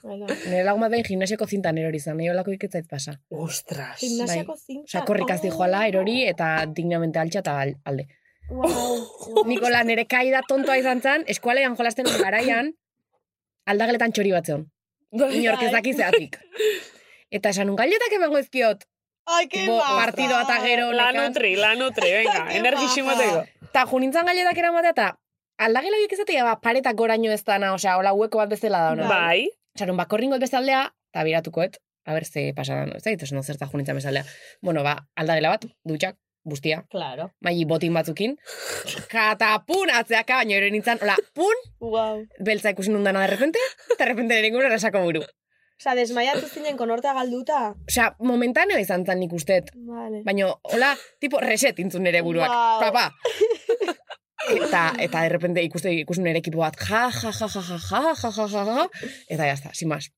Speaker 3: bueno.
Speaker 9: [laughs] Nire lagun bat behin gimnasiako zintan erori izan, nahi olako iketzait pasa.
Speaker 8: Ostras.
Speaker 9: Bai.
Speaker 3: Gimnasiako zinta.
Speaker 9: Osa, korrikaz
Speaker 3: Oh.
Speaker 9: dijoala, erori, eta dignamente altxa eta al- alde.
Speaker 3: Wow.
Speaker 9: Nikola, nire kaida tontoa izan zen, eskualean jolasten nuen garaian, aldageletan txori bat zeon. Inork ez daki zeatik. Eta esan nun galletak emango izkiot.
Speaker 3: Ai, qué
Speaker 9: Bo, partido eta gero
Speaker 8: La
Speaker 9: nekan.
Speaker 8: nutri, la nutri, [laughs] venga,
Speaker 3: Qué
Speaker 8: energixu
Speaker 3: baja.
Speaker 8: mateko.
Speaker 9: Eta junintzan galletak eramatea eta aldagela horiek izatea ba, paretak goraino ez dana, osea, hola hueko bat bezala da ona.
Speaker 8: Bai,
Speaker 9: Esan nun, bakorringo beste aldea, eta biratukoet, a ber ze pasadan, ez da, ez no zerta junintzan beste aldea. Bueno, ba, aldagela bat, dutxak, bustia,
Speaker 3: Claro.
Speaker 9: maili botin batzukin, katapun atzeaka, baino ero nintzen, hola, pun,
Speaker 3: Wow.
Speaker 9: beltza ikusi nun dana de repente, eta repente nire ingurra erasako buru.
Speaker 3: Osa, desmaiatu zinen konortea galduta.
Speaker 9: Osea, momentaneo izan zen nik ustet,
Speaker 3: Vale.
Speaker 9: Baina, hola, tipo, reset intzun nere buruak.
Speaker 3: Wow.
Speaker 9: Papa! eta, eta de repente ikuste ikusten nere ekipo bat, ja, ja, ja, ja, ja, ja, ja, ja, ja, ja, eta jazta, sin más.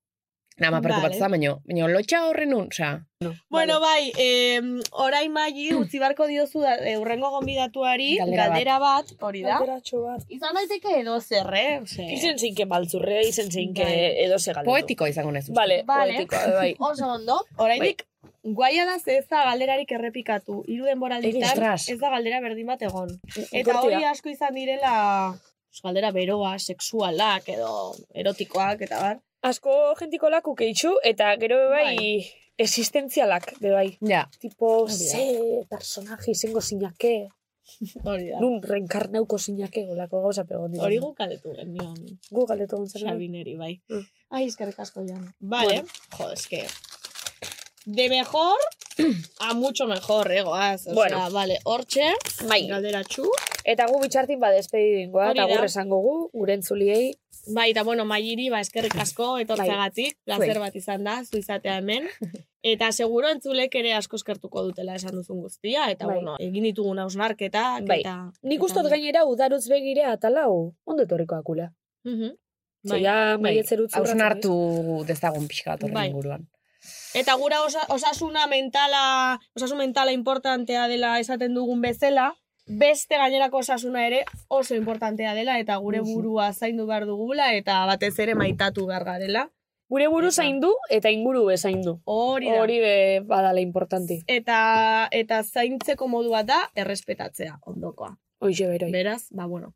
Speaker 9: Nada más
Speaker 3: Vale.
Speaker 9: preocupatzen, baina, baina lotxa horren un, osea,
Speaker 3: Bueno, bai, eh, orain maili [clears throat] utzi barko diozu da, eh, urrengo gonbidatuari
Speaker 9: Galdera
Speaker 3: galdera,
Speaker 9: bat.
Speaker 3: bat. hori da.
Speaker 8: bat.
Speaker 3: Izan daiteke edo zer, eh? Ose,
Speaker 8: Izen zinke baltzurrea, izen zinke
Speaker 3: Bai.
Speaker 8: edo segaldu.
Speaker 9: poetikoa izango nezu.
Speaker 8: Vale,
Speaker 3: Vale.
Speaker 8: poetikoa,
Speaker 3: [laughs]
Speaker 8: bai.
Speaker 3: Oso ondo, oraindik guaia da ze ez da galderarik errepikatu. Hiru denboralditan
Speaker 9: Ostras.
Speaker 3: ez da galdera berdin bat egon.
Speaker 8: E,
Speaker 3: Eta
Speaker 8: Kortira.
Speaker 3: hori asko izan direla pues, galdera beroa, sexualak edo erotikoak eta bar.
Speaker 8: Asko jentikolak ukeitxu, eta gero be bai, existentzialak, be bai.
Speaker 9: Ja,
Speaker 8: Tipo,
Speaker 3: Hori da.
Speaker 8: ze personaje izango zinake,
Speaker 3: Hori da.
Speaker 8: nun reenkarnauko zinake, olako gauza pegon dira.
Speaker 3: Hori guk aletu genion.
Speaker 8: gu galdetu gontzaren.
Speaker 3: Xabineri, bai.
Speaker 8: Mm.
Speaker 3: Ai, eskerrik asko jan. Vale. jo, es que... De mejor a mucho mejor, egoaz. O
Speaker 8: Bueno.
Speaker 3: sea, vale, hortxe,
Speaker 8: Bai.
Speaker 3: galdera txu.
Speaker 8: Eta gu bitxartin ba despedi dingoa,
Speaker 3: Hori
Speaker 8: eta
Speaker 3: da.
Speaker 8: gurre esango gu, urentzuliei.
Speaker 3: Bai, eta bueno, mailiri, ba, eskerrik
Speaker 8: [laughs]
Speaker 3: asko,
Speaker 8: Bai,
Speaker 3: etortzeagatik, placer bat izan da, zu izatea hemen. Eta seguro entzulek ere asko eskertuko dutela esan duzun guztia, eta
Speaker 8: Bai.
Speaker 3: bueno, egin ditugun hausnarketak,
Speaker 8: Bai.
Speaker 3: eta...
Speaker 8: Nik
Speaker 3: eta
Speaker 8: ustot
Speaker 3: bai.
Speaker 8: gainera udarutz begire atalau, ondo etorriko akula.
Speaker 3: Mhm.
Speaker 8: Bai,
Speaker 3: Bai.
Speaker 8: ja,
Speaker 9: bai,
Speaker 8: maietzer utzu.
Speaker 9: hausen hartu dezagun pixka bat horren
Speaker 3: Bai.
Speaker 9: inguruan.
Speaker 3: Eta gura osa, osasuna mentala, osasun mentala importantea dela esaten dugun bezala, beste gainerako osasuna ere oso importantea dela eta gure burua zaindu behar dugula eta batez ere maitatu behar garela.
Speaker 8: Gure buru
Speaker 3: Eta-
Speaker 8: zaindu eta inguru be zaindu.
Speaker 3: Hori da.
Speaker 8: Hori be badala importanti.
Speaker 3: Eta, eta zaintzeko modu bat da errespetatzea ondokoa.
Speaker 8: Hoxe beroi.
Speaker 3: Beraz, ba bueno,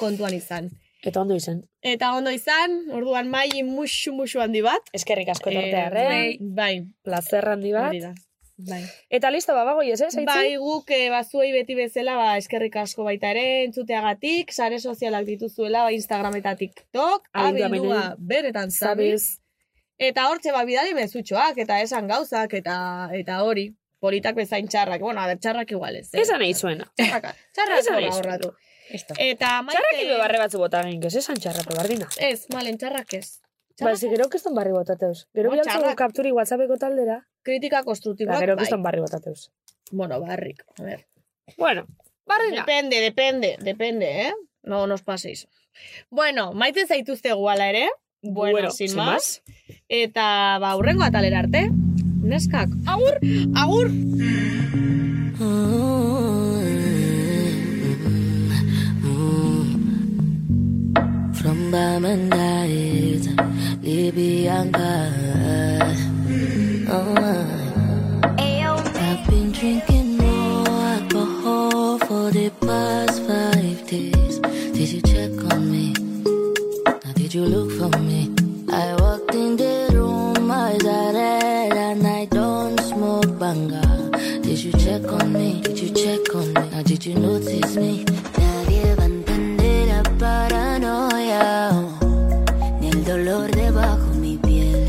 Speaker 3: kontuan izan.
Speaker 8: Eta ondo izan.
Speaker 3: Eta ondo izan, orduan maili musu musu handi bat.
Speaker 8: Eskerrik asko
Speaker 3: Eh,
Speaker 8: etortearren.
Speaker 3: bai,
Speaker 8: Plazer handi bat.
Speaker 3: hori da.
Speaker 11: Bai.
Speaker 8: Eta listo, babagoi ez, ez?
Speaker 11: Bai, guk eh, bazuei beti bezala ba, eskerrik asko baita ere entzuteagatik, sare sozialak dituzuela ba, Instagram eta TikTok,
Speaker 8: Abildua
Speaker 11: abildua beretan zabiz.
Speaker 8: Zabiz.
Speaker 11: Eta hortxe, ba, bidali mezutxoak, eta esan gauzak, eta eta hori, politak bezain txarrak. Bueno, a ber, txarrak igual ez. Eh?
Speaker 8: Esan nahi zuena.
Speaker 11: Txarrak, txarrak
Speaker 8: [laughs] Esan
Speaker 11: horra
Speaker 8: nahi
Speaker 11: horratu.
Speaker 8: Listo.
Speaker 11: Eta maite...
Speaker 8: Txarrak ibe barre batzu bota genk, ez esan txarrako bardina.
Speaker 11: Ez, malen, txarrak ez.
Speaker 8: Ba,
Speaker 11: Txarrak
Speaker 8: ze gero keston barri botateuz. Gero
Speaker 11: Ba,
Speaker 8: bialtzago
Speaker 11: txarrak.
Speaker 8: kapturi WhatsAppeko taldera,
Speaker 11: kritika konstruktiboak,
Speaker 8: eta Ba, gero
Speaker 11: bai.
Speaker 8: keston barri botateuz.
Speaker 11: Bueno, barrik, a ver.
Speaker 8: Bueno, bardina.
Speaker 11: Depende, depende, depende, ¿eh? No nos paséis. Bueno, maite zaituztegu ala ere. Bueno, sin, más. Eta, ba, hurrengo atalera arte. Neskak. Agur, agur.
Speaker 16: Mm. From Bamandait, Libyan God. Oh, Uh. I've been drinking more alcohol for the past five days. Did you check on me? Now, did you look for me? I walked in the room, eyes are red, and I don't smoke banger. Did you check on me? Did you check on me? Now, did you notice me? Nadie va a entender la paranoia, oh, ni el dolor debajo mi piel.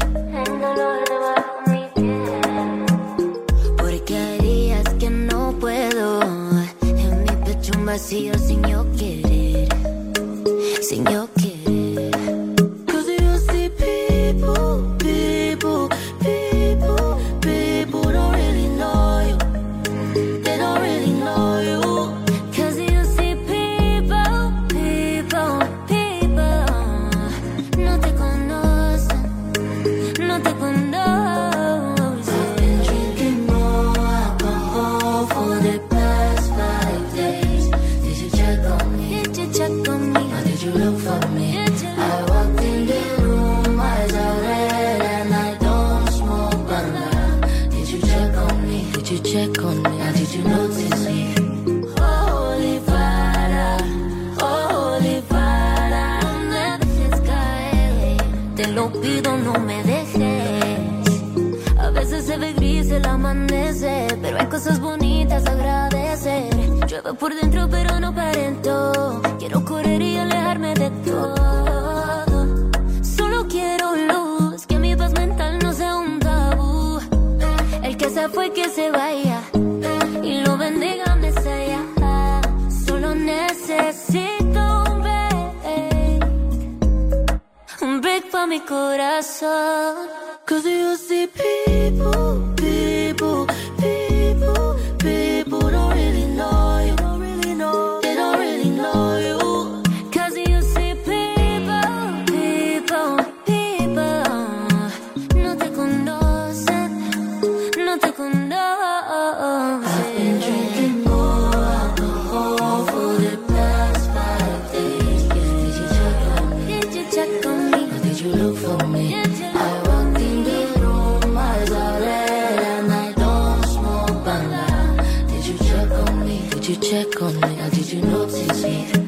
Speaker 16: Porque harías que no puedo en mi pecho un vacío sin yo querer, sin yo querer. Cause you see people, people, people, people don't really know you. They don't really know you. Cause you see people, people, people. No te conocen, no te conocen. I've been drinking more alcohol for the past five days. Did you check on me? Did you check on me? Or did you look for me? I walked in the room, eyes are red, and I don't smoke banana. Did you check on me? Did you check on me? Or did you notice me? Holy Father, Holy Father, no me dejes caer. Te lo pido, no me dejes. A veces se ve gris el amanecer, pero hay cosas bonitas a agradecer. Llueve por dentro, pero no parento. Quiero correr y alejarme de todo. Solo quiero luz, que mi paz mental no sea un tabú. El que se fue, que se vaya. Y lo bendiga más allá. Solo necesito un break. Un break pa' mi corazón. Cause you see people, people, people, people don't really know you. Don't really know. They don't really know you. Cause you see people, people, people. No te conocen, no te conocen. I've been drinking more alcohol for the past five days. Did you check on me? Did you check on me? Or did you look for me? I walked in the room, eyes are red, and I don't smoke banana. Did you check on me? Did you check on me? Or did you notice me?